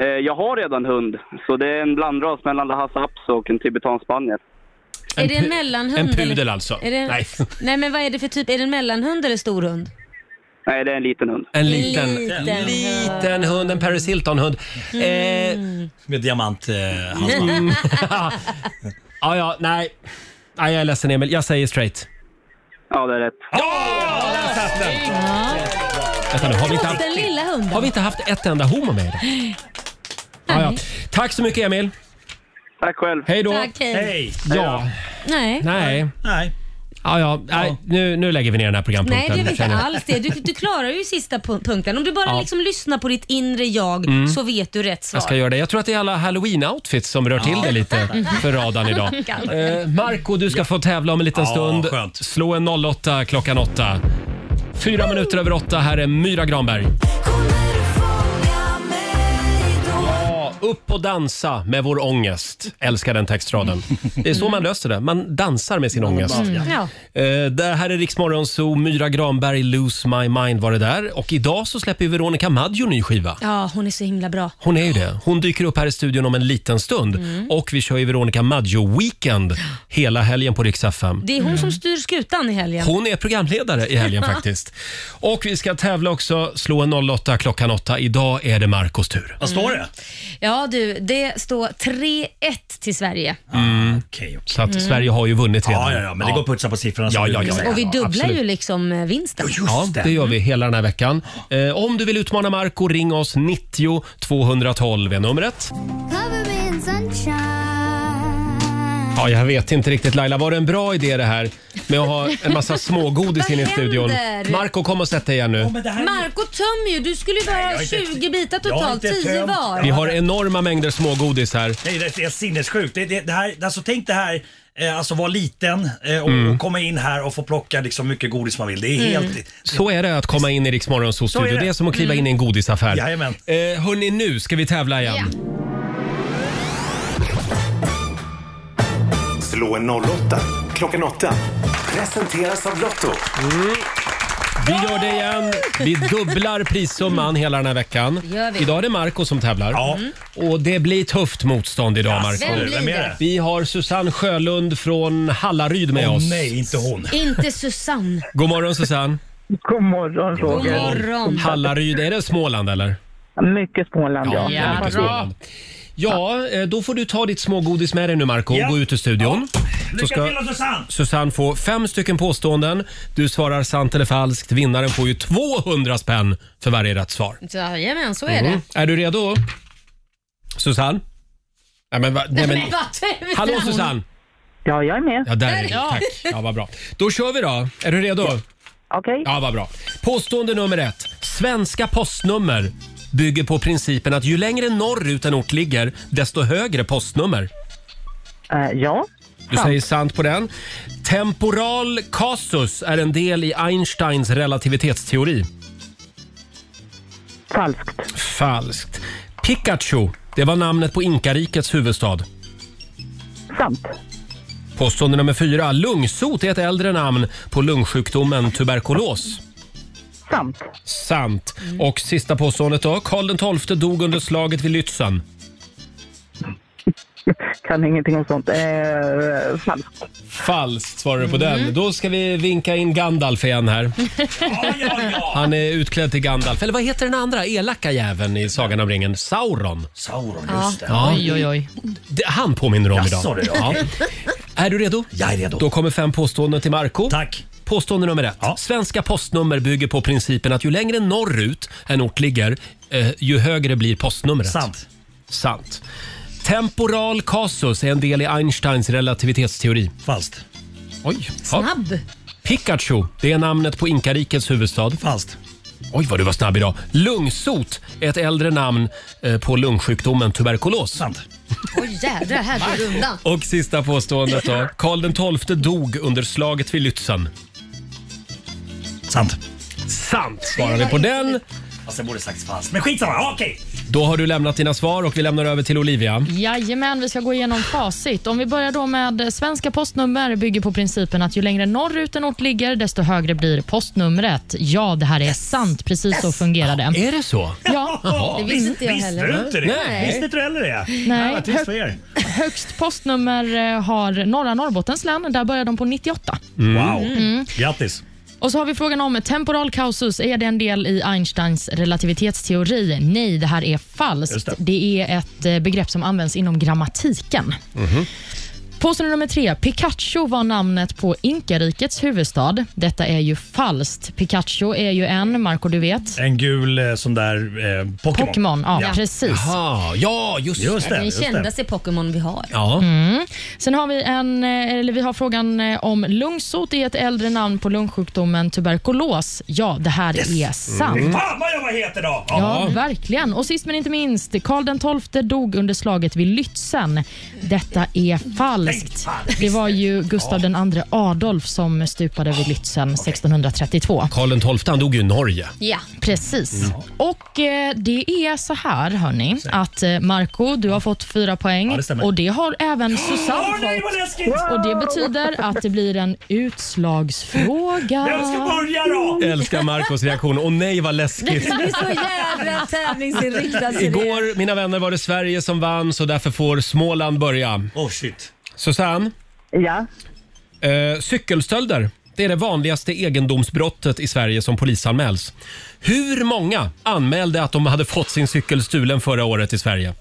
Speaker 12: Eh, jag har redan hund, så det är en blandras mellan lahassaps och en tibetan spanier.
Speaker 2: är det en mellanhund?
Speaker 12: en pudel
Speaker 2: eller?
Speaker 12: alltså.
Speaker 2: Är det,
Speaker 12: Nej.
Speaker 2: nej. men vad är det för typ? Är det en mellanhund eller storhund?
Speaker 12: Nej, det är en liten hund.
Speaker 1: En liten,
Speaker 2: Liten Mm.
Speaker 1: liten, hund, en Paris Hilton-hund. Eh,
Speaker 11: Med diamant eh, halsband.
Speaker 1: mm. ja, ja, nej. Nej, jag är ledsen Emil. Jag säger straight.
Speaker 12: Ja, det är rätt.
Speaker 1: Vänta nu, har vi inte
Speaker 2: Trots
Speaker 1: haft,
Speaker 2: den lilla hunden.
Speaker 1: har vi inte haft ett enda homo med idag? Ja, ja. Tack så mycket Emil.
Speaker 12: Tack själv.
Speaker 1: Hej då.
Speaker 2: Tack, hej. Hej.
Speaker 1: Ja.
Speaker 2: Nej.
Speaker 1: Nej.
Speaker 11: Nej.
Speaker 1: Ja, ja. Nej, nu, nu lägger vi ner den här
Speaker 2: Nej,
Speaker 1: programpunkten.
Speaker 2: det är väl inte
Speaker 1: känner jag.
Speaker 2: alls det. Du, du klarar ju sista pu- punkten. Om du bara
Speaker 1: Ja.
Speaker 2: liksom lyssnar på ditt inre jag
Speaker 1: Mm.
Speaker 2: så vet du rätt svar.
Speaker 1: Jag ska göra det. Jag tror att det är alla halloween-outfits som rör till det lite för radan idag.
Speaker 2: Kanske.
Speaker 1: Eh, Marco, du ska få tävla om en liten
Speaker 11: Ja,
Speaker 1: stund. Slå en 08 klockan 8. Fyra minuter över åtta. Här är Myra Granberg. Ja, Upp och dansa med vår ångest. Älskar den textraden. Det är så man löser det. Man dansar med sin ångest.
Speaker 2: Mm. Ja.
Speaker 1: Eh, Det här är Riksmorgon Zoo. Myra Granberg, Lose My Mind var det där. Och idag så släpper ju Veronica Maggio ny skiva.
Speaker 2: ja, hon är så himla bra.
Speaker 1: Hon är ju det. Hon dyker upp här i studion om en liten stund.
Speaker 2: Mm.
Speaker 1: Och vi kör ju Veronica Maggio-weekend hela helgen på Rix FM.
Speaker 2: Det är hon som styr skutan i helgen.
Speaker 1: Mm. Hon är programledare i
Speaker 2: <laughs>
Speaker 1: helgen faktiskt. Och vi ska tävla också. Slå en 08 klockan 8. Idag är det Marcos tur.
Speaker 11: Vad står det?
Speaker 1: Mm.
Speaker 2: Ja du, det står 3-1 till Sverige.
Speaker 1: Mm. Så att
Speaker 2: Mm.
Speaker 1: Sverige har ju vunnit redan.
Speaker 11: Ja, ja, ja, men det går att putsa på siffrorna som
Speaker 1: Ja,
Speaker 11: du
Speaker 1: ja, ja,
Speaker 11: brukar
Speaker 1: ja,
Speaker 2: Och vi
Speaker 1: ja,
Speaker 2: dubblar
Speaker 1: absolut.
Speaker 2: ju liksom eh, vinsten.
Speaker 1: Ja, det gör vi hela den här veckan. Eh, om du vill utmana Marco ring oss 90 212 är numret. Ja, jag vet inte riktigt Laila, var det en bra idé det här med att ha en massa
Speaker 2: <laughs>
Speaker 1: smågodis in i studion?
Speaker 2: händer?
Speaker 1: Marco kom och sätt dig igen nu.
Speaker 2: Marco tömmer ju. Du skulle ju bara
Speaker 11: jag
Speaker 2: ha
Speaker 11: har inte-
Speaker 2: 20 bitar
Speaker 11: jag har
Speaker 2: totalt,
Speaker 11: inte
Speaker 2: 10
Speaker 11: tömt.
Speaker 2: var.
Speaker 1: Vi har enorma mängder smågodis här.
Speaker 11: Nej, det är helt sinnessjukt. Det, det, det här, alltså, tänk det här, eh, alltså vara liten eh, och,
Speaker 1: Mm.
Speaker 11: och komma in här och få plocka liksom, mycket godis man vill. Det är
Speaker 1: Mm.
Speaker 11: helt... Det,
Speaker 1: Så är det att komma in i Rix Morgonzoos
Speaker 11: Så är
Speaker 1: studio.
Speaker 11: det.
Speaker 1: Det är som att kliva in i en godisaffär.
Speaker 11: Jajamän.
Speaker 1: Eh, hörni, nu ska vi tävla igen.
Speaker 8: Slå en 08 klockan 8. Presenteras av Lotto.
Speaker 1: Mm. Vi gör det igen. Vi dubblar prissumman hela den här veckan.
Speaker 2: Det gör vi.
Speaker 1: Idag är det Marco som tävlar.
Speaker 11: Mm.
Speaker 1: Och det blir tufft motstånd idag, Marco.
Speaker 2: Vem blir Vem är det? det?
Speaker 1: Vi har Susanne Sjölund från Hallaryd med
Speaker 11: Åh,
Speaker 1: oss.
Speaker 11: nej, inte hon.
Speaker 1: <laughs>
Speaker 2: Inte Susanne.
Speaker 1: God morgon Susanne. God morgon
Speaker 2: Roger. God morgon.
Speaker 1: Hallaryd, är det Småland eller?
Speaker 13: Mycket Småland, ja.
Speaker 1: det är mycket Småland. Ja, eh, då får du ta ditt smågodis med dig nu Marco
Speaker 11: Ja.
Speaker 1: och gå ut ur studion.
Speaker 11: Lycka till då, Susanne!
Speaker 1: Susanne får fem stycken påståenden. Du svarar sant eller falskt. Vinnaren får ju 200 spänn för varje rätt svar.
Speaker 2: Jajamän, så är
Speaker 1: Mm.
Speaker 2: det.
Speaker 1: Är du redo? Susanne? Nej, men, va, nej, men,
Speaker 2: <laughs> vad tusan.
Speaker 1: hallå Susanne!
Speaker 13: Ja, jag är med.
Speaker 1: Ja, där är du.
Speaker 2: Ja.
Speaker 1: Tack. Ja, vad bra. Då kör vi då. Är du redo? Okej. Ja, vad bra. Påstående nummer ett. Svenska postnummer bygger på principen att ju längre norrut en ort ligger, desto högre postnummer.
Speaker 15: Eh,
Speaker 13: ja.
Speaker 1: Du säger sant på den. Temporal kasus är en del i Einsteins relativitetsteori. Falskt. Falskt. Pikachu, det var namnet på inkarikets huvudstad. Sant. Påstående nummer fyra. Lungsot är ett äldre namn på lungsjukdomen tuberkulos. Sant. Sant. Och sista påståendet då. Karl XII dog under slaget vid Lützen.
Speaker 13: Kan ingenting om sånt. Eh, falskt.
Speaker 1: Falskt svarar du på den. Då ska vi vinka in Gandalf igen här. Han är utklädd till Gandalf. Eller vad heter den andra elaka jäveln i Sagan om ringen? Sauron.
Speaker 11: Sauron,
Speaker 3: Ja. just det. Oj, oj, oj.
Speaker 1: Det- Han påminner om
Speaker 11: Jaså,
Speaker 1: idag.
Speaker 11: det då?
Speaker 1: Är du redo?
Speaker 11: Jag är redo.
Speaker 1: Då kommer fem påståenden till Marco. Tack. Påstående nummer ett. Svenska postnummer bygger på principen att ju längre norrut en ort ligger, eh, ju högre blir postnumret. Sant. Sant. Temporal kasus är en del i Einsteins relativitetsteori. Falskt. Oj. ja.
Speaker 2: Snabb.
Speaker 1: Pikachu, det är namnet på inkarikets huvudstad. Falskt. Oj, vad du var snabb idag. Lungsot är ett äldre namn eh, på lungsjukdomen tuberkulos.
Speaker 2: Oj jädrar, här går det undan.
Speaker 1: Och sista påståendet då. Karl XII dog under slaget vid Lützen.
Speaker 11: Sant.
Speaker 1: Sant svarar vi på den.
Speaker 11: Fast jag borde sagt fast. Men skitsamma, ja, okej.
Speaker 1: Då har du lämnat dina svar och vi lämnar över till Olivia.
Speaker 3: Jajamän, vi ska gå igenom facit. Om vi börjar då med eh, svenska postnummer bygger på principen att ju längre norrut en ort ligger, desto högre blir postnumret. Ja, det här är sant. Precis så fungerar det.
Speaker 1: Är det så?
Speaker 3: Ja.
Speaker 11: <laughs> Jaha. Det visste inte jag Visste heller. du inte det? Nej. Visste inte du heller det? Ja, vad trist för er.
Speaker 3: Högst postnummer eh, har norra Norrbottens län. Där börjar de på 98.
Speaker 11: Wow.
Speaker 3: Mm.
Speaker 11: Grattis.
Speaker 3: Och så har vi frågan om temporal kausus. Är det en del i Einsteins relativitetsteori? Nej, det här är falskt.
Speaker 11: Just
Speaker 3: Det.
Speaker 11: det.
Speaker 3: är ett eh, begrepp som används inom grammatiken. Påstående nummer tre. Pikachu var namnet på inkarikets huvudstad. Detta är ju falskt. Pikachu är ju en, Marco du vet.
Speaker 11: En gul eh, sån där eh, Pokémon.
Speaker 3: Pokémon, ja, precis.
Speaker 1: Jaha, ja
Speaker 11: Just det,
Speaker 2: den
Speaker 11: just det.
Speaker 2: kändaste Pokémon vi har.
Speaker 1: Ja.
Speaker 3: Mm. Sen har vi, en, eh, eller vi har frågan eh, om lungsot. Det är ett äldre namn på lungsjukdomen tuberkulos. Ja, det här är sant.
Speaker 11: Fan vad jag var het idag!
Speaker 3: Ja, verkligen. Och sist men inte minst, Karl XII dog under slaget vid Lützen. Detta är falskt. Det var ju Gustav II Adolf som stupade vid Lützen 1632.
Speaker 1: Karl XII han dog ju i Norge.
Speaker 3: Ja, precis.
Speaker 11: Mm.
Speaker 3: Och eh, det är så här, hörni, att eh, Marco, du har fått fyra poäng
Speaker 11: Ja, det stämmer.
Speaker 3: och det har även Susanne
Speaker 11: Åh, nej, vad
Speaker 3: fått.
Speaker 11: läskigt!
Speaker 3: Och det betyder att det blir en utslagsfråga.
Speaker 11: Vem ska börja då?
Speaker 1: Älskar Marcos reaktion. Och nej vad
Speaker 2: Det
Speaker 1: läskigt.
Speaker 2: är så jävla tävlingsinriktat. så det-
Speaker 1: <laughs> Igår, mina vänner, var det Sverige som vann så därför får Småland börja.
Speaker 11: Oh shit.
Speaker 1: Susanne?
Speaker 14: Ja?
Speaker 1: Eh, cykelstölder. Det är det vanligaste egendomsbrottet i Sverige som polisanmäls. Hur många anmälde att de hade fått sin cykel stulen förra året i Sverige?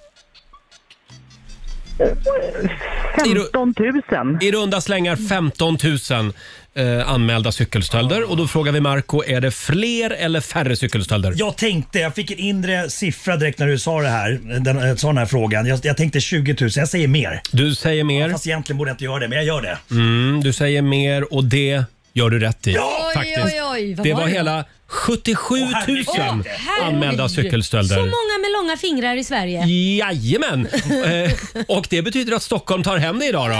Speaker 14: 15 000.
Speaker 1: I runda slängar 15 000 eh, anmälda cykelstölder. Och då frågar vi Marco, är det fler eller färre cykelstölder?
Speaker 11: Jag tänkte, jag fick en inre siffra direkt när du sa det här, den, eh, sa den här frågan. Jag, jag tänkte 20 000, jag säger mer.
Speaker 1: Du säger mer.
Speaker 11: Fast egentligen borde jag inte göra det, men jag gör det.
Speaker 1: Mm, du säger mer och det gör du rätt i.
Speaker 2: Oj, oj, oj, vad
Speaker 1: det
Speaker 2: var
Speaker 1: var
Speaker 2: det?
Speaker 1: hela 77 000 anmälda
Speaker 2: Så
Speaker 1: cykelstölder.
Speaker 2: många med långa fingrar i Sverige. <laughs>
Speaker 1: Jajamän! eh, och det betyder att Stockholm tar hem det idag då.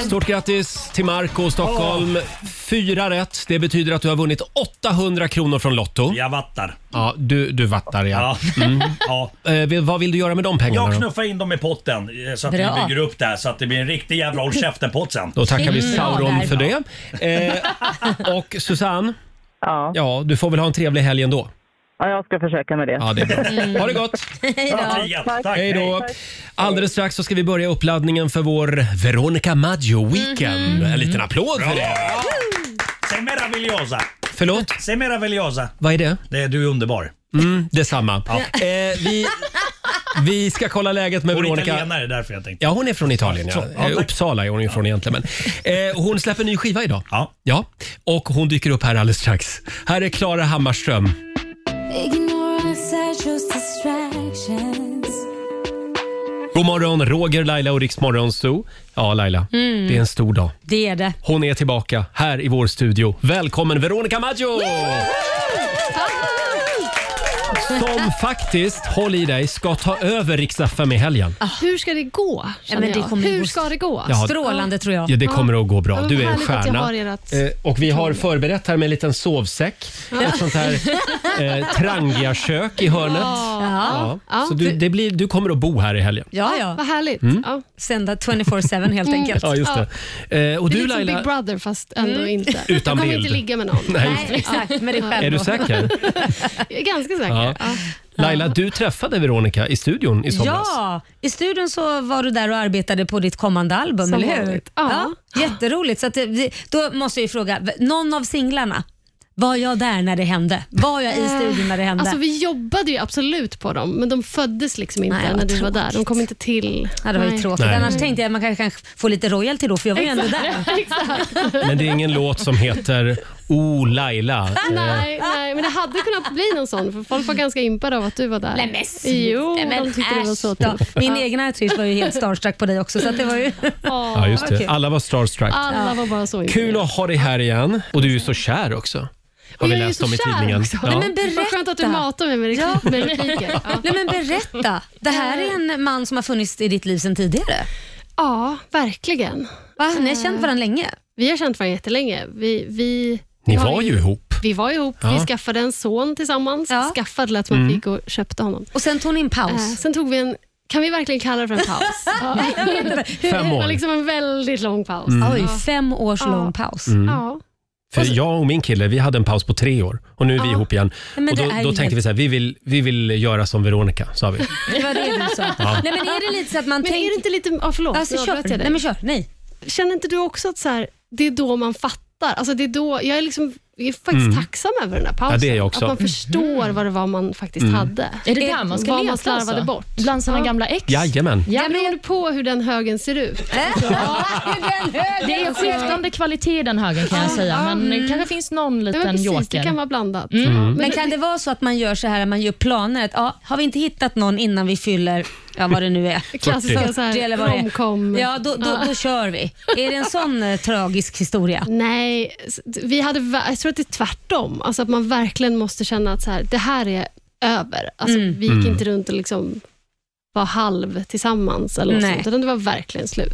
Speaker 1: Stort grattis till Marco och Stockholm. Fyra rätt. Det betyder att du har vunnit 800 kronor från Lotto.
Speaker 11: Jag vattar.
Speaker 1: Ja, du, du vattar ja.
Speaker 11: Ja.
Speaker 1: Mm.
Speaker 11: <laughs> Ja.
Speaker 1: Eh, vill- vad vill du göra med de pengarna
Speaker 11: Jag
Speaker 1: då?
Speaker 11: knuffar in dem i potten eh, så att
Speaker 1: Bra.
Speaker 11: vi bygger upp det här så att det blir en riktig jävla håll käften-pott sen.
Speaker 1: Då tackar vi
Speaker 11: Mm.
Speaker 1: Sauron
Speaker 11: Bra
Speaker 1: för det.
Speaker 11: där.
Speaker 1: Eh, och Susanne,
Speaker 14: ja.
Speaker 1: du får väl ha en trevlig helg ändå.
Speaker 14: Ja, jag ska försöka med det.
Speaker 1: Ja, det är
Speaker 11: Mm.
Speaker 1: bra. Ha det gott! Hej då! Alldeles strax så ska vi börja uppladdningen för vår Veronica Maggio Weekend.
Speaker 11: Mhm.
Speaker 1: En liten applåd för det!
Speaker 11: Se meravigliosa!
Speaker 1: Förlåt?
Speaker 11: Se meravigliosa!
Speaker 1: Vad är det?
Speaker 11: det är du är underbar.
Speaker 1: Mm, detsamma.
Speaker 11: Ja.
Speaker 1: Eh, vi, vi ska kolla läget med
Speaker 11: Hon är
Speaker 1: Veronica.
Speaker 11: italienare, därför jag tänkte.
Speaker 1: Ja, hon är från Italien.
Speaker 11: Så,
Speaker 1: Ja.
Speaker 11: ja,
Speaker 1: Eh,
Speaker 11: tack.
Speaker 1: Uppsala är hon ju från egentligen. Men, eh, hon släpper ny skiva idag. Ja. ja. Och hon dyker upp här alldeles strax. Här är Klara Hammarström. God morgon, Roger, Laila och Riksmorgon Zoo. Ja, Laila.
Speaker 2: Mm.
Speaker 1: Det är en stor dag.
Speaker 2: Det är det.
Speaker 1: Hon är tillbaka här i vår studio. Välkommen Veronica Maggio! Som faktiskt, håll i dig, ska ta över Rix FM i helgen.
Speaker 16: Hur ska det gå?
Speaker 2: Ja, men det
Speaker 16: känner jag?
Speaker 2: kommer ju
Speaker 16: Hur
Speaker 2: gå-
Speaker 16: ska det gå?
Speaker 1: Ja, Ja, det kommer att gå bra.
Speaker 16: Ja,
Speaker 1: Du är en
Speaker 16: härligt att jag
Speaker 1: stjärna.
Speaker 16: har er att-
Speaker 1: Eh, Och vi har förberett här med en liten sovsäck. Ett sånt här
Speaker 16: <laughs>
Speaker 1: eh, trangiakök i hörnet.
Speaker 16: Ja.
Speaker 1: Ja.
Speaker 16: Ja.
Speaker 1: Så du, det blir, du kommer att bo här i helgen.
Speaker 2: Ja, ja.
Speaker 16: Vad härligt.
Speaker 1: Mm.
Speaker 2: Sända 24-7 helt
Speaker 16: Mm.
Speaker 2: enkelt.
Speaker 1: Ja, just det. Eh, Och
Speaker 16: det är
Speaker 1: du
Speaker 16: lite som Big
Speaker 1: Laila,
Speaker 16: Brother fast ändå
Speaker 2: Mm.
Speaker 16: inte.
Speaker 2: <laughs>
Speaker 1: Utan
Speaker 16: jag kommer
Speaker 1: bild.
Speaker 16: inte ligga med någon.
Speaker 1: <laughs> Nej, just det. Nej,
Speaker 2: exakt, med dig själv
Speaker 1: är du säker?
Speaker 16: Jag är ganska säker.
Speaker 1: Ja. Laila, du träffade Veronica i studion i somras.
Speaker 2: Ja, i studion så var du där och arbetade på ditt kommande album,
Speaker 16: Som
Speaker 2: eller hur?
Speaker 16: vanligt, ja.
Speaker 2: jätteroligt. Så att, det- det- då måste jag ju fråga, v- någon av singlarna, var jag där när det hände? Var jag i studion när det hände?
Speaker 16: Eh, Alltså, vi jobbade ju absolut på dem, men de föddes liksom inte
Speaker 2: Nej, vad
Speaker 16: när du var där.
Speaker 2: tråkigt.
Speaker 16: De kom inte till.
Speaker 2: Ja, det var ju
Speaker 16: Nej.
Speaker 2: tråkigt. Annars tänkte jag att man kanske kan få lite royalty då, för jag var ju ändå där.
Speaker 16: Exakt.
Speaker 1: Men det är ingen låt som heter Oh Laila. Eh,
Speaker 4: Ah, Nej, nej, men det hade kunnat bli någon sån, för folk var ganska impade av att du var där.
Speaker 2: Nej, men sluta,
Speaker 4: Jo,
Speaker 2: men
Speaker 4: de tyckte det var så
Speaker 2: äsch
Speaker 1: <laughs>
Speaker 2: då.
Speaker 4: tufft.
Speaker 2: Min
Speaker 4: Ja.
Speaker 2: egen artist var ju helt starstruck på dig också. Så att det var ju...
Speaker 1: Ja, just det.
Speaker 2: Okej.
Speaker 1: Alla var starstruck.
Speaker 4: Alla var bara så
Speaker 1: Kul att ha dig här igen. Och du är ju så kär också. Har vi
Speaker 4: Jag är ju
Speaker 1: läst
Speaker 4: så
Speaker 1: om i
Speaker 4: kär
Speaker 1: tidningen.
Speaker 4: också.
Speaker 1: Ja.
Speaker 2: Nej, <laughs> men berätta.
Speaker 4: Vad skönt att du matar mig med reklam- med repliker. Ja.
Speaker 2: Nej, men berätta. Det här är en man som har funnits i ditt liv sedan tidigare.
Speaker 4: <laughs> Ja, verkligen.
Speaker 2: Va? Ni har känt varandra länge?
Speaker 4: Vi har känt varandra jättelänge. Vi, vi,
Speaker 1: Ni
Speaker 4: har
Speaker 1: var ju ihop.
Speaker 4: Vi var ihop,
Speaker 1: Ja.
Speaker 4: vi skaffade en son tillsammans. Skaffade lät som att
Speaker 1: Mm.
Speaker 4: vi gick och köpte honom.
Speaker 2: Och sen tog ni en paus?
Speaker 4: Eh, sen tog vi en, kan vi verkligen kalla det för en paus?
Speaker 2: Nej, jag vet inte.
Speaker 1: Fem
Speaker 4: Det
Speaker 1: år.
Speaker 4: var liksom en väldigt lång paus.
Speaker 1: Mm.
Speaker 2: Oj, fem års
Speaker 4: Ja.
Speaker 2: lång paus.
Speaker 1: Mm.
Speaker 4: Ja.
Speaker 1: För jag och min kille, vi hade en paus på tre år och nu är vi ihop igen.
Speaker 2: Men
Speaker 1: Och
Speaker 2: det
Speaker 1: då,
Speaker 2: är ju
Speaker 1: då tänkte
Speaker 2: helt-
Speaker 1: vi så här, vi vill, vi vill göra som Veronica, sa vi.
Speaker 2: Det var det du sa.
Speaker 1: Ja.
Speaker 2: Nej, men är det lite så att man
Speaker 4: Men
Speaker 2: tänker...
Speaker 4: är det inte lite... Ja, förlåt.
Speaker 2: Alltså,
Speaker 4: nu
Speaker 2: kör.
Speaker 4: avbröt jag dig.
Speaker 2: Nej, men kör. Nej.
Speaker 4: Känner inte du också att så här, det är då man fattar? Alltså, det är då, jag är liksom jag är faktiskt
Speaker 1: Mm.
Speaker 4: tacksam över den här pausen.
Speaker 1: Ja, det är jag också.
Speaker 4: Att man
Speaker 1: Mhm.
Speaker 4: förstår vad det var man faktiskt
Speaker 1: Mm.
Speaker 4: hade.
Speaker 3: Är det där man ska
Speaker 4: vad
Speaker 3: leta
Speaker 4: man slarvade
Speaker 3: alltså?
Speaker 4: bort.
Speaker 3: Bland sina
Speaker 4: Ja.
Speaker 3: gamla ex?
Speaker 1: Jajamän.
Speaker 4: Ja, men beror på hur den högen ser ut.
Speaker 2: <laughs>
Speaker 3: Det är
Speaker 2: Alltså,
Speaker 3: skiftande kvalitet i den högen kan jag säga, men det kanske finns någon liten
Speaker 4: precis,
Speaker 3: joker.
Speaker 4: det kan vara blandat.
Speaker 3: Mm.
Speaker 2: Men, kan det vara så att man gör så här, man gör planer, att ja, har vi inte hittat någon innan vi fyller, ja vad det nu är.
Speaker 4: Klassiska
Speaker 2: 40.
Speaker 4: <laughs> så här,
Speaker 2: 40 eller vad det är.
Speaker 4: romcom.
Speaker 2: Ja, då, då, då
Speaker 4: Ja.
Speaker 2: kör vi. Är det en sån eh, tragisk historia?
Speaker 4: Nej, s- vi hade, ver- jag tror att det är tvärtom. Alltså att man verkligen måste känna att så här, det här är över. Alltså,
Speaker 2: Mm.
Speaker 4: Vi gick
Speaker 2: Mm.
Speaker 4: inte runt och liksom var halv tillsammans eller något
Speaker 2: Nej.
Speaker 4: sånt, utan det var verkligen slut.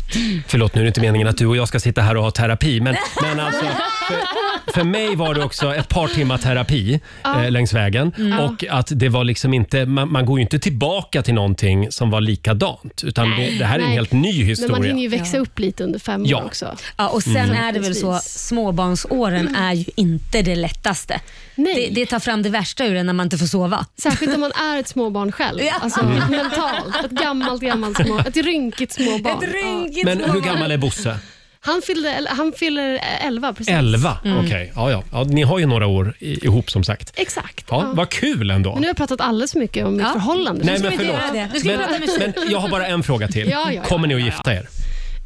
Speaker 1: Förlåt, nu är det inte meningen att du och jag ska sitta här och ha terapi,
Speaker 4: <laughs>
Speaker 1: men, men alltså, för, för mig var det också ett par timmar terapi
Speaker 4: Ja.
Speaker 1: eh, längs vägen.
Speaker 4: Mm.
Speaker 1: Och att det var liksom inte, man, man går ju inte tillbaka till någonting som var likadant, utan det, det här är en
Speaker 4: Nej.
Speaker 1: helt ny
Speaker 4: Men man hinner
Speaker 1: historia.
Speaker 4: ju växa upp lite under fem
Speaker 1: Ja.
Speaker 4: år också.
Speaker 2: Ja, och sen
Speaker 1: Mm.
Speaker 2: är det väl så,
Speaker 4: Precis. Mm.
Speaker 2: småbarnsåren är ju inte det lättaste. Det, det tar fram det värsta ur en när man inte får sova. <laughs>
Speaker 4: Särskilt om man är ett småbarn själv. Alltså
Speaker 1: Mm.
Speaker 4: mentalt. Ett gammalt, gammalt små, ett rynkigt småbarn. Ett rynkigt
Speaker 1: Men hur gammal är Bosse?
Speaker 4: Han fyller, el- han fyller elva precis.
Speaker 1: Elva?
Speaker 4: Mm.
Speaker 1: Okej, ja, ja. ja, ni har ju några år i- ihop som sagt.
Speaker 4: Exakt.
Speaker 1: Ja,
Speaker 4: ja.
Speaker 1: Vad kul ändå.
Speaker 4: Men nu har jag pratat alldeles för mycket om mitt förhållande.
Speaker 1: Nej, men
Speaker 4: Nu ska vi inte
Speaker 1: förlåt.
Speaker 4: göra det. Nu ska vi prata
Speaker 1: Men,
Speaker 4: musik.
Speaker 1: men jag har bara en fråga till.
Speaker 4: Ja, ja, ja,
Speaker 1: Kommer ni att
Speaker 4: ja,
Speaker 1: gifta er?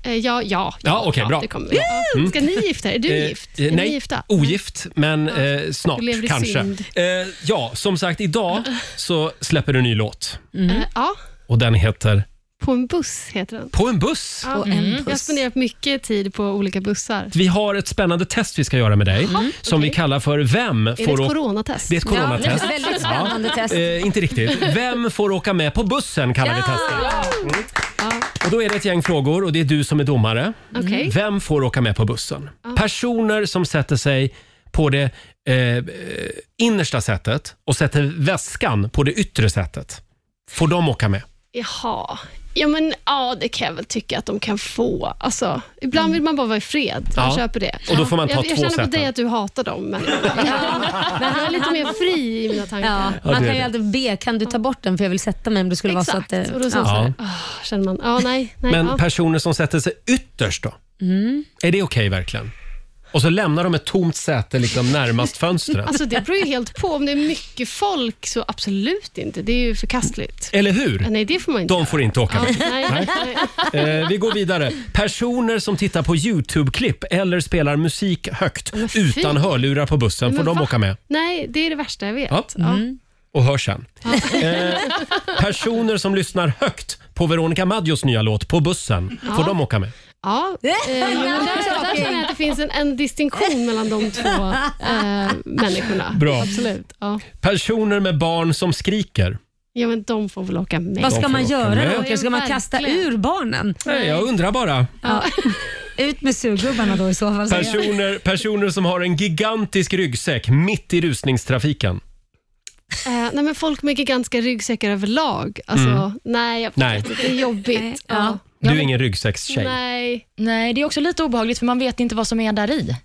Speaker 4: Eh, Ja, ja.
Speaker 1: Ja, okej, bra. Mm.
Speaker 4: Det kommer vi. Ja. Ska ni gifta er? Är du
Speaker 1: Eh,
Speaker 4: gift?
Speaker 1: eh,
Speaker 4: Är
Speaker 1: nej,
Speaker 4: ni gifta?
Speaker 1: ogift, men eh, snart
Speaker 4: Du lever i
Speaker 1: kanske.
Speaker 4: synd.
Speaker 1: Eh, ja, som sagt,
Speaker 4: <laughs>
Speaker 1: idag så släpper du en ny låt
Speaker 4: Eh, Ja,
Speaker 1: och den heter
Speaker 4: på en buss heter den.
Speaker 1: På en buss.
Speaker 4: Ja.
Speaker 2: Mm.
Speaker 4: Jag har spenderat mycket tid på olika bussar.
Speaker 1: Mm. Vi har ett spännande test vi ska göra med dig som vi kallar för Vem
Speaker 4: Är det
Speaker 1: får
Speaker 4: ett
Speaker 1: å-
Speaker 4: coronatest?
Speaker 1: Det är ett coronatest.
Speaker 4: Ja, det är ett väldigt spännande test.
Speaker 1: Eh, inte riktigt. Vem får åka med på bussen kallar vi testet. Mm. Och då är det ett gäng frågor och det är du som är domare.
Speaker 4: Okej.
Speaker 1: Vem får åka med på bussen? Personer som sätter sig på det eh, eh, innersta sättet och sätter väskan på det yttre sättet. Får de åka med?
Speaker 4: Jaha. Ja, men ja, det kan jag väl tycka att de kan få. Alltså, ibland vill man bara vara i fred. Jag
Speaker 1: Ja.
Speaker 4: köper det.
Speaker 1: Och då får man ta
Speaker 4: jag,
Speaker 1: två
Speaker 4: jag känner
Speaker 1: sätten.
Speaker 4: på dig att du hatar dem. Men, <laughs> men jag är lite mer fri i mina tankar.
Speaker 1: Ja,
Speaker 2: man
Speaker 1: det är
Speaker 2: kan ju
Speaker 1: det.
Speaker 2: alltid be, kan du ta bort den för jag vill sätta mig om det skulle vara så att... eh,
Speaker 4: Exakt.
Speaker 2: det-
Speaker 4: Och då så
Speaker 1: Ja.
Speaker 4: så här, "Åh", känner man, ja, nej, nej.
Speaker 1: Men
Speaker 4: ja.
Speaker 1: personer som sätter sig ytterst då?
Speaker 4: Mm.
Speaker 1: Är det okej verkligen? Och så lämnar de ett tomt säte liksom närmast
Speaker 4: <laughs>
Speaker 1: fönstret.
Speaker 4: Alltså det beror ju helt på. Om det är mycket folk så absolut inte. Det är ju förkastligt.
Speaker 1: Eller hur?
Speaker 4: Nej, det får man inte
Speaker 1: De får inte åka
Speaker 4: Ja,
Speaker 1: med.
Speaker 4: nej,
Speaker 1: Nej.
Speaker 4: nej.
Speaker 1: Eh, vi går vidare. Personer som tittar på YouTube-klipp eller spelar musik högt
Speaker 4: Men fy.
Speaker 1: utan hörlurar på bussen, får
Speaker 4: Men
Speaker 1: de
Speaker 4: va?
Speaker 1: åka med?
Speaker 4: Nej, det är det värsta jag vet.
Speaker 1: Ja. Och hör sen. Eh, personer som lyssnar högt på Veronica Maggios nya låt På bussen,
Speaker 4: Ja.
Speaker 1: får de åka med?
Speaker 4: Ja, eh, men där, där känner jag att det finns en, en distinktion mellan de två eh, människorna.
Speaker 1: Bra.
Speaker 4: Absolut. Ja.
Speaker 1: Personer med barn som skriker.
Speaker 4: ja, men de får väl åka med.
Speaker 1: Vad ska De får man åka göra med. då, Åke?
Speaker 2: Ska man kasta ur barnen?
Speaker 1: Nej, jag undrar bara.
Speaker 2: Ut med sugrubbarna då i så fall. säger jag.
Speaker 1: Personer, personer som har en gigantisk ryggsäck mitt i rusningstrafiken.
Speaker 4: Eh, nej, men folk med gigantiska ryggsäckar överlag. Alltså,
Speaker 1: Mm.
Speaker 4: Nej, jag
Speaker 1: Nej.
Speaker 4: vet inte. Det är jobbigt. Ja.
Speaker 1: Du är ingen ryggsäckstjej.
Speaker 4: Nej.
Speaker 3: Nej, det är också lite obehagligt för man vet inte vad som är där i.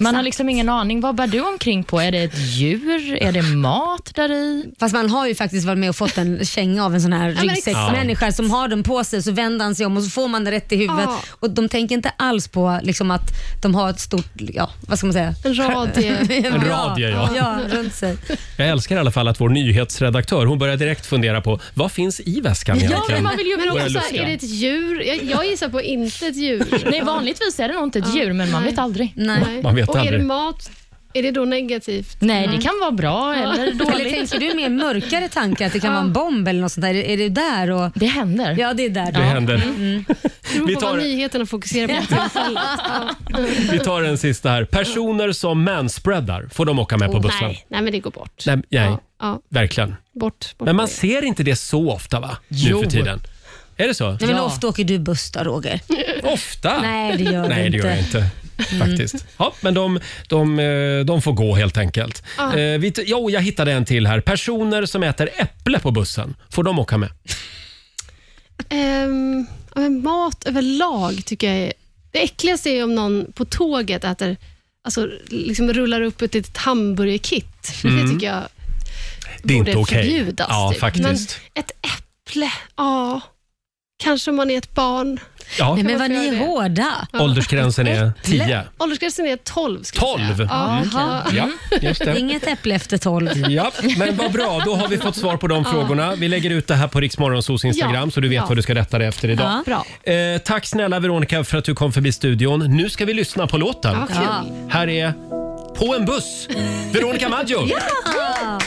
Speaker 3: Man har liksom ingen aning. Vad bär du omkring på? Är det ett djur? Är det mat där i?
Speaker 2: Fast man har ju faktiskt varit med och fått en känga av en sån här
Speaker 3: men
Speaker 2: ryggsäcksmänniska som har den på sig så vänder han sig om och så får man den rätt i huvudet.
Speaker 4: Ja.
Speaker 2: Och de tänker inte alls på liksom, att de har ett stort, ja vad ska man säga? <laughs>
Speaker 4: En radie.
Speaker 1: En radie, ja.
Speaker 2: ja runt sig.
Speaker 1: Jag älskar i alla fall att vår nyhetsredaktör hon börjar direkt fundera på vad finns i väskan
Speaker 4: Ja,
Speaker 1: egentligen?
Speaker 4: men man vill ju men
Speaker 1: Börjar
Speaker 4: också så här,
Speaker 1: luska.
Speaker 4: är det ett djur? Jag, jag gissar på inte ett djur.
Speaker 3: Nej, vanligtvis är det nog inte ett
Speaker 4: Ja.
Speaker 3: djur, men man
Speaker 4: Nej.
Speaker 3: vet aldrig.
Speaker 1: Man vet
Speaker 4: och är
Speaker 1: aldrig.
Speaker 4: det mat?
Speaker 16: Är det då negativt?
Speaker 3: Nej, det kan vara bra eller dåligt.
Speaker 2: Eller tänker du mer mörkare tankar, att det kan vara en bomb eller något sånt där? Är det där? Och...
Speaker 3: Det händer.
Speaker 2: Ja, det är där.
Speaker 1: Det händer.
Speaker 16: Beror
Speaker 1: Vi
Speaker 16: på
Speaker 1: tar-
Speaker 16: vad nyheterna fokuserar på.
Speaker 1: Vi tar en sista här. Personer som manspreadar, får de åka med på bussen?
Speaker 16: nej, nej, men det går bort.
Speaker 1: Nej, nej
Speaker 16: Ja,
Speaker 1: verkligen.
Speaker 16: bort. bort
Speaker 1: Men man
Speaker 16: med det.
Speaker 1: ser inte det så ofta va?
Speaker 2: Jo.
Speaker 1: Nu för tiden. Är det så?
Speaker 2: Nej, men ofta åker du buss då, Roger?
Speaker 1: Ofta?
Speaker 2: <laughs> Nej, det Mm. gör du
Speaker 1: Nej, det gör jag inte. Faktiskt. Ja, men de, de, eh, de får gå helt enkelt.
Speaker 2: Ja.
Speaker 1: Eh, vi t- jo, jag hittade en till här. Personer som äter äpple på bussen, får de åka med?
Speaker 16: Ehm, ja, men mat överlag tycker jag är... Det äckligaste är ju om någon på tåget äter, alltså, liksom rullar upp ett litet hamburgerkit.
Speaker 1: Mm.
Speaker 16: Det tycker jag
Speaker 1: Det är
Speaker 16: borde
Speaker 1: inte okej.
Speaker 16: förbjudas.
Speaker 1: Ja,
Speaker 16: typ.
Speaker 1: faktiskt.
Speaker 16: Men ett äpple, ja. Kanske om man är ett barn.
Speaker 1: Ja. Nej, men
Speaker 16: vad ni är
Speaker 2: hårda.
Speaker 1: Åldersgränsen är 10.
Speaker 16: Åldersgränsen är 12. skulle jag säga.
Speaker 1: 12?
Speaker 16: Ja,
Speaker 1: Mm.
Speaker 16: okej.
Speaker 1: Ja, just det.
Speaker 2: Inget äpple efter tolv.
Speaker 1: Ja, men vad bra. Då har vi fått svar på de
Speaker 2: Ja.
Speaker 1: frågorna. Vi lägger ut det här på Riksmorgonsos Instagram
Speaker 2: Ja.
Speaker 1: så du vet
Speaker 2: Ja.
Speaker 1: vad du ska rätta dig efter idag.
Speaker 2: Ja.
Speaker 1: Eh, tack snälla Veronica för att du kom förbi studion. Nu ska vi lyssna på låten.
Speaker 2: Ja, kul.
Speaker 1: Här är På en buss, Veronica Maggio.
Speaker 2: Ja!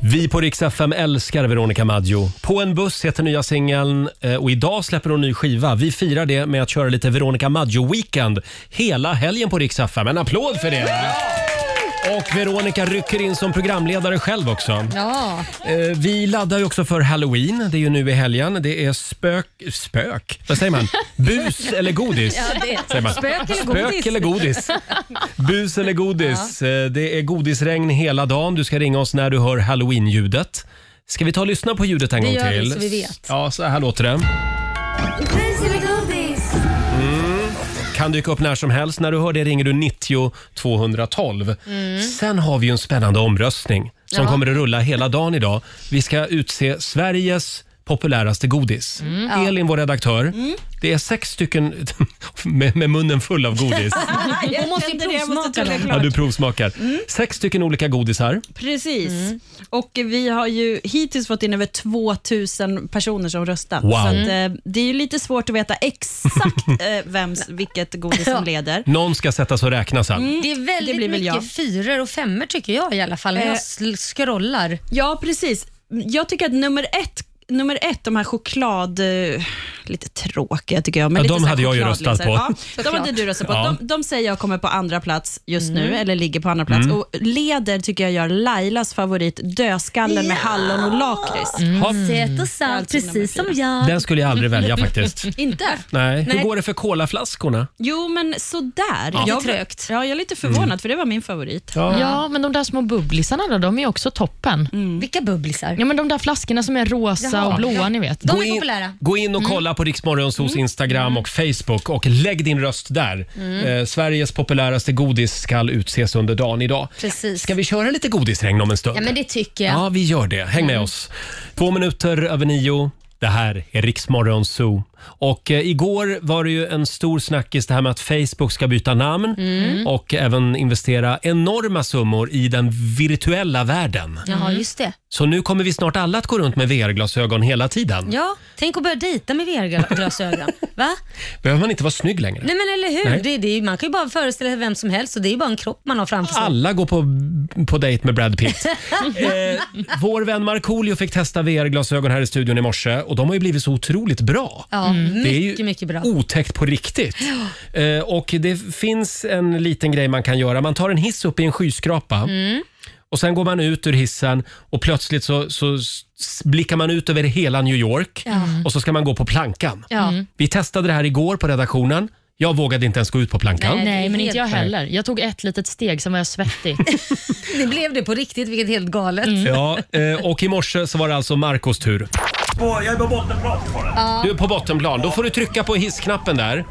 Speaker 1: Vi på Rix FM älskar Veronica Maggio. På en buss heter nya singeln eh, och idag släpper hon ny skiva. Vi firar det med att köra lite Veronica Maggio-weekend hela helgen på Rix FM. En applåd för det! Och Veronica rycker in som programledare själv också.
Speaker 2: Ja.
Speaker 1: Eh, Vi laddar ju också för Halloween. Det är ju nu i helgen. Det är spök... Spök? Vad säger
Speaker 2: <laughs>
Speaker 1: man? Bus eller godis?
Speaker 2: Ja, det-
Speaker 1: säger man.
Speaker 2: spök eller godis.
Speaker 1: Spök eller godis. Bus eller
Speaker 2: <laughs>
Speaker 1: godis. Eh, Det är godisregn hela dagen. Du ska ringa oss när du hör halloween-ljudet. Ska vi ta och lyssna på ljudet en
Speaker 2: Det
Speaker 1: gång
Speaker 2: gör vi,
Speaker 1: till?
Speaker 2: så vi vet.
Speaker 1: Ja, så här låter det. Mm. Kan dyka upp när som helst. När du hör det ringer du 90 212.
Speaker 2: Mm.
Speaker 1: Sen har vi ju en spännande omröstning som
Speaker 2: Ja.
Speaker 1: kommer att rulla hela dagen idag. Vi ska utse Sveriges populäraste godis.
Speaker 2: Ja.
Speaker 1: Elin, vår redaktör. Det är sex stycken <laughs> med, med munnen full av godis.
Speaker 2: Hon måste ju provsmaka dem.
Speaker 1: Ja, du provsmakar.
Speaker 17: Mm.
Speaker 1: Sex stycken olika godisar.
Speaker 17: Precis. Och vi har ju hittills fått in över 2000 personer som röstat.
Speaker 1: Wow. Mm.
Speaker 17: Så att, eh, det är ju lite svårt att veta
Speaker 1: <laughs>
Speaker 17: exakt eh, vems, vilket godis som leder.
Speaker 1: Någon ska sätta sig och räkna sen.
Speaker 2: Det är väldigt
Speaker 17: Det blir väl
Speaker 2: mycket
Speaker 17: jag.
Speaker 2: fyror och femmor tycker jag i alla fall. när
Speaker 17: Eh.
Speaker 2: Jag sl- scrollar.
Speaker 17: Ja, precis. Jag tycker att nummer ett, nummer ett de här choklad... eh, Lite tråkiga tycker jag. Men
Speaker 1: Ja,
Speaker 17: lite
Speaker 1: de
Speaker 17: så här
Speaker 1: hade jag ju
Speaker 17: chokladlisor.
Speaker 1: röstat på.
Speaker 17: Ja, de
Speaker 1: Såklart.
Speaker 17: hade du röstat på.
Speaker 1: Ja.
Speaker 17: De, de säger jag kommer på andra plats just nu,
Speaker 1: Mm.
Speaker 17: eller ligger på andra plats.
Speaker 1: Mm.
Speaker 17: Och leder tycker jag gör Lailas favorit, dödskallen med hallon och lakrits.
Speaker 1: Mm.
Speaker 2: Söt och salt, precis som jag.
Speaker 1: Den skulle jag aldrig välja faktiskt.
Speaker 17: Inte?
Speaker 1: Nej. Hur
Speaker 17: Nej.
Speaker 1: går det för colaflaskorna?
Speaker 17: Jo, men sådär.
Speaker 1: Ja.
Speaker 17: Jag,
Speaker 1: Lite
Speaker 17: trögt. Ja, jag är lite förvånad,
Speaker 1: Mm.
Speaker 17: för det var min favorit.
Speaker 1: Ja.
Speaker 3: Ja, men de där små bubblisarna då, de är också toppen.
Speaker 2: Mm. Vilka bubblisar?
Speaker 3: Ja, men de där flaskorna som är rosa
Speaker 2: Jaha.
Speaker 3: och blåa,
Speaker 2: Ja.
Speaker 3: ni vet.
Speaker 1: Gå in- Gå in
Speaker 2: Mm.
Speaker 1: och kolla på Riksmorgonsos Instagram och Facebook och lägg din röst där.
Speaker 2: Mm.
Speaker 1: Eh, Sveriges populäraste godis ska utses under dagen idag.
Speaker 2: Precis.
Speaker 1: Ska vi köra lite godisregn om en stund?
Speaker 2: Ja, men det tycker jag. Mm.
Speaker 1: Ja, vi gör det. Häng med oss. Två minuter över nio. Det här är Riksmorgon Zoo. Och eh, igår var det ju en stor snackis det här med att Facebook ska byta namn
Speaker 2: Mm.
Speaker 1: och även investera enorma summor i den virtuella världen.
Speaker 2: Jaha, just det.
Speaker 1: Så nu kommer vi snart alla att gå runt med VR-glasögon hela tiden.
Speaker 2: Ja, tänk att börja dejta med VR-glasögon. Va?
Speaker 1: Behöver man inte vara snygg längre?
Speaker 2: Nej men eller hur?
Speaker 1: Nej.
Speaker 2: Det, det, är ju- man kan ju bara föreställa sig vem som helst och det är ju bara en kropp man har framför sig.
Speaker 1: Alla går på, på dejt med Brad
Speaker 2: <laughs>
Speaker 1: Pitt. Eh, vår vän Markoolio fick testa VR-glasögon här i studion i morse och de har ju blivit så otroligt bra.
Speaker 2: Ja, Mm.
Speaker 1: Det är ju Oh.
Speaker 2: mycket, mycket bra.
Speaker 1: otäckt på riktigt. Eh, och det finns en liten grej man kan göra. Man tar en hiss upp i en skyskrapa
Speaker 2: Mm.
Speaker 1: och sen går man ut ur hissen och plötsligt så, så s- blickar man ut över hela New York
Speaker 2: Ja. Mm.
Speaker 1: och så ska man gå på plankan.
Speaker 2: Ja.
Speaker 1: Vi testade det här igår på redaktionen. Jag vågade inte ens gå ut på plankan.
Speaker 3: Nej, men inte jag heller. Jag tog ett litet steg, sen var jag <laughs> svettig.
Speaker 2: Det blev det på riktigt, vilket är helt galet.
Speaker 1: Ja, eh, och i morse så var det alltså Marcos tur.
Speaker 11: Åh, jag är på bottenplan bara.
Speaker 2: Ja.
Speaker 1: Du är på bottenplan. Då får du trycka på hissknappen där.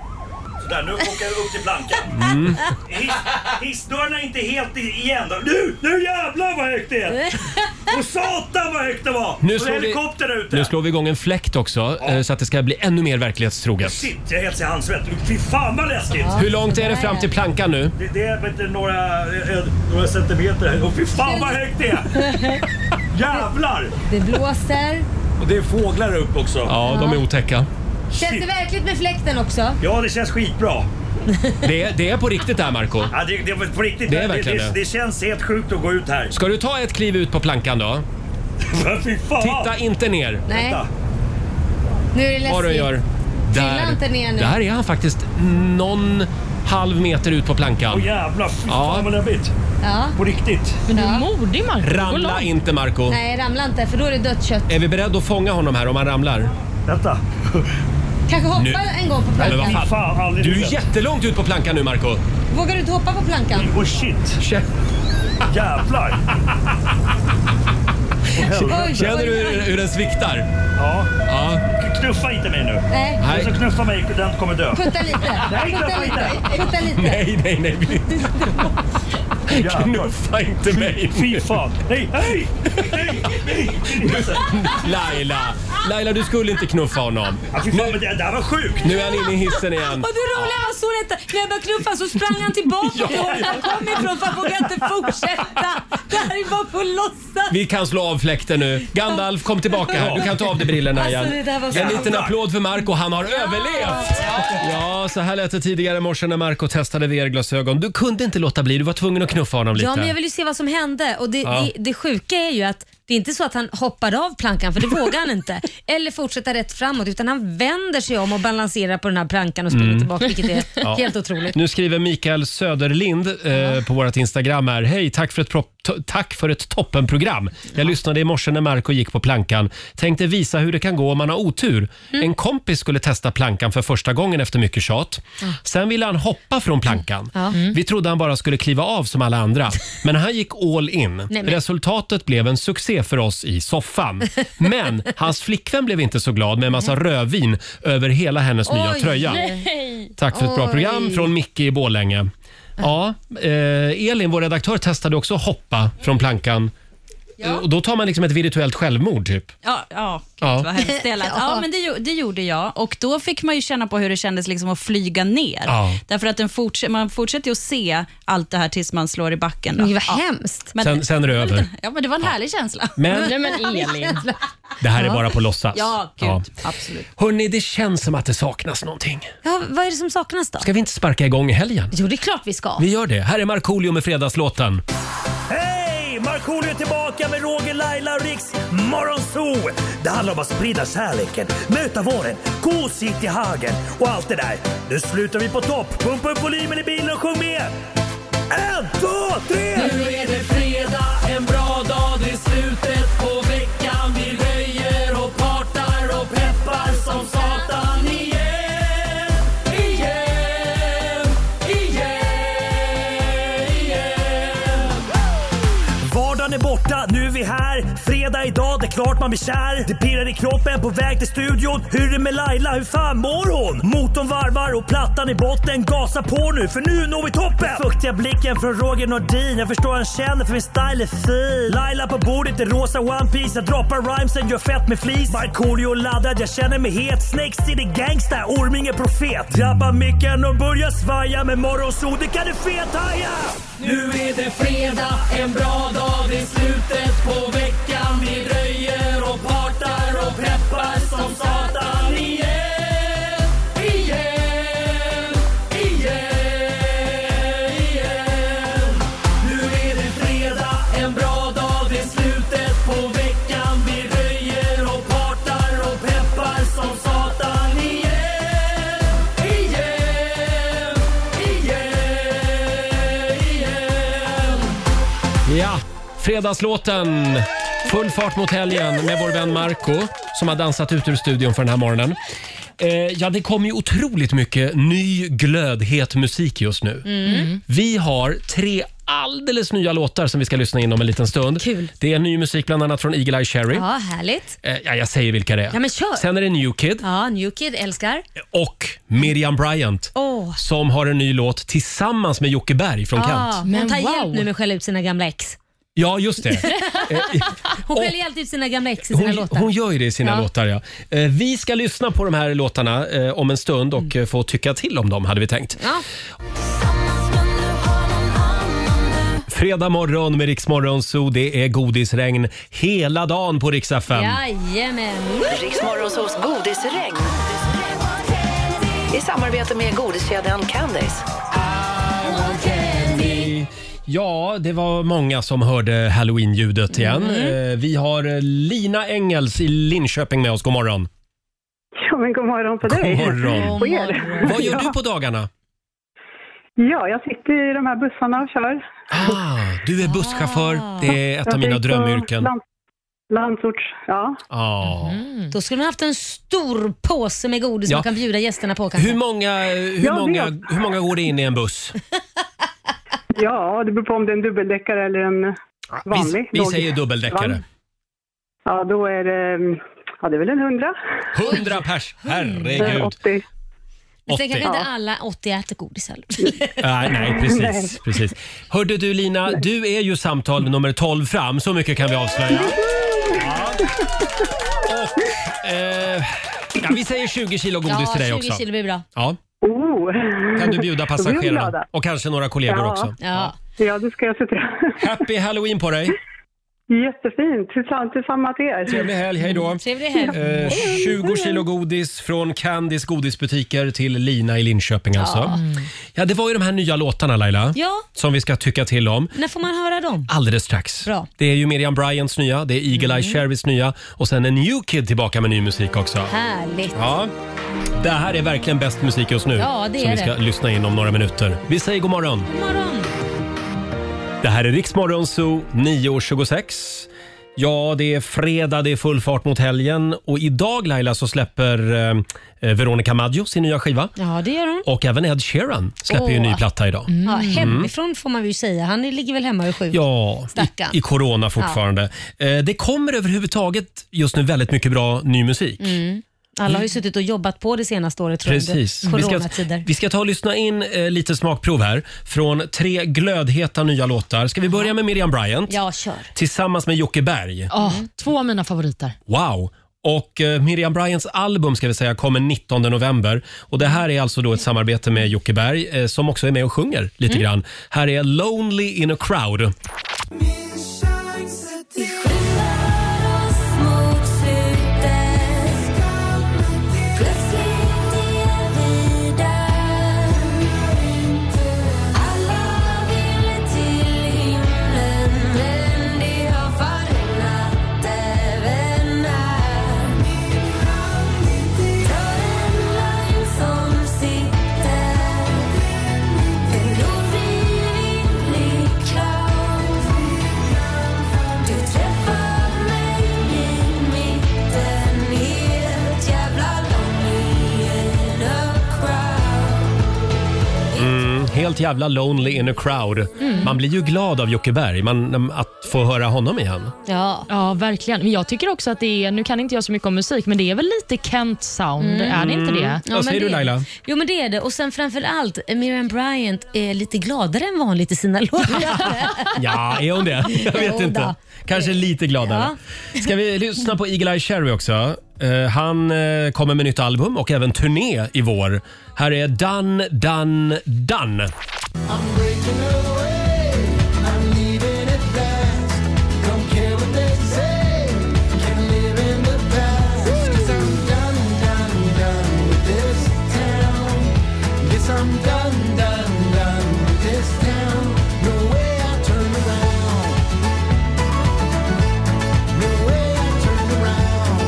Speaker 11: Sådär, nu åker jag upp till plankan.
Speaker 1: <laughs> Mm.
Speaker 11: Hiss- Hissdörren är inte helt i- igen då. Nu, nu jävlar vad högt det är!
Speaker 1: <laughs>
Speaker 11: Och satan vad högt det var!
Speaker 1: Nu
Speaker 11: och det är
Speaker 1: slår vi-
Speaker 11: helikopter där ute.
Speaker 1: Nu slår vi igång en fläkt också eh, så att det ska bli ännu mer verklighetstroget.
Speaker 11: Shit, jag är helt handsvettig. Fy fan vad läskigt!
Speaker 1: Hur långt är det fram till plankan nu?
Speaker 11: Det, det är vet du, några, eh, några centimeter. Och fy fan vad högt det
Speaker 2: <laughs>
Speaker 11: är! Jävlar!
Speaker 2: Det blåser.
Speaker 11: Och det är fåglar upp också.
Speaker 1: Ja, de är otäcka.
Speaker 2: Känns det verkligt med fläkten också?
Speaker 11: Ja, det känns skitbra.
Speaker 1: Det, det är på riktigt det här Marco
Speaker 11: Ja, det, det är på riktigt.
Speaker 1: Det är verkligen
Speaker 11: det,
Speaker 1: det.
Speaker 11: det, känns helt sjukt att gå ut här.
Speaker 1: Ska du ta ett kliv ut på plankan då?
Speaker 11: Fy fan.
Speaker 1: Titta inte ner.
Speaker 2: Nej. Nu är det läskigt.
Speaker 1: Vad du gör.
Speaker 2: Trilla inte ner nu.
Speaker 1: Där är han faktiskt någon halv meter ut på plankan.
Speaker 11: Åh jävlar, fy
Speaker 1: Ja.
Speaker 11: fan vad läbbigt.
Speaker 2: Ja.
Speaker 11: På riktigt.
Speaker 3: Men du är modig Marco. Du går
Speaker 1: Ramla
Speaker 3: långt.
Speaker 1: inte Marco
Speaker 2: Nej, ramla inte för då är det dött kött.
Speaker 1: Är vi beredda att fånga honom här om han ramlar?
Speaker 11: Vänta.
Speaker 2: Kanske hoppa
Speaker 1: Nu.
Speaker 2: en gång på plankan.
Speaker 1: du är jättelångt ut på plankan nu Marco
Speaker 2: Vågar du inte hoppa på plankan?
Speaker 11: Oh shit.
Speaker 1: <laughs>
Speaker 11: Jävlar.
Speaker 2: helvete.
Speaker 1: Känner du hur, hur den sviktar?
Speaker 11: Ja.
Speaker 1: ja.
Speaker 11: Knuffa inte mig nu.
Speaker 2: Nej.
Speaker 11: Den som knuffar mig, den kommer dö.
Speaker 2: Putta lite.
Speaker 11: Nej,
Speaker 2: Putta
Speaker 11: knuffa
Speaker 2: lite. Putta lite.
Speaker 1: Nej, nej, nej. Knuffa inte mig.
Speaker 11: Fy fan. Nej, nej, nej.
Speaker 1: Laila, Laila du skulle inte knuffa honom.
Speaker 11: men det, det här var sjukt.
Speaker 1: Nu är han inne i hissen igen.
Speaker 9: Och det roliga var så detta, när jag började knuffa så sprang han tillbaka till där han kom ifrån för han vågade inte fortsätta. Det här är bara på låtsas.
Speaker 1: Vi kan slå av fläkten nu. Gandalf kom tillbaka här. Du kan ta av dig brillorna igen.
Speaker 9: Alltså, det där var så
Speaker 1: En liten
Speaker 9: jävla-
Speaker 1: applåd för Marco. Han har överlevt! Ja, så här lät det tidigare i morse när Marco testade VR-glasögon. Du kunde inte låta bli. Du var tvungen att knuffa honom lite.
Speaker 2: Ja, men jag vill ju se vad som hände. Och det,
Speaker 1: Ja.
Speaker 2: det, det sjuka är ju att det är inte så att han hoppar av plankan, för det vågar
Speaker 1: <laughs>
Speaker 2: han inte. Eller fortsätta rätt framåt, utan han vänder sig om och balanserar på den här plankan och springer
Speaker 1: Mm.
Speaker 2: tillbaka, vilket är
Speaker 1: <laughs> Ja.
Speaker 2: helt otroligt.
Speaker 1: Nu skriver Mikael Söderlind eh, på vårt Instagram här. Hej, tack för ett, prop- to- tack för ett toppenprogram. Jag lyssnade i morse när Marco gick på plankan. Tänkte visa hur det kan gå om man har otur. En kompis skulle testa plankan för första gången efter mycket tjat. Sen ville han hoppa från plankan. Vi trodde han bara skulle kliva av som alla andra. Men han gick all in.
Speaker 2: men-
Speaker 1: Resultatet blev en succé för oss i soffan. Men hans flickvän blev inte så glad med en massa rödvin över hela hennes nya tröja. Tack för ett bra
Speaker 2: Oj.
Speaker 1: program från Micke i Borlänge. Ja, eh, Elin, vår redaktör, testade också hoppa från plankan. Eh, Och då tar man liksom ett virtuellt självmord, typ.
Speaker 17: Ja, ja gud
Speaker 1: Ja.
Speaker 17: vad hemskt det lät. <laughs> Ja, men det, gjo- det gjorde jag och då fick man ju känna på hur det kändes liksom att flyga ner.
Speaker 1: Ja.
Speaker 17: Därför att den forts- man fortsätter ju att se allt det här tills man slår i backen. Då.
Speaker 2: Men vad
Speaker 17: ja.
Speaker 2: hemskt.
Speaker 17: Men,
Speaker 1: Sen, sen är det över.
Speaker 17: ja, men det var en härlig känsla.
Speaker 1: Men- Nej,
Speaker 2: men Elin.
Speaker 1: Det här är
Speaker 2: Ja.
Speaker 1: bara på låtsas.
Speaker 17: Ja, gud. Absolut.
Speaker 1: Hörni, det känns som att det saknas någonting.
Speaker 2: Ja, vad är det som saknas då?
Speaker 1: Ska vi inte sparka igång i helgen?
Speaker 2: Jo, det är klart vi ska.
Speaker 1: Vi gör det. Här är Markoolio med Fredagslåten.
Speaker 11: Hej! Markoolio är tillbaka med Roger, Laila och Riks Morgonzoo! Det handlar om att sprida kärleken, möta våren, gosigt i hagen och allt det där. Nu slutar vi på topp! Pumpa upp volymen i bilen och sjung med! En, två, tre!
Speaker 4: Nu är det fredag, en bra dag, det är slutet på veckan. Vi röjer och partar och peppar som satan igen. Igen, igen, igen.
Speaker 11: Vardagen är borta, nu är vi här. Fredag idag, det är klart man blir kär. Det pirrar i kroppen på väg till studion. Hur är det med Laila, hur fan mår hon? Motorn varvar och plattan i botten. Gasa på nu, för nu når vi toppen! Den fuktiga blicken från Roger Nordin. Jag förstår han känner för min style är fin. Laila på bordet i rosa One Piece Jag droppar rhymesen, gör fett med flis. Markoolio laddad, jag känner mig het. Snakes city gangsta, Orminge profet. Drabbar micken och börjar svaja. Med morgonsol, det kan du fethaja!
Speaker 4: Nu är det fredag, en bra dag, det är slutet på veckan. Vi röjer och partar och peppar som satan igen. Igen, igen, igen. Nu är det fredag, en bra dag, det är slutet på veckan. Vi röjer och partar och peppar som satan igen. Igen, igen, igen.
Speaker 1: Ja, fredagslåten. Full fart mot helgen med vår vän Marco som har dansat ut ur studion för den här morgonen. Eh, ja, det kommer ju otroligt mycket ny glödhet musik just nu.
Speaker 4: Mm.
Speaker 1: Vi har tre alldeles nya låtar som vi ska lyssna in om en liten stund. Det är ny musik bland annat från Eagle Eye Cherry.
Speaker 2: Ja, härligt.
Speaker 1: Eh, ja, jag säger vilka det är.
Speaker 2: Ja, men kör.
Speaker 1: Sen är det New Kid
Speaker 2: Ja, Newkid älskar.
Speaker 1: och Miriam Bryant
Speaker 2: Åh.
Speaker 1: som har en ny låt tillsammans med Jocke Berg från
Speaker 2: Ja,
Speaker 1: Kent.
Speaker 2: hon tar hjälp nu med att skälla ut sina gamla ex.
Speaker 1: Ja, just
Speaker 2: <laughs>
Speaker 1: det.
Speaker 2: Hon skäller alltid ut sina gamla ex i sina
Speaker 1: Hon,
Speaker 2: låtar.
Speaker 1: hon gör ju det i sina
Speaker 2: Ja.
Speaker 1: låtar. Ja. Eh, Vi ska lyssna på de här låtarna eh, om en stund och eh, få tycka till om dem, hade vi tänkt.
Speaker 2: Mm. Ja.
Speaker 1: Fredag morgon med Rix Morgon Zoo. Det är godisregn hela dagen på Rix FM.
Speaker 2: Jajamän.
Speaker 18: Riksmorgonsols godisregn. I samarbete med godiskedjan Candice.
Speaker 1: Ja, det var många som hörde halloween-ljudet igen.
Speaker 2: Mm.
Speaker 1: Eh, Vi har Lina Engels i Linköping med oss. God morgon.
Speaker 15: Ja, men god morgon på dig.
Speaker 1: God morgon.
Speaker 15: På er.
Speaker 1: Vad gör du
Speaker 15: Ja.
Speaker 1: på dagarna?
Speaker 15: Ja, jag sitter i de här bussarna och kör.
Speaker 1: Ah, du är busschaufför. Det är ett av mina drömyrken. Ah.
Speaker 15: Landsorts, ja.
Speaker 1: Ja.
Speaker 2: Mm. Då skulle man haft en stor påse med godis
Speaker 1: Ja.
Speaker 2: man kan bjuda gästerna på kanske.
Speaker 1: Hur många, hur,
Speaker 15: Jag
Speaker 1: många,
Speaker 15: vet.
Speaker 1: hur många går det in i en buss?
Speaker 15: Ja, det beror på om det är en dubbeldäckare eller en vanlig.
Speaker 1: Vi
Speaker 15: låg-
Speaker 1: säger dubbeldäckare.
Speaker 15: Ja, då är det, mm, ja, det är väl en hundra.
Speaker 1: 100 pers!
Speaker 15: Eh,
Speaker 1: Herregud.
Speaker 15: 80.
Speaker 2: Men sen
Speaker 1: 80.
Speaker 2: kanske inte alla 80 äter godis heller.
Speaker 1: Nej, Ah, nej, precis. precis. Hörde du Lina, du är ju samtal nummer 12 fram. Så mycket kan vi avslöja. Eh, ja, vi säger 20 kilo godis
Speaker 2: ja,
Speaker 1: till dig också.
Speaker 2: 20 kilo blir bra.
Speaker 1: Ja.
Speaker 15: Oh.
Speaker 1: Kan du bjuda passagerarna och kanske några kollegor också.
Speaker 2: Ja.
Speaker 15: ja, det ska jag se till.
Speaker 1: Happy halloween på dig!
Speaker 15: Jättefint. Tillsammans, tillsammans till er.
Speaker 1: Trevlig helg, hej då!
Speaker 2: Trevlig
Speaker 1: Eh, 20 kilo godis från Candys godisbutiker till Lina i Linköping alltså. Ja, det var ju de här nya låtarna Laila,
Speaker 2: Mm. Ja.
Speaker 1: som vi ska tycka till om.
Speaker 2: När får man höra dem?
Speaker 1: Alldeles strax.
Speaker 2: Bra. Mm.
Speaker 1: Det är ju Miriam Bryants nya, det är Eagle Eye Cherries nya och sen en New Kid tillbaka med ny musik också.
Speaker 2: Härligt.
Speaker 1: Ja. Det här är verkligen bäst musik just nu
Speaker 2: Ja, det
Speaker 1: som
Speaker 2: är
Speaker 1: vi ska
Speaker 2: det.
Speaker 1: lyssna in om några minuter. Vi säger god morgon. Det här är Riksmorgon Zoo 9.26. Ja, det är fredag, det är full fart mot helgen och idag Laila så släpper eh, Veronica Maggio sin nya skiva.
Speaker 2: Ja, det gör hon.
Speaker 1: Och även Ed Sheeran släpper ju en
Speaker 2: Åh.
Speaker 1: ny platta idag.
Speaker 2: Ja,
Speaker 1: Mm.
Speaker 2: hemifrån får man ju säga. Han ligger väl hemma och är sjuk.
Speaker 1: Ja,
Speaker 2: Stackarn.
Speaker 1: i corona fortfarande. Eh, Det kommer överhuvudtaget just nu väldigt mycket bra ny musik.
Speaker 2: Mm. Alla har ju suttit och jobbat på det senaste året tror jag, under
Speaker 1: Precis. Vi ska,
Speaker 2: coronatider.
Speaker 1: vi ska ta och lyssna in eh, lite smakprov här från tre glödheta nya låtar. Ska vi börja med Miriam Bryant
Speaker 2: Ja, kör.
Speaker 1: tillsammans med Jocke Berg?
Speaker 3: Ja, Två av mina favoriter.
Speaker 1: Wow! Och eh, Miriam Bryants album ska vi säga kommer 19 november. Och Det här är alltså då ett samarbete med Jocke Berg eh, som också är med och sjunger lite grann. Här är “Lonely in a crowd”.
Speaker 19: Du träffar mig i mitten Helt jävla lonely in a crowd
Speaker 1: Mm, helt jävla “Lonely in a crowd”. Man blir ju glad av Jocke Berg, man, att få höra honom igen.
Speaker 2: Ja.
Speaker 3: ja, verkligen. Men jag tycker också att det är, nu kan inte jag så mycket om musik, men det är väl lite Kent sound, är det inte det?
Speaker 2: Ja, men det- Jo, men det är det. Och sen framför allt, eh, Miriam Bryant är lite gladare än vanligt i sina <laughs> låtar.
Speaker 1: Ja, är hon det? Jag vet
Speaker 2: Jodå.
Speaker 1: inte. Kanske lite gladare. Ska vi lyssna på Eagle-Eye Cherry också? Eh, han eh, kommer med nytt album och även turné i vår. Här är Done, Done, Done.
Speaker 19: I'm done, done, done with this town No way I turn around No way I turn around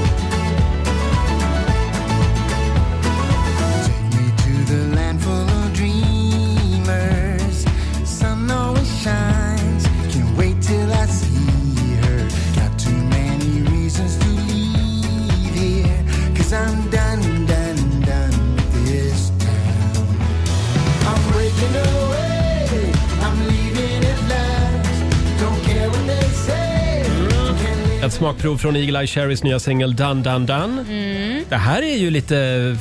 Speaker 19: Take me to the land full of dreamers Sun always shines Can't wait till I see her Got too many reasons to leave here Cause I'm done, done, done with this town I'm breaking away. I'm leaving it last. Don't care what they say.
Speaker 1: Ett smakprov från Eagle-Eye Cherrys nya singel Done, Done, Done.
Speaker 2: Mm.
Speaker 1: Det här är ju lite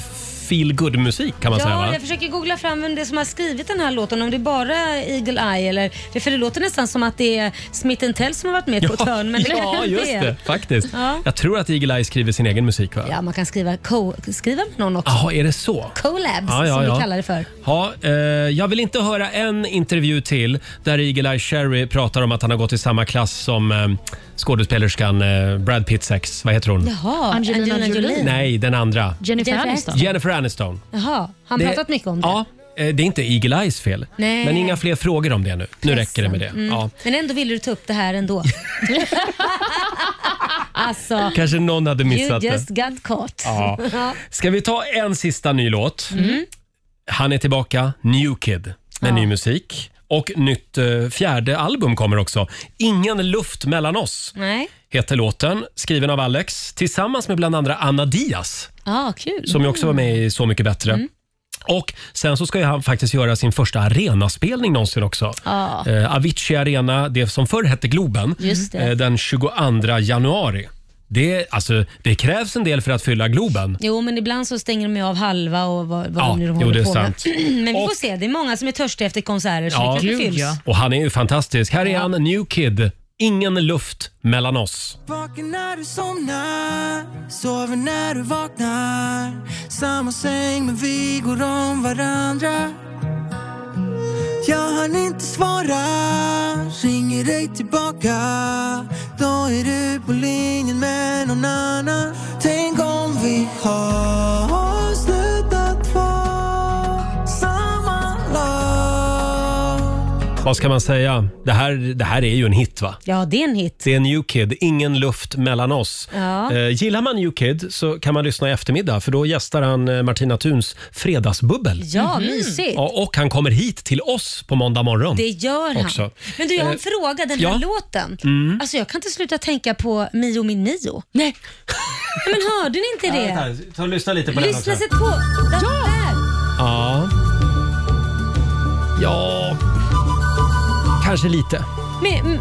Speaker 1: feel good musik kan man säga
Speaker 2: Ja,
Speaker 1: va?
Speaker 2: jag försöker googla fram vem det är som har skrivit den här låten, om det är bara Eagle Eye eller... det- För det låter nästan som att det är Smith Tell som har varit med på ett hörn, men det
Speaker 1: <laughs>
Speaker 2: kanske
Speaker 1: ja
Speaker 2: inte
Speaker 1: just
Speaker 2: är.
Speaker 1: det. Faktiskt.
Speaker 2: Ja.
Speaker 1: Jag tror att Eagle-Eye skriver sin egen musik va?
Speaker 2: Ja, man kan skriva, co- skriva med någon också.
Speaker 1: Jaha, är det så?
Speaker 2: Collabs,
Speaker 1: Ah. Ja, ja,
Speaker 2: som
Speaker 1: ja.
Speaker 2: vi kallar det för.
Speaker 1: Ja, eh, jag vill inte höra en intervju till där Eagle-Eye Cherry pratar om att han har gått i samma klass som eh, skådespelerskan eh, Brad Pitts ex. Vad heter hon?
Speaker 2: Jaha, Angelina, Jolie.
Speaker 1: Nej, den andra.
Speaker 2: Jennifer Aniston.
Speaker 1: Jennifer Jennifer Aniston.
Speaker 2: Jaha, har han
Speaker 1: Det-
Speaker 2: pratat mycket om det?
Speaker 1: Ja, eh, det är inte Eagle Eyes fel.
Speaker 2: Nej.
Speaker 1: Men inga fler frågor om det nu. Nu räcker det med det.
Speaker 2: Mm.
Speaker 1: Ja.
Speaker 2: Men ändå ville du ta upp det
Speaker 1: <laughs>
Speaker 2: här ändå. alltså,
Speaker 1: Kanske någon hade missat
Speaker 2: you
Speaker 1: det.
Speaker 2: just got caught.
Speaker 1: Ja.
Speaker 2: <laughs> Ja. Mm.
Speaker 1: Ska vi ta en sista ny låt? Han är tillbaka, New Kid, med ny musik. Och nytt eh, fjärde album kommer också. Ingen luft mellan oss
Speaker 2: Nej.
Speaker 1: heter låten, skriven av Alex tillsammans med bland andra Anna Diaz
Speaker 2: Ja, ah, kul.
Speaker 1: som ju också var med i Så mycket bättre.
Speaker 2: Mm.
Speaker 1: Och Sen så ska ju han faktiskt göra sin första arenaspelning någonsin också.
Speaker 2: Ja.
Speaker 1: Eh, Avicii Arena, det som förr hette Globen,
Speaker 2: Ah. Just det.
Speaker 1: eh, den 22 januari. Det, alltså, det krävs en del för att fylla Globen.
Speaker 2: Jo, men ibland så stänger de ju av halva och vad, vad
Speaker 1: Ja,
Speaker 2: de nu
Speaker 1: jo,
Speaker 2: håller
Speaker 1: det är
Speaker 2: på
Speaker 1: sant.
Speaker 2: med. <clears throat> Men vi
Speaker 1: Och-
Speaker 2: får se. Det är många som är törstiga efter konserter så det kanske fylls.
Speaker 1: Och han är ju fantastisk. Här är han, New Kid. Ingen luft mellan oss.
Speaker 19: Vaken när du somnar, sover när du vaknar Samma säng men vi går om varandra Jag hann inte svara, ringer dig tillbaka Då är du på linjen med någon annan Tänk om vi har slutat vara samma lag
Speaker 1: Vad ska man säga? Det här, det här är ju en hit va?
Speaker 2: Ja, det är en hit.
Speaker 1: Det är New Kid, Ingen luft mellan oss.
Speaker 2: Ja.
Speaker 1: Eh, gillar man New Kid så kan man lyssna i eftermiddag för då gästar han eh, Martina Thuns fredagsbubbel.
Speaker 2: Ja, mysigt.
Speaker 1: Mhm. Ja, och han kommer hit till oss på måndag morgon.
Speaker 2: Det gör han.
Speaker 1: Också.
Speaker 2: Men du, jag har en
Speaker 1: Eh,
Speaker 2: fråga. Den här
Speaker 1: ja.
Speaker 2: låten.
Speaker 1: Mm.
Speaker 2: Alltså, jag kan inte sluta tänka på Mio min Mio. Nej. Men hörde ni inte
Speaker 1: <laughs>
Speaker 2: det?
Speaker 1: Ja, vänta, ta och lyssna lite på den också.
Speaker 2: Lyssna, sätt på. Den där.
Speaker 1: Ja. Ja, kanske lite.
Speaker 2: Med, mm,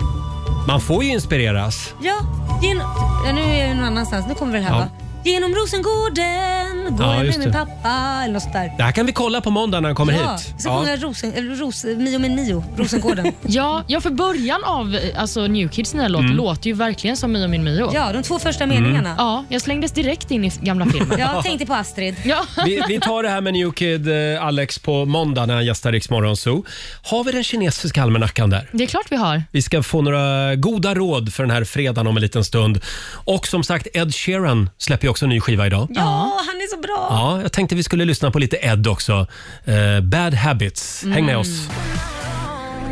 Speaker 1: Man får ju inspireras.
Speaker 2: ja, gen, ja, nu är jag någon annanstans. Nu kommer väl här
Speaker 1: Ja.
Speaker 2: va? Genom Rosengården går
Speaker 1: Ja,
Speaker 2: jag
Speaker 1: just
Speaker 2: med min
Speaker 1: det.
Speaker 2: pappa eller något sånt där.
Speaker 1: Det här kan vi kolla på måndag när han kommer
Speaker 2: ja,
Speaker 1: hit.
Speaker 2: Så sjunger jag Rosen, eller Ros, Mio min Mio,
Speaker 1: <laughs>
Speaker 2: Rosengården.
Speaker 3: Ja, ja, för början av eh, alltså, New Kids nya låt
Speaker 1: Mm.
Speaker 3: låter ju verkligen som Mio min Mio.
Speaker 2: Ja, de två första
Speaker 1: Mm.
Speaker 2: meningarna.
Speaker 3: Ja, jag slängdes direkt in i gamla filmen.
Speaker 2: Jag tänkte på Astrid.
Speaker 3: <laughs> Ja.
Speaker 1: Vi, vi tar det här med New Kid eh, Alex på måndag när han gästar Rix Morgon Zoo. Har vi den kinesiska almanackan där?
Speaker 3: Det är klart vi har.
Speaker 1: Vi ska få några goda råd för den här fredagen om en liten stund. Och som sagt, Ed Sheeran släpper ju också en ny skiva idag.
Speaker 2: Ja, han är så bra.
Speaker 1: Ja, jag tänkte vi skulle lyssna på lite Ed också. Eh, Bad Habits. Häng med
Speaker 2: Mm.
Speaker 1: oss.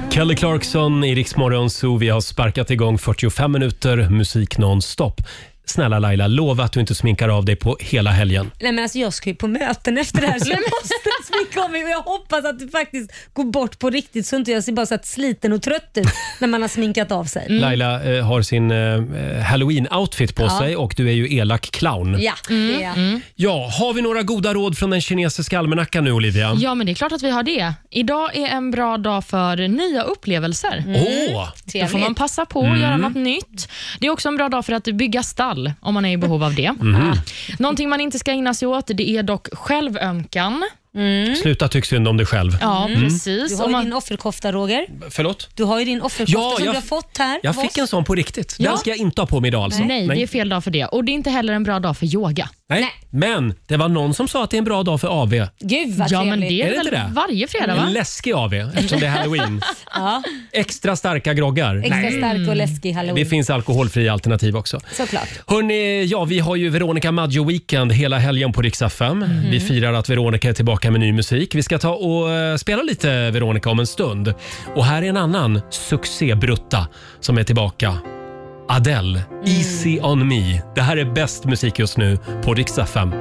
Speaker 1: Kelly Clarkson i Rix Morgon Zoo. Vi har sparkat igång 45 minuter musik nonstop. Snälla Laila, lova att du inte sminkar av dig på hela helgen.
Speaker 2: Nej men alltså jag ska ju på möten efter det här
Speaker 1: <laughs>
Speaker 2: så jag måste sminka om mig och jag hoppas att det faktiskt går bort på riktigt så inte jag ser bara så att sliten och trött ut när man har sminkat av sig.
Speaker 1: Laila eh, har sin eh, halloween-outfit på
Speaker 2: Mm. Ja.
Speaker 1: sig och du är ju elak clown.
Speaker 2: Ja, det
Speaker 1: Mm.
Speaker 2: är jag.
Speaker 1: Ja, har vi några goda råd från den kinesiska almanackan nu Olivia?
Speaker 3: Ja, men det är klart att vi har det. Idag är en bra dag för nya upplevelser.
Speaker 1: Mm. Åh!
Speaker 3: Då får man
Speaker 1: Trevligt.
Speaker 3: passa på att
Speaker 1: Mm.
Speaker 3: göra något nytt. Det är också en bra dag för att bygga stall, om man är i behov av det.
Speaker 1: Mhm.
Speaker 3: Någonting man inte ska ägna sig åt, det är dock självömkan.
Speaker 1: Sluta tycka synd om dig själv.
Speaker 3: Ja,
Speaker 1: Mm.
Speaker 3: precis.
Speaker 2: Du har
Speaker 3: Om
Speaker 2: ju
Speaker 3: man-
Speaker 2: din offerkofta Roger.
Speaker 1: Förlåt?
Speaker 2: Du har ju din offerkofta
Speaker 1: Ja,
Speaker 2: som
Speaker 1: jag-
Speaker 2: du har fått här.
Speaker 1: Jag
Speaker 2: av
Speaker 1: fick
Speaker 2: oss.
Speaker 1: en sån på riktigt.
Speaker 2: Ja.
Speaker 1: Den ska jag inte ha på mig idag alltså.
Speaker 3: Nej, det är fel dag för det. Och Det är inte heller en bra dag för yoga.
Speaker 1: Nej. Men det var någon som sa att det är en bra dag för AV.
Speaker 2: Gud vad
Speaker 3: Ja, men
Speaker 2: trevligt.
Speaker 3: det är, väl varje fredag?
Speaker 1: En
Speaker 3: va?
Speaker 1: läskig AV eftersom det är <laughs> halloween.
Speaker 2: ja,
Speaker 1: Extra starka groggar.
Speaker 2: extra
Speaker 1: Nej.
Speaker 2: stark och läskig halloween.
Speaker 1: Det finns alkoholfria alternativ också.
Speaker 2: Såklart.
Speaker 1: Hörrni, ja, vi har ju Veronica Maggio Weekend hela helgen på Rix FM. Vi firar att Veronica är tillbaka med ny musik. Vi ska ta och eh, spela lite Veronica om en stund. Och här är en annan succébrutta som är tillbaka. Adele, Easy on me. Det här är bäst musik just nu på Rix FM.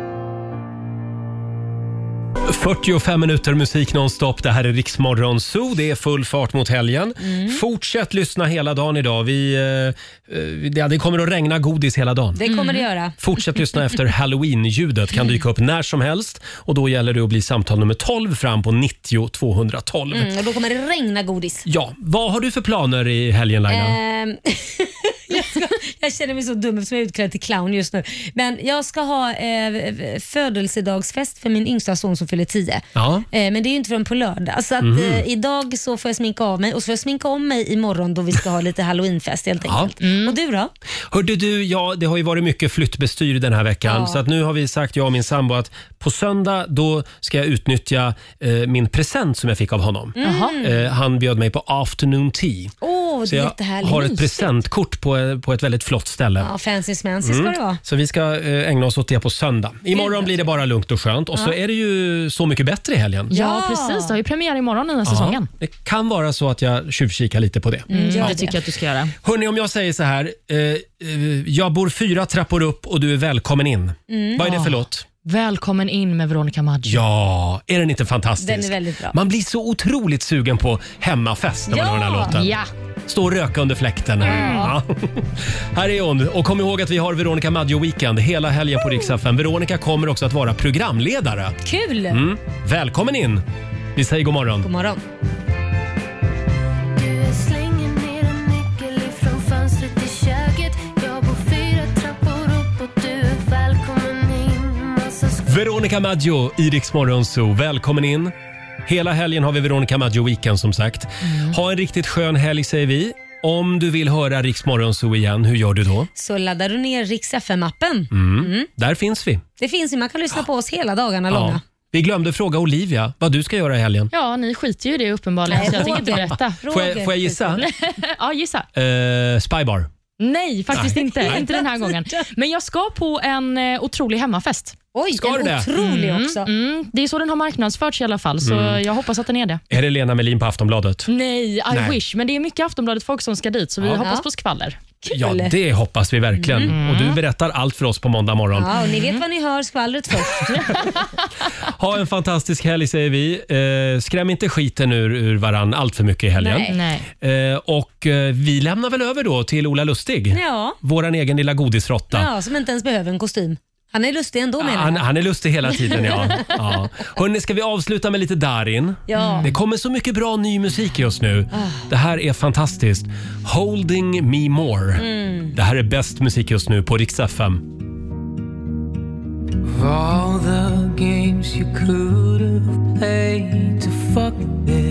Speaker 1: 45 minuter musik nonstop. Det här är Riksmorgon Zoo. Det är full fart mot helgen. Fortsätt lyssna hela dagen idag. Vi, eh, eh, ja, det kommer att regna godis hela dagen.
Speaker 2: Det kommer
Speaker 1: Mm.
Speaker 2: det göra.
Speaker 1: Fortsätt lyssna efter halloween-ljudet. kan dyka upp när som helst. Och Då gäller det att bli samtal nummer 12 fram på 90 212.
Speaker 2: Mm, och då kommer det regna godis.
Speaker 1: Ja, vad har du för planer i helgen Laila?
Speaker 2: Ehm, <laughs> jag, ska, jag känner mig så dum eftersom jag är utklädd till clown just nu. Men jag ska ha eh, födelsedagsfest för min yngsta son som fyller 10.
Speaker 1: Ja.
Speaker 2: Eh, men det är ju inte förrän på lördag. Så att,
Speaker 1: Mhm.
Speaker 2: eh, idag så får jag sminka av mig och så får jag sminka om mig imorgon då vi ska ha lite halloweenfest helt enkelt.
Speaker 1: Mm.
Speaker 2: Och du då?
Speaker 1: Hörde du, ja, det har ju varit mycket flyttbestyr den här veckan.
Speaker 2: Ja.
Speaker 1: Så att nu har vi sagt, jag och min sambo, att På söndag då ska jag utnyttja eh, min present som jag fick av honom.
Speaker 2: Mm.
Speaker 1: Eh, han bjöd mig på afternoon tea.
Speaker 2: Åh,
Speaker 1: Så
Speaker 2: det är
Speaker 1: jag
Speaker 2: jättehärligt.
Speaker 1: har ett
Speaker 2: Mysigt.
Speaker 1: presentkort på, på ett väldigt flott ställe.
Speaker 2: Ja, fancy smancy ska
Speaker 1: Mm.
Speaker 2: det vara.
Speaker 1: Så vi ska eh, ägna oss åt det på söndag. Imorgon
Speaker 3: Gud.
Speaker 1: blir det bara lugnt och skönt och så
Speaker 3: Ja.
Speaker 1: är det ju Så mycket bättre i helgen.
Speaker 3: Ja, precis. Det har ju premiär imorgon, den här säsongen.
Speaker 1: Ja, det kan vara så att jag tjuvkikar lite på det.
Speaker 3: Mm,
Speaker 1: Ja.
Speaker 3: Det tycker jag att du ska göra.
Speaker 1: Hörni, om jag säger så här. Eh, eh, jag bor fyra trappor upp och du är välkommen in.
Speaker 3: Mm.
Speaker 1: Vad är det för
Speaker 3: Ja.
Speaker 1: låt?
Speaker 3: Välkommen in med Veronica Maggio.
Speaker 1: Ja, är den inte fantastisk?
Speaker 3: Den är väldigt bra.
Speaker 1: Man blir så otroligt sugen på hemmafest när man
Speaker 3: Ja.
Speaker 1: hör den här låten.
Speaker 3: Ja.
Speaker 1: Stå och röka under fläkten.
Speaker 3: Mm.
Speaker 1: Ja. <laughs> Här är hon. Och kom ihåg att vi har Veronica Maggio Weekend hela helgen på Rix FM. Veronica kommer också att vara programledare.
Speaker 2: Kul!
Speaker 1: Mm. Välkommen in! Vi säger god morgon.
Speaker 2: God morgon.
Speaker 20: Du slänger ner en nyckel ifrån fönstret i köket. Jag bor fyra trappor upp och du är välkommen in. Massa
Speaker 1: Veronica Maggio i Rix Morgon Zoo. Välkommen in! Hela helgen har vi Veronica Maggio Weekend som sagt. Ha en riktigt skön helg säger vi. Om du vill höra Rix Morgon Zoo igen, hur gör du då?
Speaker 2: Så laddar du ner Rix FM-appen.
Speaker 1: Mm. Där finns vi.
Speaker 2: Det finns ju, man kan lyssna på oss hela dagarna
Speaker 1: Ja.
Speaker 2: långa.
Speaker 1: Vi glömde fråga Olivia vad du ska göra i helgen.
Speaker 3: Ja, ni skiter ju i det uppenbarligen,
Speaker 2: Nej,
Speaker 3: så jag tänker inte
Speaker 2: Roger.
Speaker 3: berätta.
Speaker 1: Får jag- får jag gissa?
Speaker 3: ja, gissa.
Speaker 1: Eh, spybar.
Speaker 3: Nej, faktiskt
Speaker 1: Nej.
Speaker 3: inte.
Speaker 1: Nej.
Speaker 3: Inte den här gången. Men jag ska på en eh, otrolig hemmafest.
Speaker 2: Oj,
Speaker 1: Ska en du det? otrolig också.
Speaker 3: Mm, det är så den har marknadsförts i alla fall, så
Speaker 1: Mm.
Speaker 3: jag hoppas att den är det.
Speaker 1: Är det Lena Melin på Aftonbladet?
Speaker 3: Nej, I
Speaker 1: Nej.
Speaker 3: wish. Men det är mycket Aftonbladet-folk som ska dit, så vi
Speaker 1: Ja.
Speaker 3: hoppas
Speaker 1: Ja.
Speaker 3: på skvaller.
Speaker 1: Ja, det hoppas vi verkligen.
Speaker 3: Mm.
Speaker 1: Och du berättar allt för oss på måndag morgon.
Speaker 2: Ja, och ni vet vad ni hör skvallret först.
Speaker 1: Ha en fantastisk helg säger vi. Eh, skräm inte skiten ur, ur varann allt för mycket i helgen.
Speaker 3: Nej.
Speaker 1: Eh, och eh, vi lämnar väl över då till Ola Lustig.
Speaker 2: Ja.
Speaker 1: Våran egen lilla godisrotta.
Speaker 2: ja, som inte ens behöver en kostym. Han är lustig ändå menar
Speaker 1: Han,
Speaker 2: jag.
Speaker 1: han är lustig hela tiden ja.
Speaker 2: <laughs>
Speaker 1: ja. Hörni, ska vi avsluta med lite Darin?
Speaker 2: Ja.
Speaker 1: Det kommer så mycket bra ny musik just nu.
Speaker 2: Ah.
Speaker 1: Det här är fantastiskt. Holding me more.
Speaker 6: Mm.
Speaker 1: Det här är bäst musik just nu på Rix FM.
Speaker 19: Of all the games you could have played to fuck this.